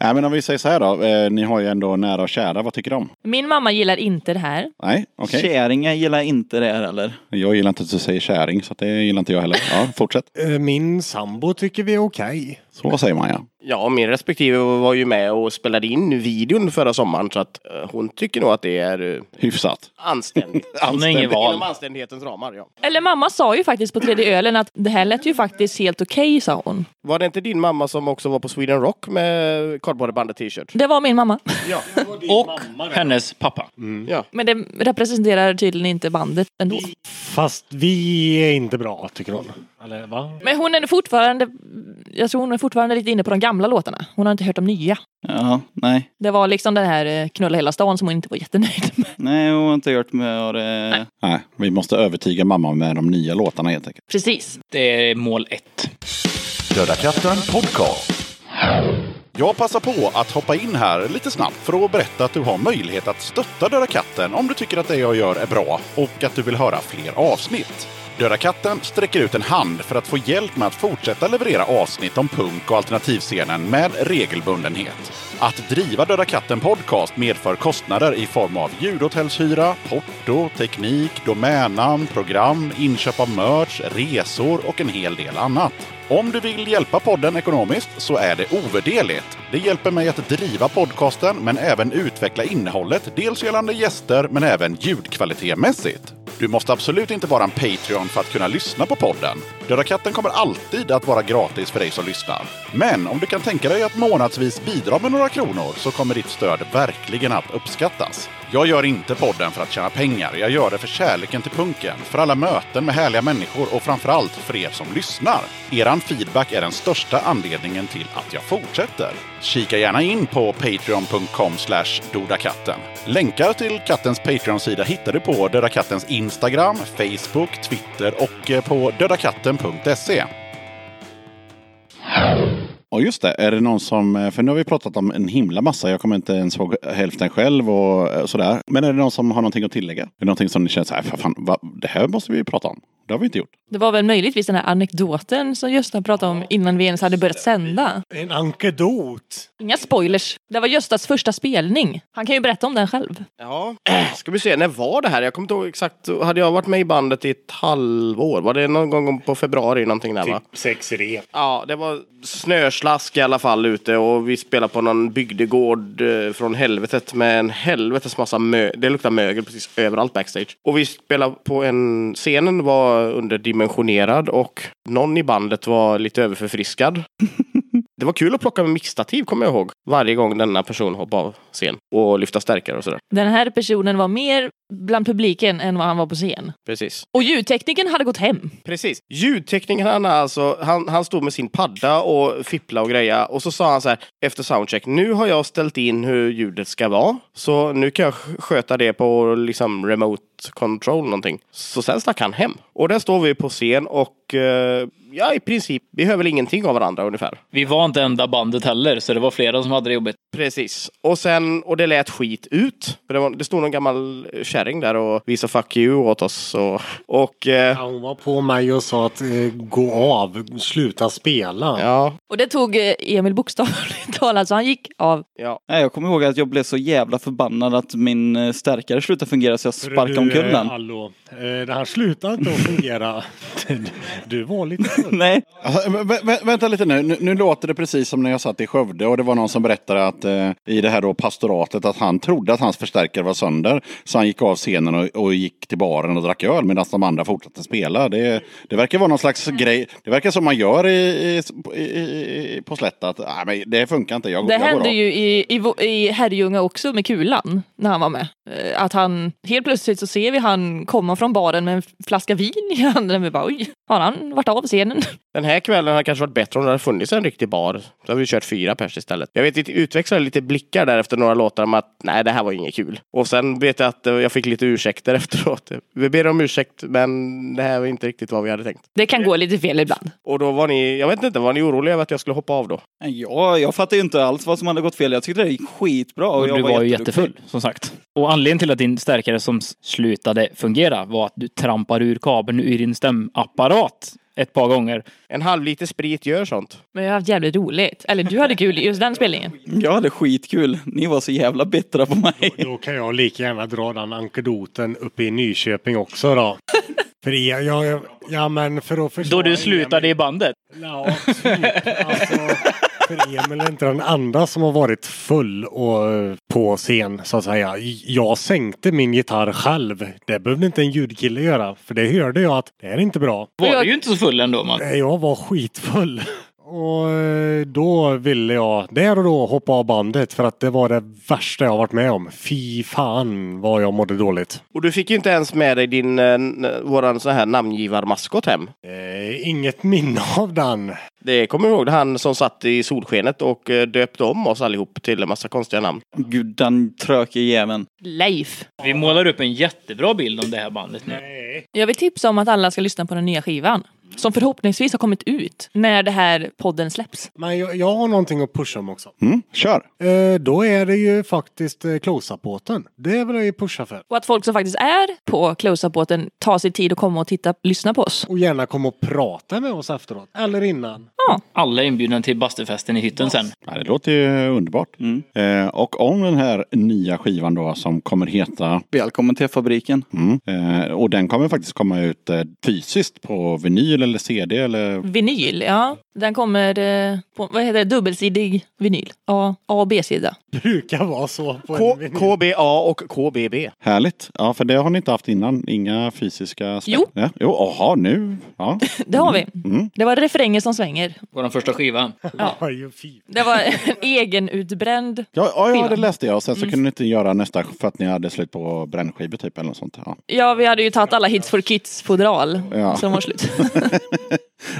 [SPEAKER 2] Nej, men om vi säger så här då. Eh, ni har ju ändå nära och kära. Vad tycker de?
[SPEAKER 1] Min mamma gillar inte det här.
[SPEAKER 2] Nej, okej.
[SPEAKER 7] Käringar gillar inte det här eller?
[SPEAKER 2] Jag gillar inte att du säger käring, så att det gillar inte jag heller. Ja, fortsätt.
[SPEAKER 4] Eh, Min sambo tycker vi är okej.
[SPEAKER 2] Så säger man ja.
[SPEAKER 5] Ja, min respektive var ju med och spelade in videon förra sommaren så att eh, hon tycker nog att det är eh,
[SPEAKER 2] Hyfsat.
[SPEAKER 5] anständigt.
[SPEAKER 6] Hon har inget
[SPEAKER 5] Inom
[SPEAKER 6] val.
[SPEAKER 5] anständighetens ramar, ja.
[SPEAKER 1] Eller mamma sa ju faktiskt på tredje ölen att det här lät ju faktiskt helt okej, sa hon.
[SPEAKER 5] Var det inte din mamma som också var på Sweden Rock med kardborrebandet t-shirt?
[SPEAKER 1] Det var min mamma.
[SPEAKER 6] Och hennes pappa.
[SPEAKER 4] Mm.
[SPEAKER 5] Ja.
[SPEAKER 1] Men det representerar tydligen inte bandet ändå.
[SPEAKER 4] Fast vi är inte bra tycker hon. Eller va?
[SPEAKER 1] Men hon är fortfarande... Jag tror hon är fortfarande lite inne på de gamla låtarna. Hon har inte hört de nya.
[SPEAKER 7] Ja, nej.
[SPEAKER 1] Det var liksom den här eh, Knulla hela stan som hon inte var jättenöjd med.
[SPEAKER 7] Nej, hon har inte gjort med eh, och det.
[SPEAKER 2] Nej, vi måste övertyga mamma med de nya låtarna helt enkelt.
[SPEAKER 1] Precis.
[SPEAKER 6] Det är mål ett.
[SPEAKER 12] Döda katten podcast. Jag passar på att hoppa in här lite snabbt för att berätta att du har möjlighet att stötta Döda katten om du tycker att det jag gör är bra och att du vill höra fler avsnitt. Döda katten sträcker ut en hand för att få hjälp med att fortsätta leverera avsnitt om punk och alternativscenen med regelbundenhet. Att driva Döda katten podcast medför kostnader i form av ljudhotellshyra, porto, teknik, domännamn, program, inköp av merch, resor och en hel del annat. Om du vill hjälpa podden ekonomiskt så är det ovärderligt. Det hjälper mig att driva podcasten men även utveckla innehållet, dels gällande gäster men även ljudkvalitetmässigt. Du måste absolut inte vara en Patreon för att kunna lyssna på podden. Döda katten kommer alltid att vara gratis för dig som lyssnar. Men om du kan tänka dig att månadsvis bidra med några kronor så kommer ditt stöd verkligen att uppskattas. Jag gör inte podden för att tjäna pengar. Jag gör det för kärleken till punken, för alla möten med härliga människor och framförallt för er som lyssnar. Eran feedback är den största anledningen till att jag fortsätter. Kika gärna in på patreon.com slash dodakatten. Länkar till kattens Patreon-sida hittar du på Döda Kattens Instagram, Facebook, Twitter och eh, på dödakatten.se.
[SPEAKER 2] Och just det, är det någon som, eh, för nu har vi pratat om en himla massa, jag kommer inte ens ihåg hälften själv "Äh, och eh, sådär. Men är det någon som har någonting att tillägga? Är det någonting som ni känner så här, "Fan, fan, va, det här måste vi ju prata om? Det har vi inte gjort.
[SPEAKER 1] Det var väl möjligtvis den här anekdoten som Gösta pratade om innan vi ens hade börjat sända.
[SPEAKER 4] En ankedot.
[SPEAKER 1] Inga spoilers. Det var Göstas första spelning. Han kan ju berätta om den själv.
[SPEAKER 5] Ja. Ska vi se, när var det här? Jag kommer inte ihåg exakt. Hade jag varit med i bandet i ett halvår? Var det någon gång på februari någonting där va?
[SPEAKER 4] Typ sex rep.
[SPEAKER 5] Ja, det var snöslask i alla fall ute och vi spelade på någon bygdegård eh, från helvetet med en helvetes massa mö Det luktar mögel precis överallt backstage. Och vi spelade på en... Scenen var underdimensionerad och någon i bandet var lite överförfriskad. Det var kul att plocka med mixtativ kommer jag ihåg. Varje gång denna person hoppade av scen och lyfta stärkare och sådär.
[SPEAKER 1] Den här personen var mer bland publiken än vad han var på scen.
[SPEAKER 5] Precis.
[SPEAKER 1] Och ljudtekniken hade gått hem.
[SPEAKER 5] Precis. Ljudteknikern han, har alltså, han, han stod med sin padda och fippla och greja och så sa han så här efter soundcheck. Nu har jag ställt in hur ljudet ska vara så nu kan jag sk- sköta det på liksom remote control någonting. Så sen stack han hem. Och där står vi på scen och eh, ja, i princip, vi hör väl ingenting av varandra ungefär.
[SPEAKER 9] Vi var inte enda bandet heller, så det var flera som hade det jobbigt.
[SPEAKER 5] Precis. Och sen, och det lät skit ut. För det, var, det stod någon gammal kärring där och visade fuck you åt oss. Och, och eh,
[SPEAKER 4] Ja, hon var på mig och sa att eh, gå av, sluta spela.
[SPEAKER 5] ja,
[SPEAKER 1] Och det tog eh, Emil bokstavligt talat, så han gick av.
[SPEAKER 5] ja.
[SPEAKER 7] Nej, jag kommer ihåg att jag blev så jävla förbannad att min eh, stärkare slutade fungera så jag sparkade
[SPEAKER 4] Du,
[SPEAKER 7] omkull
[SPEAKER 4] eh,
[SPEAKER 7] den.
[SPEAKER 4] Hallå, eh, det här slutar inte att fungera. Du var lite full.
[SPEAKER 7] Nej,
[SPEAKER 2] Alltså, vä- vä- vänta lite nu. nu. Nu låter det precis som när jag satt i Skövde och det var någon som berättade att eh, i det här då pastoratet att han trodde att hans förstärkare var sönder. Så han gick av scenen och, och gick till baren och drack öl medan de andra fortsatte spela. Det, det verkar vara någon slags grej. Det verkar som man gör i, i, i, i, på slätta. Att, nej, men det funkar inte. Jag, går-
[SPEAKER 1] Det
[SPEAKER 2] jag går
[SPEAKER 1] hände
[SPEAKER 2] av.
[SPEAKER 1] ju i, i, vo- i Herrljunga också med Kulan när han var med. Eh, Att han helt plötsligt så ser vi han komma från baren med en flaska vin i handen. Vi bara oj, har han varit av scenen?
[SPEAKER 5] Den här kvällen hade kanske varit bättre om det hade funnits en riktig bar. Då hade vi kört fyra pers istället. Jag vet, vi utvecklade lite blickar där efter några låtar om att nej, det här var inget kul. Och sen vet jag att eh, jag fick lite ursäkter efteråt. Vi ber om ursäkt, men det här var inte riktigt vad vi hade tänkt.
[SPEAKER 1] Det kan gå lite fel ibland.
[SPEAKER 5] Och då var ni, jag vet inte, var ni oroliga över att jag skulle hoppa av då?
[SPEAKER 7] jag, jag fattade ju inte alls vad som hade gått fel. Jag tyckte det gick skitbra. Och
[SPEAKER 9] Och
[SPEAKER 7] jag
[SPEAKER 9] du var ju
[SPEAKER 7] jätteduktig.
[SPEAKER 9] jättefull, som sagt. Och anledningen till att din stärkare som s- slutade fungera var att du trampar ur kabeln ur din stämapparat ett par gånger.
[SPEAKER 5] En halv liter sprit gör sånt.
[SPEAKER 1] Men jag har haft jävligt roligt. Eller du hade kul i just den spelningen.
[SPEAKER 7] Jag hade skitkul. Ni var så jävla bittra på mig.
[SPEAKER 4] Då kan jag lika gärna dra den ankedoten uppe i Nyköping också då. För jag, jag, ja men för att försvara
[SPEAKER 9] Då du slutade i bandet.
[SPEAKER 4] Ja, typ. Alltså, för Emil är inte den andra som har varit full och eh, på scen så att säga. Jag sänkte min gitarr själv. Det behövde inte en ljudkille göra. För det hörde jag att det här är inte bra.
[SPEAKER 9] Var
[SPEAKER 1] jag-
[SPEAKER 9] du ju inte så full ändå, man.
[SPEAKER 4] Nej, Jag var skitfull. Och eh, då ville jag där och då hoppa av bandet för att det var det värsta jag varit med om. Fy fan vad jag mådde dåligt.
[SPEAKER 5] Och du fick ju inte ens med dig din, eh, n- våran sån här namngivarmaskot hem.
[SPEAKER 4] Eh, inget minne av den.
[SPEAKER 5] Det kommer jag ihåg, det är han som satt i solskenet och eh, döpte om oss allihop till en massa konstiga namn.
[SPEAKER 7] Gud, den tröke jäveln.
[SPEAKER 1] Leif.
[SPEAKER 9] Vi målar upp en jättebra bild om det här bandet nu.
[SPEAKER 1] Jag vill tipsa om att alla ska lyssna på den nya skivan. Som förhoppningsvis har kommit ut när det här podden släpps.
[SPEAKER 4] Men jag, jag har någonting att pusha om också.
[SPEAKER 2] Mm, kör!
[SPEAKER 4] Eh, då är det ju faktiskt eh, close-up-båten. Det vill jag ju pusha för.
[SPEAKER 1] Och att folk som faktiskt är på close-up-båten tar sig tid att komma och titta, lyssna på oss.
[SPEAKER 4] Och gärna komma och prata med oss efteråt. Eller innan.
[SPEAKER 9] Alla är inbjudna till bastufesten i hytten sen.
[SPEAKER 2] Ja, det låter ju underbart.
[SPEAKER 7] Mm.
[SPEAKER 2] Eh, och om den här nya skivan då som kommer heta
[SPEAKER 7] Välkommen till fabriken.
[SPEAKER 2] Mm. Eh, och den kommer faktiskt komma ut eh, fysiskt på vinyl eller CD eller
[SPEAKER 1] Mm. Vinyl, ja. Den kommer eh, på, vad heter det, dubbelsidig vinyl. A, A och B-sida.
[SPEAKER 4] Brukar vara så. På
[SPEAKER 5] K-
[SPEAKER 4] en vinyl.
[SPEAKER 5] KBA och KBB.
[SPEAKER 2] härligt. Ja, för det har ni inte haft innan. Inga fysiska släpp.
[SPEAKER 1] Jo.
[SPEAKER 2] Ja. Jo, aha, nu. Ja. Mm.
[SPEAKER 1] Det har vi. Det var refränger som svänger.
[SPEAKER 9] Vår första skiva.
[SPEAKER 4] Var ju fin.
[SPEAKER 1] Det var en egenutbränd.
[SPEAKER 2] Ja, ja, ja,
[SPEAKER 1] Skivan. Mm.
[SPEAKER 2] det läste jag. Och sen så kunde ni inte göra nästa för att ni hade slut på brännskivor typ eller något sånt. Ja.
[SPEAKER 1] Ja, vi hade ju tagit alla hits for kids fodral
[SPEAKER 2] Ja.
[SPEAKER 1] som var slut.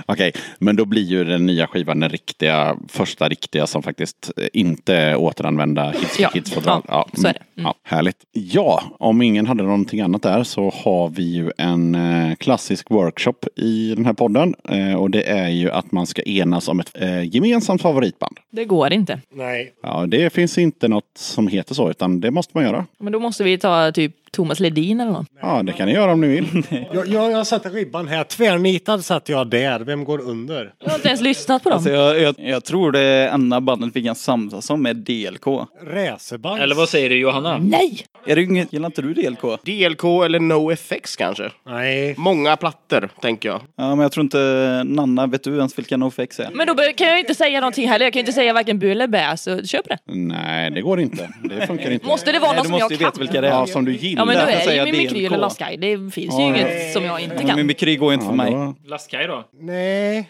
[SPEAKER 2] Okej, men då blir ju den nya skivan den riktiga, första riktiga som faktiskt eh, inte är återanvända hits för
[SPEAKER 1] Ja,
[SPEAKER 2] kids fodral.
[SPEAKER 1] ja, så är det.
[SPEAKER 2] mm, Ja, härligt. Ja, om ingen hade någonting annat där så har vi ju en eh, klassisk workshop i den här podden. Eh, och det är ju att man ska enas om ett eh, gemensamt favoritband.
[SPEAKER 1] Det går inte.
[SPEAKER 4] Nej.
[SPEAKER 2] Ja, det finns inte något som heter så, utan det måste man göra.
[SPEAKER 1] Men då måste vi ta typ Thomas Ledin eller någon.
[SPEAKER 2] Ja, det kan ni göra om ni vill.
[SPEAKER 4] Jag, jag, jag satte ribban här. Tvärnitad satt jag där. Vem går under?
[SPEAKER 1] Jag har inte ens lyssnat på dem.
[SPEAKER 7] Alltså jag, jag, jag tror det enda bandet vi kan samsas om är DLK.
[SPEAKER 4] Räsebajs.
[SPEAKER 9] Eller vad säger du Johanna?
[SPEAKER 1] Nej!
[SPEAKER 7] Är det inget, gillar inte du DLK?
[SPEAKER 5] DLK eller No FX kanske?
[SPEAKER 4] Nej.
[SPEAKER 5] Många plattor, tänker jag.
[SPEAKER 7] Ja, men jag tror inte Nanna, vet du ens vilka NoFX är?
[SPEAKER 1] Men då be- kan jag inte säga någonting heller. Jag kan ju inte säga varken bu eller bä, så köp det.
[SPEAKER 2] Nej, det går inte. Det funkar inte.
[SPEAKER 1] Måste det vara
[SPEAKER 7] Nej,
[SPEAKER 1] något
[SPEAKER 7] du
[SPEAKER 1] som jag
[SPEAKER 7] måste ju
[SPEAKER 1] kan?
[SPEAKER 7] veta vilka det är.
[SPEAKER 2] Ja, som du gillar.
[SPEAKER 1] Ja men då
[SPEAKER 7] Därför
[SPEAKER 1] är det
[SPEAKER 7] säger
[SPEAKER 1] ju
[SPEAKER 7] jag
[SPEAKER 1] Mimikry
[SPEAKER 7] DLK.
[SPEAKER 1] eller Last Guy. Det finns ju inget som jag inte kan.
[SPEAKER 7] Mimikry går inte för mig.
[SPEAKER 2] Ja,
[SPEAKER 9] Laskaj då?
[SPEAKER 4] Nej.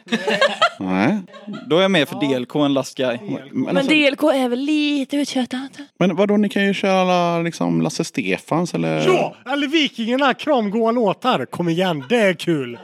[SPEAKER 2] nej.
[SPEAKER 7] Då är jag mer för DLK än Last Guy.
[SPEAKER 2] Men,
[SPEAKER 1] Men
[SPEAKER 2] alltså,
[SPEAKER 1] DLK är väl lite uttjötat?
[SPEAKER 2] men vadå, ni kan ju köra alla, liksom Lasse Stefans eller...
[SPEAKER 4] Ja! Eller Vikingarna, kramgoa låtar. Kom igen, det är kul.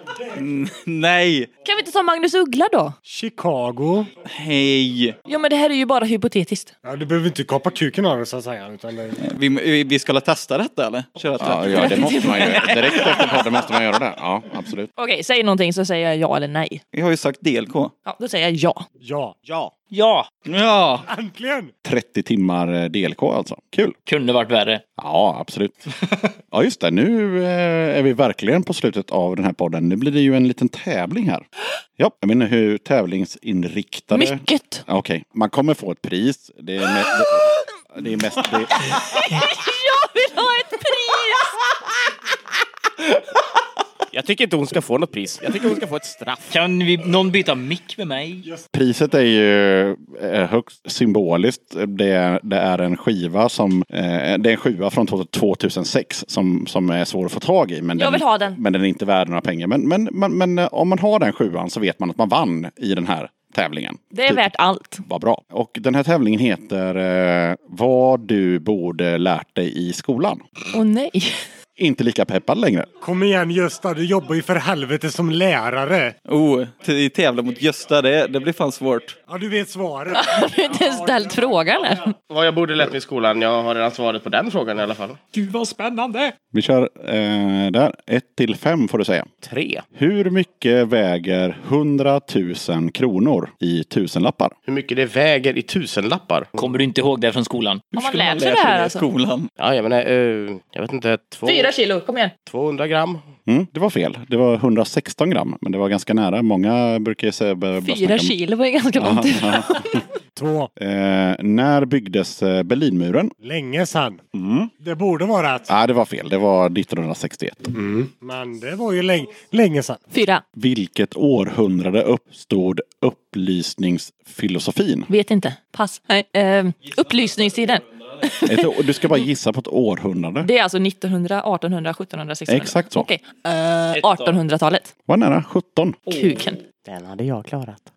[SPEAKER 7] Nej!
[SPEAKER 1] Kan vi inte ta Magnus Uggla då?
[SPEAKER 4] Chicago.
[SPEAKER 7] Hej!
[SPEAKER 1] Ja men det här är ju bara hypotetiskt.
[SPEAKER 4] Ja, du behöver inte kapa kuken av det så att säga. Utan det...
[SPEAKER 7] Vi, vi- vi ska la testa detta eller? Köra
[SPEAKER 2] Ja,
[SPEAKER 7] ja,
[SPEAKER 2] ja, det måste man göra. Direkt efter podden måste man göra det. Ja, absolut.
[SPEAKER 1] Okej, säg någonting så säger jag ja eller nej.
[SPEAKER 7] Vi har ju sagt DLK.
[SPEAKER 1] Ja, då säger jag ja.
[SPEAKER 4] Ja.
[SPEAKER 9] Ja,
[SPEAKER 7] Ja!
[SPEAKER 4] Äntligen!
[SPEAKER 2] 30 timmar eh, DLK alltså. Kul.
[SPEAKER 9] kunde varit värre.
[SPEAKER 2] Ja, absolut. Ja, just det. Nu eh, är vi verkligen på slutet av den här podden. Nu blir det ju en liten tävling här. Ja, jag menar hur tävlingsinriktade...
[SPEAKER 1] Mycket!
[SPEAKER 2] Okej, man kommer få ett pris. Det är, me- det, det är mest... Det,
[SPEAKER 1] Jag vill ha ett pris!
[SPEAKER 5] Jag tycker inte hon ska få något pris. Jag tycker hon ska få ett straff.
[SPEAKER 9] Kan vi, någon byta mick med mig?
[SPEAKER 2] Priset är ju eh, högst symboliskt. Det är, det är en skiva som, eh, det är en sjua från 2006 som, som är svår att få tag i. Men
[SPEAKER 1] Jag vill ha den.
[SPEAKER 2] Men den är inte värd några pengar. Men, men, men, men eh, om man har den sjuan så vet man att man vann i den här tävlingen.
[SPEAKER 1] Det är
[SPEAKER 2] Typ.
[SPEAKER 1] värt allt.
[SPEAKER 2] Vad bra. Och den här tävlingen heter eh, Vad du borde lärt dig i skolan.
[SPEAKER 1] Åh nej.
[SPEAKER 2] Inte lika peppad längre.
[SPEAKER 4] Kom igen Gösta, du jobbar ju för helvete som lärare.
[SPEAKER 7] Oh, t- tävla mot Gösta, det, det blir fan svårt.
[SPEAKER 4] Ja, du vet svaret.
[SPEAKER 1] Har du inte ens ställt frågan än?
[SPEAKER 5] Vad jag borde lärt mig i skolan, jag har redan svaret på den frågan i alla fall.
[SPEAKER 9] Gud vad spännande!
[SPEAKER 2] Vi kör eh, där. 1 till 5 får du säga.
[SPEAKER 5] Tre.
[SPEAKER 2] Hur mycket väger 100 000 kronor i tusenlappar?
[SPEAKER 5] Hur mycket det väger i tusenlappar?
[SPEAKER 9] Kommer du inte ihåg det från skolan?
[SPEAKER 1] Har man lärt sig
[SPEAKER 7] Lär
[SPEAKER 1] det
[SPEAKER 7] sig
[SPEAKER 1] här
[SPEAKER 7] i
[SPEAKER 1] alltså?
[SPEAKER 7] skolan.
[SPEAKER 5] Ja, jag menar, eh, jag vet inte, två,
[SPEAKER 1] Fyra kilo, kom igen.
[SPEAKER 5] 200 gram?
[SPEAKER 2] Mm, det var fel. Det var 116 gram, men det var ganska nära. Många brukar ju säga... bara- bara snacka
[SPEAKER 1] Fyra
[SPEAKER 2] om-
[SPEAKER 1] kilo var ju ganska
[SPEAKER 2] Ja,
[SPEAKER 1] långt ifrån.
[SPEAKER 2] ja.
[SPEAKER 4] Två.
[SPEAKER 2] eh, när byggdes eh, Berlinmuren? Mm.
[SPEAKER 4] Länge sedan. Det borde vara att...
[SPEAKER 2] Nej, det var fel. Det var 1961.
[SPEAKER 5] Mm.
[SPEAKER 4] Men det var ju länge, länge sedan.
[SPEAKER 1] Fyra.
[SPEAKER 2] Vilket århundrade uppstod upplysningsfilosofin?
[SPEAKER 1] Vet inte. Pass. Nej, eh, upplysningstiden.
[SPEAKER 2] Ett, å- du ska bara gissa på ett århundrade.
[SPEAKER 1] Det är alltså 1900, 1800, 1700, 1600.
[SPEAKER 2] Exakt så.
[SPEAKER 1] Okej. Eh, 1800-talet.
[SPEAKER 2] Var nära. 17.
[SPEAKER 1] Kuken.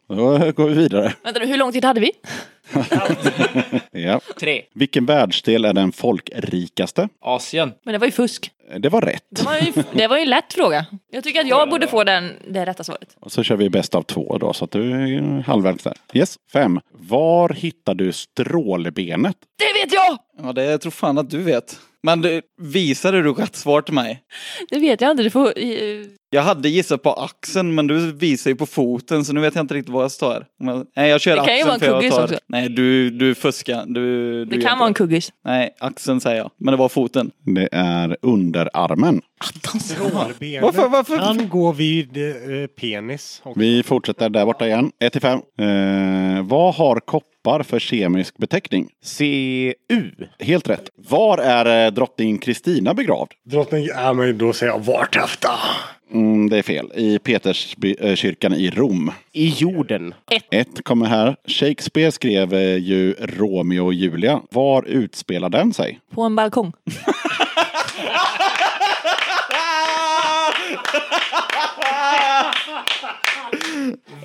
[SPEAKER 2] Då går vi vidare.
[SPEAKER 1] Vänta nu, hur lång tid hade vi?
[SPEAKER 2] Ja.
[SPEAKER 9] Tre.
[SPEAKER 2] Vilken världsdel är den folkrikaste?
[SPEAKER 9] Asien.
[SPEAKER 1] Men det var ju fusk.
[SPEAKER 2] Det var rätt.
[SPEAKER 1] Det var ju, det var ju en lätt fråga. Jag tycker att jag borde få den, det rätta svaret.
[SPEAKER 2] Och så kör vi bäst av två då, så att du är halvvägs där. Yes. Fem. Var hittar du strålbenet?
[SPEAKER 1] Det vet jag!
[SPEAKER 7] Ja, det tror fan att du vet. Men du, visade du rätt svar till mig?
[SPEAKER 1] Det vet jag inte. Du får... eh,
[SPEAKER 7] Jag hade gissat på axeln men du visar ju på foten så nu vet jag inte riktigt vad jag står. Om jag- Nej jag kör
[SPEAKER 1] Det kan ju
[SPEAKER 7] axeln
[SPEAKER 1] vara en
[SPEAKER 7] för jag
[SPEAKER 1] kuggis
[SPEAKER 7] tar...
[SPEAKER 1] också.
[SPEAKER 7] Nej du, du fuskar. Du, du
[SPEAKER 1] Det
[SPEAKER 7] gör
[SPEAKER 1] kan
[SPEAKER 7] inte
[SPEAKER 1] vara en kuggis.
[SPEAKER 7] Nej axeln säger jag. Men det var foten.
[SPEAKER 2] Det är underarmen.
[SPEAKER 4] Hårbenet
[SPEAKER 7] Varför- varför-
[SPEAKER 4] kan gå vid eh, penis. Och
[SPEAKER 2] Vi fortsätter där borta igen. 1 till 5. Eh, vad har koppar för kemisk beteckning?
[SPEAKER 5] CU.
[SPEAKER 2] Helt rätt. Var är eh, drottning Kristina begravd?
[SPEAKER 4] drottning, ja men då säger jag vartefta.
[SPEAKER 2] Mm, det är fel. I Peterskyrkan i Rom.
[SPEAKER 5] I jorden.
[SPEAKER 2] Ett kommer här. Shakespeare skrev eh, ju Romeo och Julia. Var utspelar den sig?
[SPEAKER 1] På en balkong.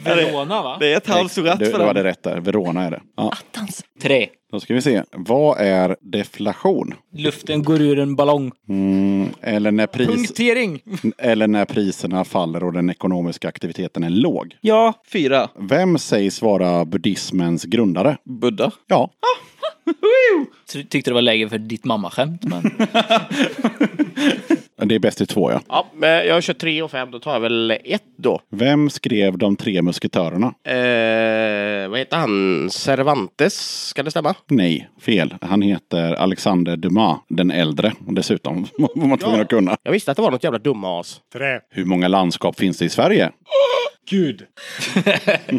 [SPEAKER 9] Verona va?
[SPEAKER 7] Det är ett halvsuratt
[SPEAKER 2] Du,
[SPEAKER 7] för
[SPEAKER 2] du
[SPEAKER 7] dem.
[SPEAKER 2] hade rätt där. Verona är det. Ja.
[SPEAKER 9] Tre.
[SPEAKER 2] Då ska vi se. Vad är deflation?
[SPEAKER 9] Luften går ur en ballong.
[SPEAKER 2] Mm, eller, när pris,
[SPEAKER 9] Punktering.
[SPEAKER 2] eller när priserna faller och den ekonomiska aktiviteten är låg.
[SPEAKER 7] Ja, fyra.
[SPEAKER 2] Vem sägs vara buddhismens grundare?
[SPEAKER 7] Buddha.
[SPEAKER 2] Ja,
[SPEAKER 9] Ty- Tyckte det var läge för ditt mammaskämt. Men...
[SPEAKER 2] det är bäst i två ja.
[SPEAKER 5] Ja, men jag kör tre och fem. Då tar jag väl ett då.
[SPEAKER 2] Vem skrev De tre musketörerna?
[SPEAKER 5] Eh, vad heter han? Cervantes? Kan det stämma?
[SPEAKER 2] Nej, fel. Han heter Alexander Dumas, den äldre dessutom. var man tvungen att kunna.
[SPEAKER 5] Jag visste att det var något jävla dumma as.
[SPEAKER 4] Trä.
[SPEAKER 2] Hur många landskap finns det i Sverige?
[SPEAKER 4] Gud.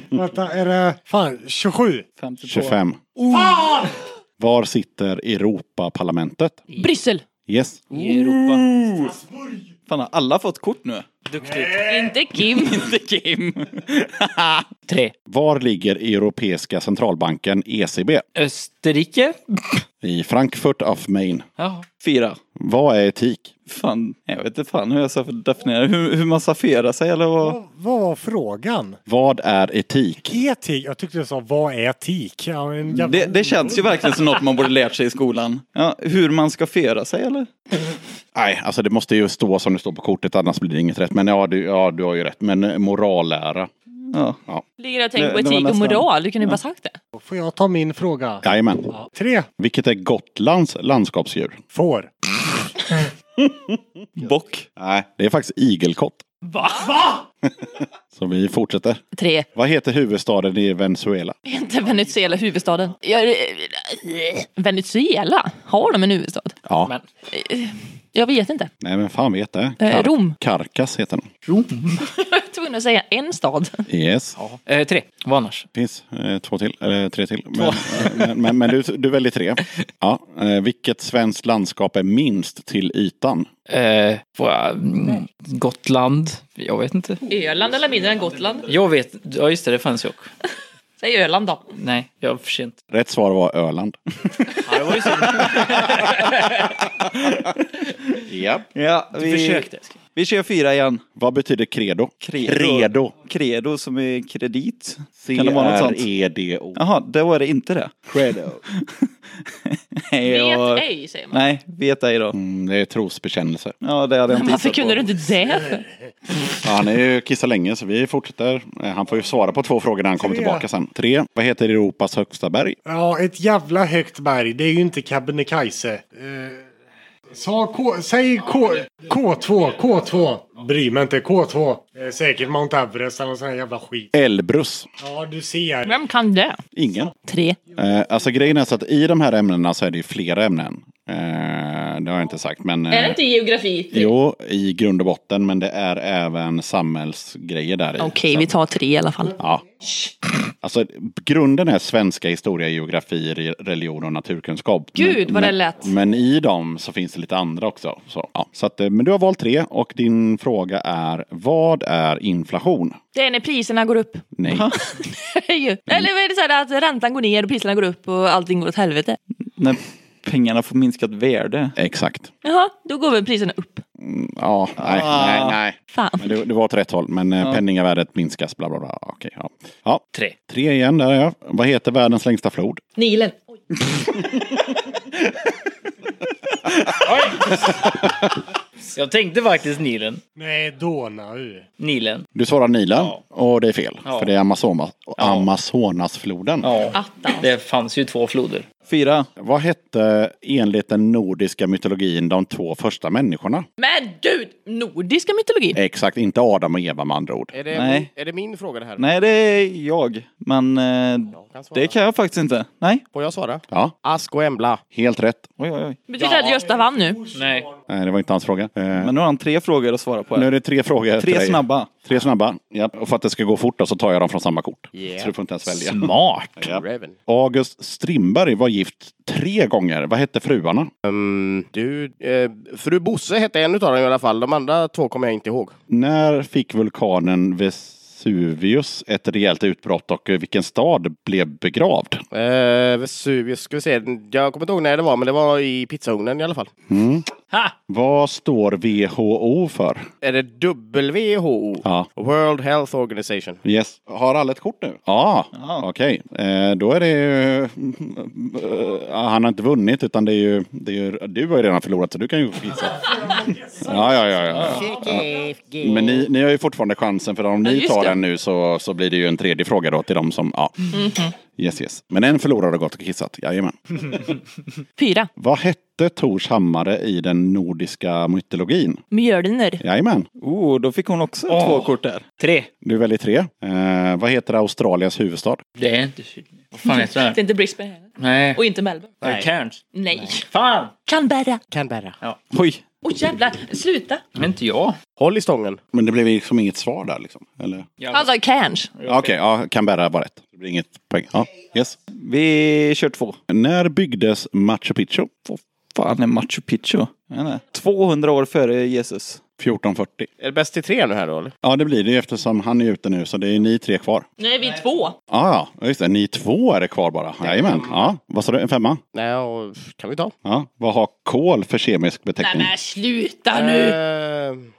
[SPEAKER 4] Vänta, är det... Fan, 27?
[SPEAKER 2] 25. Var sitter Europaparlamentet?
[SPEAKER 1] Bryssel!
[SPEAKER 2] Yes.
[SPEAKER 9] I Europa.
[SPEAKER 7] Fan, har alla fått kort nu?
[SPEAKER 9] Duktigt.
[SPEAKER 1] Inte Kim.
[SPEAKER 7] Inte Kim.
[SPEAKER 9] Tre.
[SPEAKER 2] Var ligger Europeiska centralbanken ECB?
[SPEAKER 9] Österrike.
[SPEAKER 2] I Frankfurt auf Main.
[SPEAKER 9] Ja.
[SPEAKER 7] Fyra.
[SPEAKER 2] Vad är etik?
[SPEAKER 7] Fan, jag vet inte fan hur jag ska definiera hur, hur man saferar sig eller vad.
[SPEAKER 4] Vad, vad var frågan?
[SPEAKER 2] Vad är etik?
[SPEAKER 4] Etik? Jag tyckte du sa vad är etik? Ja, men jävla-
[SPEAKER 7] Det, det känns ju verkligen som något man borde lärt sig i skolan. Ja, hur man ska föra sig eller?
[SPEAKER 2] Nej, alltså det måste ju stå som det står på kortet annars blir det inget rätt. Men ja, du, ja, du har ju rätt. Men eh, morallära.
[SPEAKER 7] Ja.
[SPEAKER 1] Ligger och tänker på
[SPEAKER 7] Det- det var
[SPEAKER 1] etik och
[SPEAKER 7] nästan-
[SPEAKER 1] moral. Du kunde ju bara sagt det.
[SPEAKER 4] Får jag ta min fråga?
[SPEAKER 2] Jajamän.
[SPEAKER 4] Tre.
[SPEAKER 2] Vilket är Gotlands landskapsdjur?
[SPEAKER 4] Får.
[SPEAKER 7] Bock.
[SPEAKER 2] Nej, det är faktiskt igelkott. Va? Så vi fortsätter.
[SPEAKER 1] Tre.
[SPEAKER 2] Vad heter huvudstaden i Venezuela?
[SPEAKER 1] Inte Venezuela, huvudstaden. Jag, Venezuela? Har de en huvudstad?
[SPEAKER 2] Ja,
[SPEAKER 9] Men
[SPEAKER 1] Jag vet inte.
[SPEAKER 2] nej men fan vet det.
[SPEAKER 1] Eh, Rom.
[SPEAKER 2] Caracas heter den.
[SPEAKER 1] Jag var tvungen att säga en stad.
[SPEAKER 2] Yes.
[SPEAKER 9] eh, tre. Vad annars?
[SPEAKER 2] finns eh, två till, eller tre till. Men, eh, men, men, men du, du väljer tre. Ja, eh, vilket svenskt landskap är minst till ytan?
[SPEAKER 9] Eh, får jag, mm, Gotland. Jag vet inte.
[SPEAKER 1] Öland eller mindre än Gotland?
[SPEAKER 9] Jag vet. Ja just det, det fanns ju också.
[SPEAKER 1] Säg Öland då.
[SPEAKER 9] Nej, jag var för sent.
[SPEAKER 2] Rätt svar var Öland.
[SPEAKER 9] Ja, det var ju synd.
[SPEAKER 2] Japp.
[SPEAKER 7] Ja,
[SPEAKER 9] Du
[SPEAKER 7] vi,
[SPEAKER 9] försökte.
[SPEAKER 7] vi kör fyra igen.
[SPEAKER 2] Vad betyder credo?
[SPEAKER 7] Credo.
[SPEAKER 2] credo.
[SPEAKER 7] Credo som är kredit. Kan det vara något sånt?
[SPEAKER 2] E C-R-E-D-O.
[SPEAKER 7] Jaha, det var det inte det.
[SPEAKER 2] Credo.
[SPEAKER 7] Nej, och-
[SPEAKER 1] Vet ej, säger man.
[SPEAKER 7] Nej, vet ej då.
[SPEAKER 2] Mm, det är trosbekännelse.
[SPEAKER 7] Ja, det hade jag inte
[SPEAKER 1] Varför
[SPEAKER 7] gissat
[SPEAKER 1] kunde
[SPEAKER 7] på.
[SPEAKER 1] du inte det? för?
[SPEAKER 2] Ja, Han är ju kissa länge så vi fortsätter. Eh, Han får ju svara på två frågor när han kommer
[SPEAKER 4] Tre.
[SPEAKER 2] tillbaka sen. Tre. Vad heter Europas högsta berg?
[SPEAKER 4] Ja, ett jävla högt berg. Det är ju inte Kebnekaise. Eh, sa K, säg K, K2, K2. Bryr mig inte, K2. Eh, säkert Mount Everest eller någon sån här jävla skit.
[SPEAKER 2] Elbrus.
[SPEAKER 4] Ja, du ser.
[SPEAKER 1] Vem kan det?
[SPEAKER 2] Ingen.
[SPEAKER 1] Tre.
[SPEAKER 2] Eh, alltså grejen är så att i de här ämnena så är det ju flera ämnen. Eh, det har jag inte sagt. Men, eh,
[SPEAKER 1] geografi?
[SPEAKER 2] Jo, i grund och botten, men det är även samhällsgrejer där i.
[SPEAKER 1] Okej,
[SPEAKER 2] Så
[SPEAKER 1] vi
[SPEAKER 2] att-
[SPEAKER 1] tar tre i alla fall.
[SPEAKER 2] Ja. Alltså, grunden är svenska, historia, geografi, re- religion och naturkunskap.
[SPEAKER 1] Gud, vad det
[SPEAKER 2] men,
[SPEAKER 1] lät.
[SPEAKER 2] Men i dem så finns det lite andra också. Så, ja. så att, eh, men du har valt tre och din fråga är vad är inflation?
[SPEAKER 1] Det är när priserna går upp.
[SPEAKER 2] Nej,
[SPEAKER 1] Ju. Eller vad är det så här att räntan går ner och priserna går upp och allting går åt helvete?
[SPEAKER 7] När pengarna får minskat värde.
[SPEAKER 2] exakt.
[SPEAKER 1] Jaha, då går väl priserna upp.
[SPEAKER 2] Mm, Ja, nej,
[SPEAKER 1] Ah.
[SPEAKER 2] nej, nej.
[SPEAKER 1] Fan.
[SPEAKER 2] Men det, det var åt rätt håll, men ja. penningvärdet minskas, bla bla bla. Okej, ja. Ja,
[SPEAKER 9] Tre.
[SPEAKER 2] tre igen där ja. Vad heter världens längsta flod?
[SPEAKER 1] Nilen.
[SPEAKER 9] Jag tänkte faktiskt Nilen.
[SPEAKER 4] Nej, Donau.
[SPEAKER 9] Nilen.
[SPEAKER 2] Du svarar Nilen och det är fel, för det är Amazoma, Amazonasfloden.
[SPEAKER 9] Ja. Det fanns ju två floder.
[SPEAKER 7] Fyra.
[SPEAKER 2] Vad hette enligt den nordiska mytologin de två första människorna?
[SPEAKER 1] Men gud, nordiska mytologin.
[SPEAKER 2] Exakt, inte Adam och Eva med andra ord.
[SPEAKER 5] Är det,
[SPEAKER 7] Nej.
[SPEAKER 5] Min, är det min fråga det här?
[SPEAKER 7] Nej, det är jag. Men eh,
[SPEAKER 5] kan svara.
[SPEAKER 7] det kan jag faktiskt inte. Nej.
[SPEAKER 5] Får jag svara?
[SPEAKER 2] Ja,
[SPEAKER 5] Ask och Embla.
[SPEAKER 2] helt rätt.
[SPEAKER 7] Oj, oj, oj.
[SPEAKER 1] Betyder det att Gösta vann nu?
[SPEAKER 9] Nej.
[SPEAKER 2] Nej, det var inte hans fråga. Eh,
[SPEAKER 7] Men nu har han tre frågor att svara på.
[SPEAKER 2] nu
[SPEAKER 7] Här.
[SPEAKER 2] är det tre frågor. till
[SPEAKER 7] Tre
[SPEAKER 2] dig.
[SPEAKER 7] snabba.
[SPEAKER 2] Tre snabba. Ja, och för att det ska gå fort då, så tar jag dem från samma kort. Så du får inte ens välja.
[SPEAKER 9] Smart.
[SPEAKER 2] Ja.
[SPEAKER 5] Raven.
[SPEAKER 2] August Strindberg var gift tre gånger. Vad hette fruarna?
[SPEAKER 5] Mm, du, eh, fru Bosse hette en utav dem i alla fall. De andra två kommer jag inte ihåg.
[SPEAKER 2] När fick vulkanen Vesuvius ett rejält utbrott och vilken stad blev begravd?
[SPEAKER 5] Eh, Vesuvius, ska vi se. Jag kommer inte ihåg när det var, men det var i pizzaugnen i alla fall.
[SPEAKER 2] Mm. Vad står WHO för?
[SPEAKER 5] Är det WHO?
[SPEAKER 2] Ja.
[SPEAKER 5] World Health Organization.
[SPEAKER 2] Yes. Har alla ett kort nu? Ja, okej. Eh, då är det ju... eh, han har inte vunnit utan det är ju... Det är ju du har ju redan förlorat så du kan ju gissa. ja, ja, ja. ja. Men ni, ni har ju fortfarande chansen för om
[SPEAKER 1] Ja,
[SPEAKER 2] ni
[SPEAKER 1] just
[SPEAKER 2] tar
[SPEAKER 1] det.
[SPEAKER 2] den nu så, så blir det ju en tredje fråga då till de som... Ja.
[SPEAKER 1] Mhm.
[SPEAKER 2] Yes, yes. Men en förlorare har gått och kissat. Jajamän.
[SPEAKER 1] Fyra.
[SPEAKER 2] Vad hette Tors hammare i den nordiska mytologin?
[SPEAKER 1] Mjölner.
[SPEAKER 2] Jajamän.
[SPEAKER 7] Oh, då fick hon också två kort där.
[SPEAKER 9] Tre.
[SPEAKER 2] Du väljer tre. Eh, vad heter Australiens huvudstad?
[SPEAKER 9] Det är inte Sydney. Vad fan heter
[SPEAKER 1] Det är inte Brisbane heller.
[SPEAKER 9] Nej.
[SPEAKER 1] Och inte Melbourne.
[SPEAKER 9] Nej. Cairns.
[SPEAKER 1] Nej.
[SPEAKER 9] Fan!
[SPEAKER 1] Canberra.
[SPEAKER 5] Canberra.
[SPEAKER 7] Oj,
[SPEAKER 1] Åh jävlar, sluta.
[SPEAKER 9] Inte jag.
[SPEAKER 5] Håll i stången.
[SPEAKER 2] Men det blev liksom inget svar där liksom? Eller?
[SPEAKER 1] Han sa Alltså, Cairns.
[SPEAKER 2] Ja, Okej, ja, Canberra var rätt. Det blir inget poäng. Ja, yes.
[SPEAKER 7] vi kör två.
[SPEAKER 2] När byggdes Machu Picchu?
[SPEAKER 7] Vad fan är Machu Picchu? Jag vet inte. 200 år före Jesus.
[SPEAKER 2] 1440.
[SPEAKER 5] Är det bäst i tre nu här då? Eller?
[SPEAKER 2] Ja, det blir det ju eftersom han är ute nu, så det är ni tre kvar.
[SPEAKER 1] Nu är vi två.
[SPEAKER 2] Ja, ja, just det. Ni två är det kvar bara. Jajamän. Ja, vad sa du? En femma?
[SPEAKER 5] Nej, och, kan vi ta?
[SPEAKER 2] Ja. Vad har kol för kemisk
[SPEAKER 1] Nej
[SPEAKER 2] beteckning?
[SPEAKER 1] men sluta nu.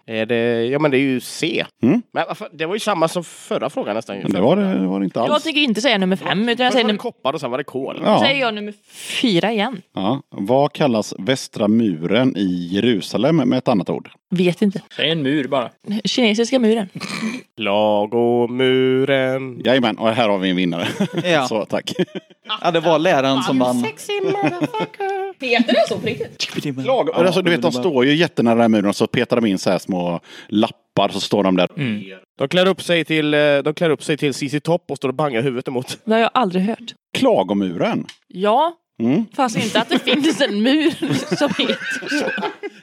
[SPEAKER 5] Eh, är det, ja men det är ju C. Men vad fan, det var ju samma som förra frågan nästan. Ju.
[SPEAKER 2] Men Mm? det var det, det var det inte
[SPEAKER 1] Jag
[SPEAKER 2] alls.
[SPEAKER 1] tänker inte säga nummer fem utan jag
[SPEAKER 5] Först
[SPEAKER 1] säger,
[SPEAKER 5] var det
[SPEAKER 1] num-
[SPEAKER 5] koppar och sen var det kol.
[SPEAKER 1] säger
[SPEAKER 2] Ja,
[SPEAKER 1] jag nummer fyra igen.
[SPEAKER 2] ja. Vad kallas västra muren i Jerusalem med ett annat ord?
[SPEAKER 1] Vet inte.
[SPEAKER 9] Det är en mur bara.
[SPEAKER 1] Kinesiska muren.
[SPEAKER 5] Lagomuren.
[SPEAKER 2] Jajamän, och här har vi en vinnare.
[SPEAKER 7] Ja.
[SPEAKER 2] Så tack.
[SPEAKER 7] Ja, det var läraren som vann.
[SPEAKER 1] Heter det så på riktigt?
[SPEAKER 2] Lag, alltså, du vet, de står ju jättenära den här muren och så petar de in så här små lappar så står de där.
[SPEAKER 1] Mm.
[SPEAKER 5] De klär upp sig till, eh, de klär upp sig till CC Topp och står och bangar huvudet emot.
[SPEAKER 1] Det har jag aldrig hört.
[SPEAKER 2] Klagomuren.
[SPEAKER 1] Ja,
[SPEAKER 2] Mm.
[SPEAKER 1] fast inte att det finns en mur som heter så.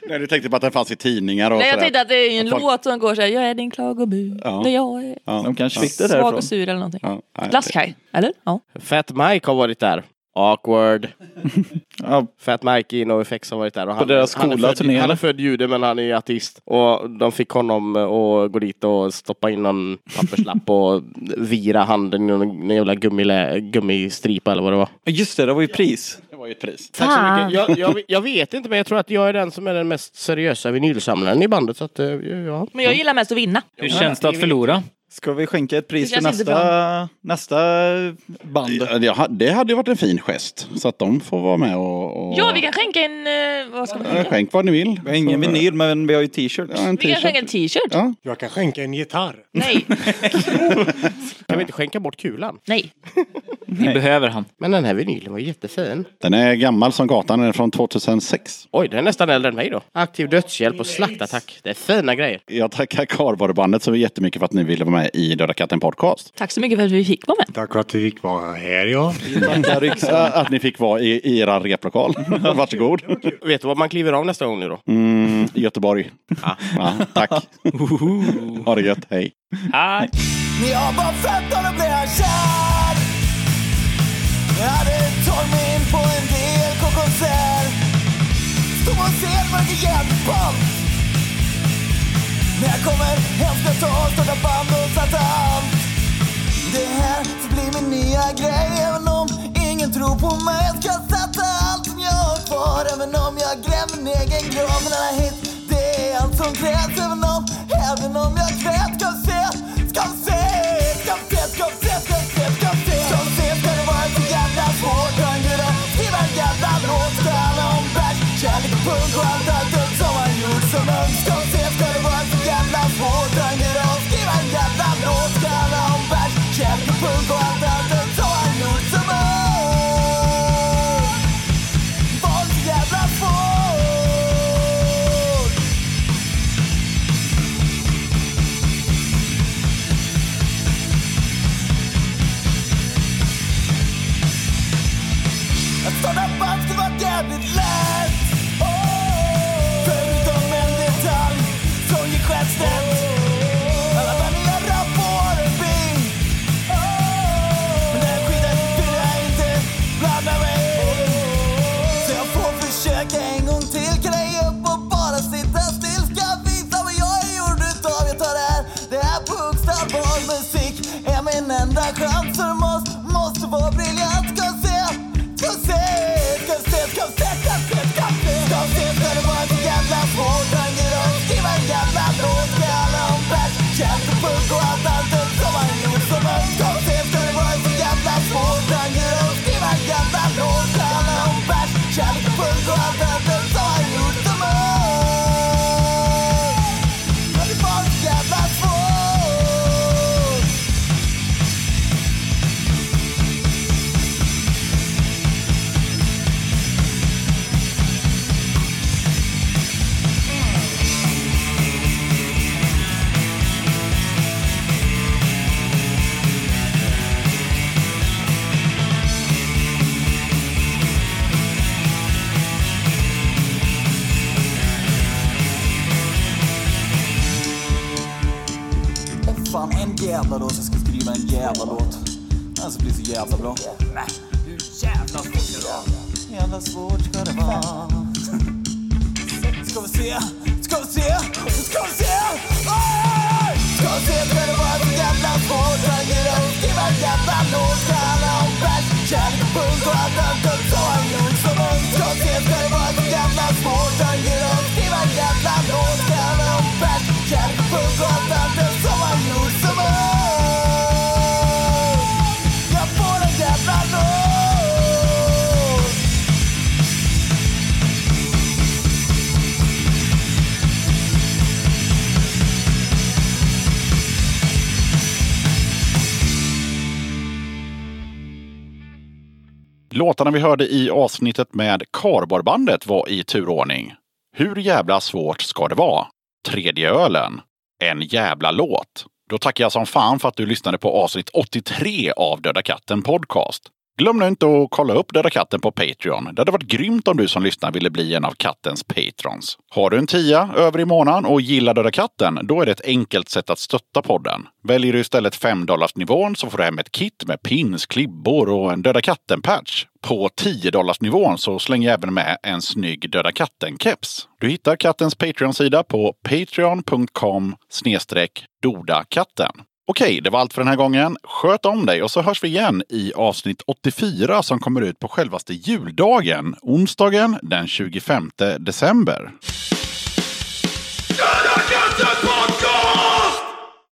[SPEAKER 2] Nej, du tänkte på att den fanns i tidningar och
[SPEAKER 1] Nej, jag
[SPEAKER 2] sådär.
[SPEAKER 1] tänkte att det är en
[SPEAKER 2] Folk-
[SPEAKER 1] låt som går så här. Jag är din klagomur.
[SPEAKER 2] Ja.
[SPEAKER 1] När jag är
[SPEAKER 2] Ja.
[SPEAKER 7] De kanske fick det
[SPEAKER 1] svag
[SPEAKER 7] därifrån.
[SPEAKER 1] och sur eller någonting.
[SPEAKER 2] Ja, nej.
[SPEAKER 1] Glasskaj, eller? Ja.
[SPEAKER 5] Fat Mike har varit där. Awkward.
[SPEAKER 7] Ja,
[SPEAKER 5] Fat Mike i NoFX har varit där. Och han,
[SPEAKER 7] deras
[SPEAKER 5] han är
[SPEAKER 7] coola
[SPEAKER 5] född-
[SPEAKER 7] turné,
[SPEAKER 5] Han är
[SPEAKER 7] eller?
[SPEAKER 5] född jude men han är ateist. Och de fick honom eh, att gå dit och stoppa in någon papperslapp och vira handen i någon jävla gummilä, gummistripa eller vad det var.
[SPEAKER 7] just det, det var ju pris.
[SPEAKER 2] Det var ju ett pris.
[SPEAKER 5] Tack så mycket. Jag, jag, jag vet inte men jag tror att jag är den som är den mest seriösa vinylsamlaren i bandet. Så att, eh, ja.
[SPEAKER 1] Men jag gillar mest att vinna.
[SPEAKER 9] Hur känns det att förlora?
[SPEAKER 7] Ska vi skänka ett pris
[SPEAKER 1] Det
[SPEAKER 7] för
[SPEAKER 1] känns inte
[SPEAKER 7] nästa, nästa band?
[SPEAKER 2] Ja, det ha- Det hade ju varit en fin gest. Så att de får vara med och... och...
[SPEAKER 1] Ja, vi kan skänka en... eh, Vad ska man
[SPEAKER 2] Ja,
[SPEAKER 1] skänka?
[SPEAKER 2] Skänk vad ni vill.
[SPEAKER 7] Vi har ingen
[SPEAKER 2] Så-
[SPEAKER 7] vinyl, men vi har ju t-shirts.
[SPEAKER 2] Ja, en
[SPEAKER 1] Vi kan skänka en
[SPEAKER 2] t-shirt.
[SPEAKER 1] t-shirt.
[SPEAKER 2] Ja.
[SPEAKER 4] Jag kan skänka en gitarr.
[SPEAKER 1] Nej,
[SPEAKER 5] Kan vi inte skänka bort kulan?
[SPEAKER 1] nej.
[SPEAKER 9] Ni behöver han.
[SPEAKER 5] Men den här vinylen var jättefin.
[SPEAKER 2] Den är gammal som gatan. Den är från 2006.
[SPEAKER 5] Oj, den är nästan äldre än mig då. Aktiv dödshjälp och slaktattack. Det är fina grejer.
[SPEAKER 2] Jag tackar Karlborrebandet så jättemycket för att ni ville vara med i Döda katten podcast.
[SPEAKER 1] Tack så mycket för att vi fick vara med.
[SPEAKER 4] Tack för att vi fick vara här ja.
[SPEAKER 2] Äh, Att ni fick vara i, i era replokal. Varsågod.
[SPEAKER 5] Vet du vad man kliver av nästa gång nu då?
[SPEAKER 2] Mm, Göteborg. Ja, tack. ha det gött. Hej.
[SPEAKER 9] Ah,
[SPEAKER 10] När jag var 15 och blev jag kär Jag hade tagit mig in på en DLK-konsert Stod och ser Margit band När jag kommer hem ska jag ta och starta band och sätta hand Det här får bli min nya grej Även om ingen tror på mig Jag ska satsa allt som jag har kvar Även om jag gräver min egen grav Men alla hit, det är allt som krävs Även om, även om jag grät Ska vi se, ska vi se Ska vi se, ska vi se, ska vi se, ska vi se Ska vi se, ska det vara så jävla svårt Kan du då skriva en jävla låt Ska handla om bärs, kärlek och punk Och allt annat dumt som man gjort som ung Ska vi se, ska det vara så jävla svårt Kan du då skriva en jävla låt Ska handla om bärs, kärlek och punk Och allt annat dumt som man gjort som ung Var så jävla svårt Att starta band skulle vara jävligt lätt Förutom en detalj vännen så har vännen så har gjort som oss. Men det var så jävla svårt.
[SPEAKER 7] Åh fan, en jävla låt. Jag ska skriva en jävla låt. Den ska bli så jävla bra. Nej, hur jävla svårt ska det vara? Jävla svårt ska det vara. Ska vi se? Ska vi se? Ska vi se? Oj!
[SPEAKER 10] Ska vi se, det behöver vara så jävla svårt. Han ger upp, skriver en jävla låt. Ska alla om bärs, kärlek och punk och allt annat dumt som han gjort som ung. Ska vi se, ska det vara så jävla svårt. Han ger upp, skriver en jävla låt. Ska alla om bärs, kärlek och punk och allt annat dumt som han gjort som ung. Jag får en jävla låt.
[SPEAKER 2] Låtarna vi hörde i avsnittet med Karborbandet var i turordning. Hur jävla svårt ska det vara? Tredje ölen. En jävla låt. Då tackar jag som fan för att du lyssnade på avsnitt 83 av Döda katten podcast. Glöm nu inte att kolla upp Döda katten på Patreon. Det hade varit grymt om du som lyssnar ville bli en av kattens patrons. Har du en tia över i månaden och gillar Döda katten, då är det ett enkelt sätt att stötta podden. Väljer du istället 5 nivån så får du hem ett kit med pins, klibbor och en Döda katten-patch. På 10 nivån så slänger jag även med en snygg Döda katten-keps. Du hittar kattens Patreon-sida på patreon.com dodakatten. Okej, det var allt för den här gången. Sköt om dig och så hörs vi igen i avsnitt 84 som kommer ut på självaste juldagen, onsdagen den 25 december.
[SPEAKER 10] Döda katten på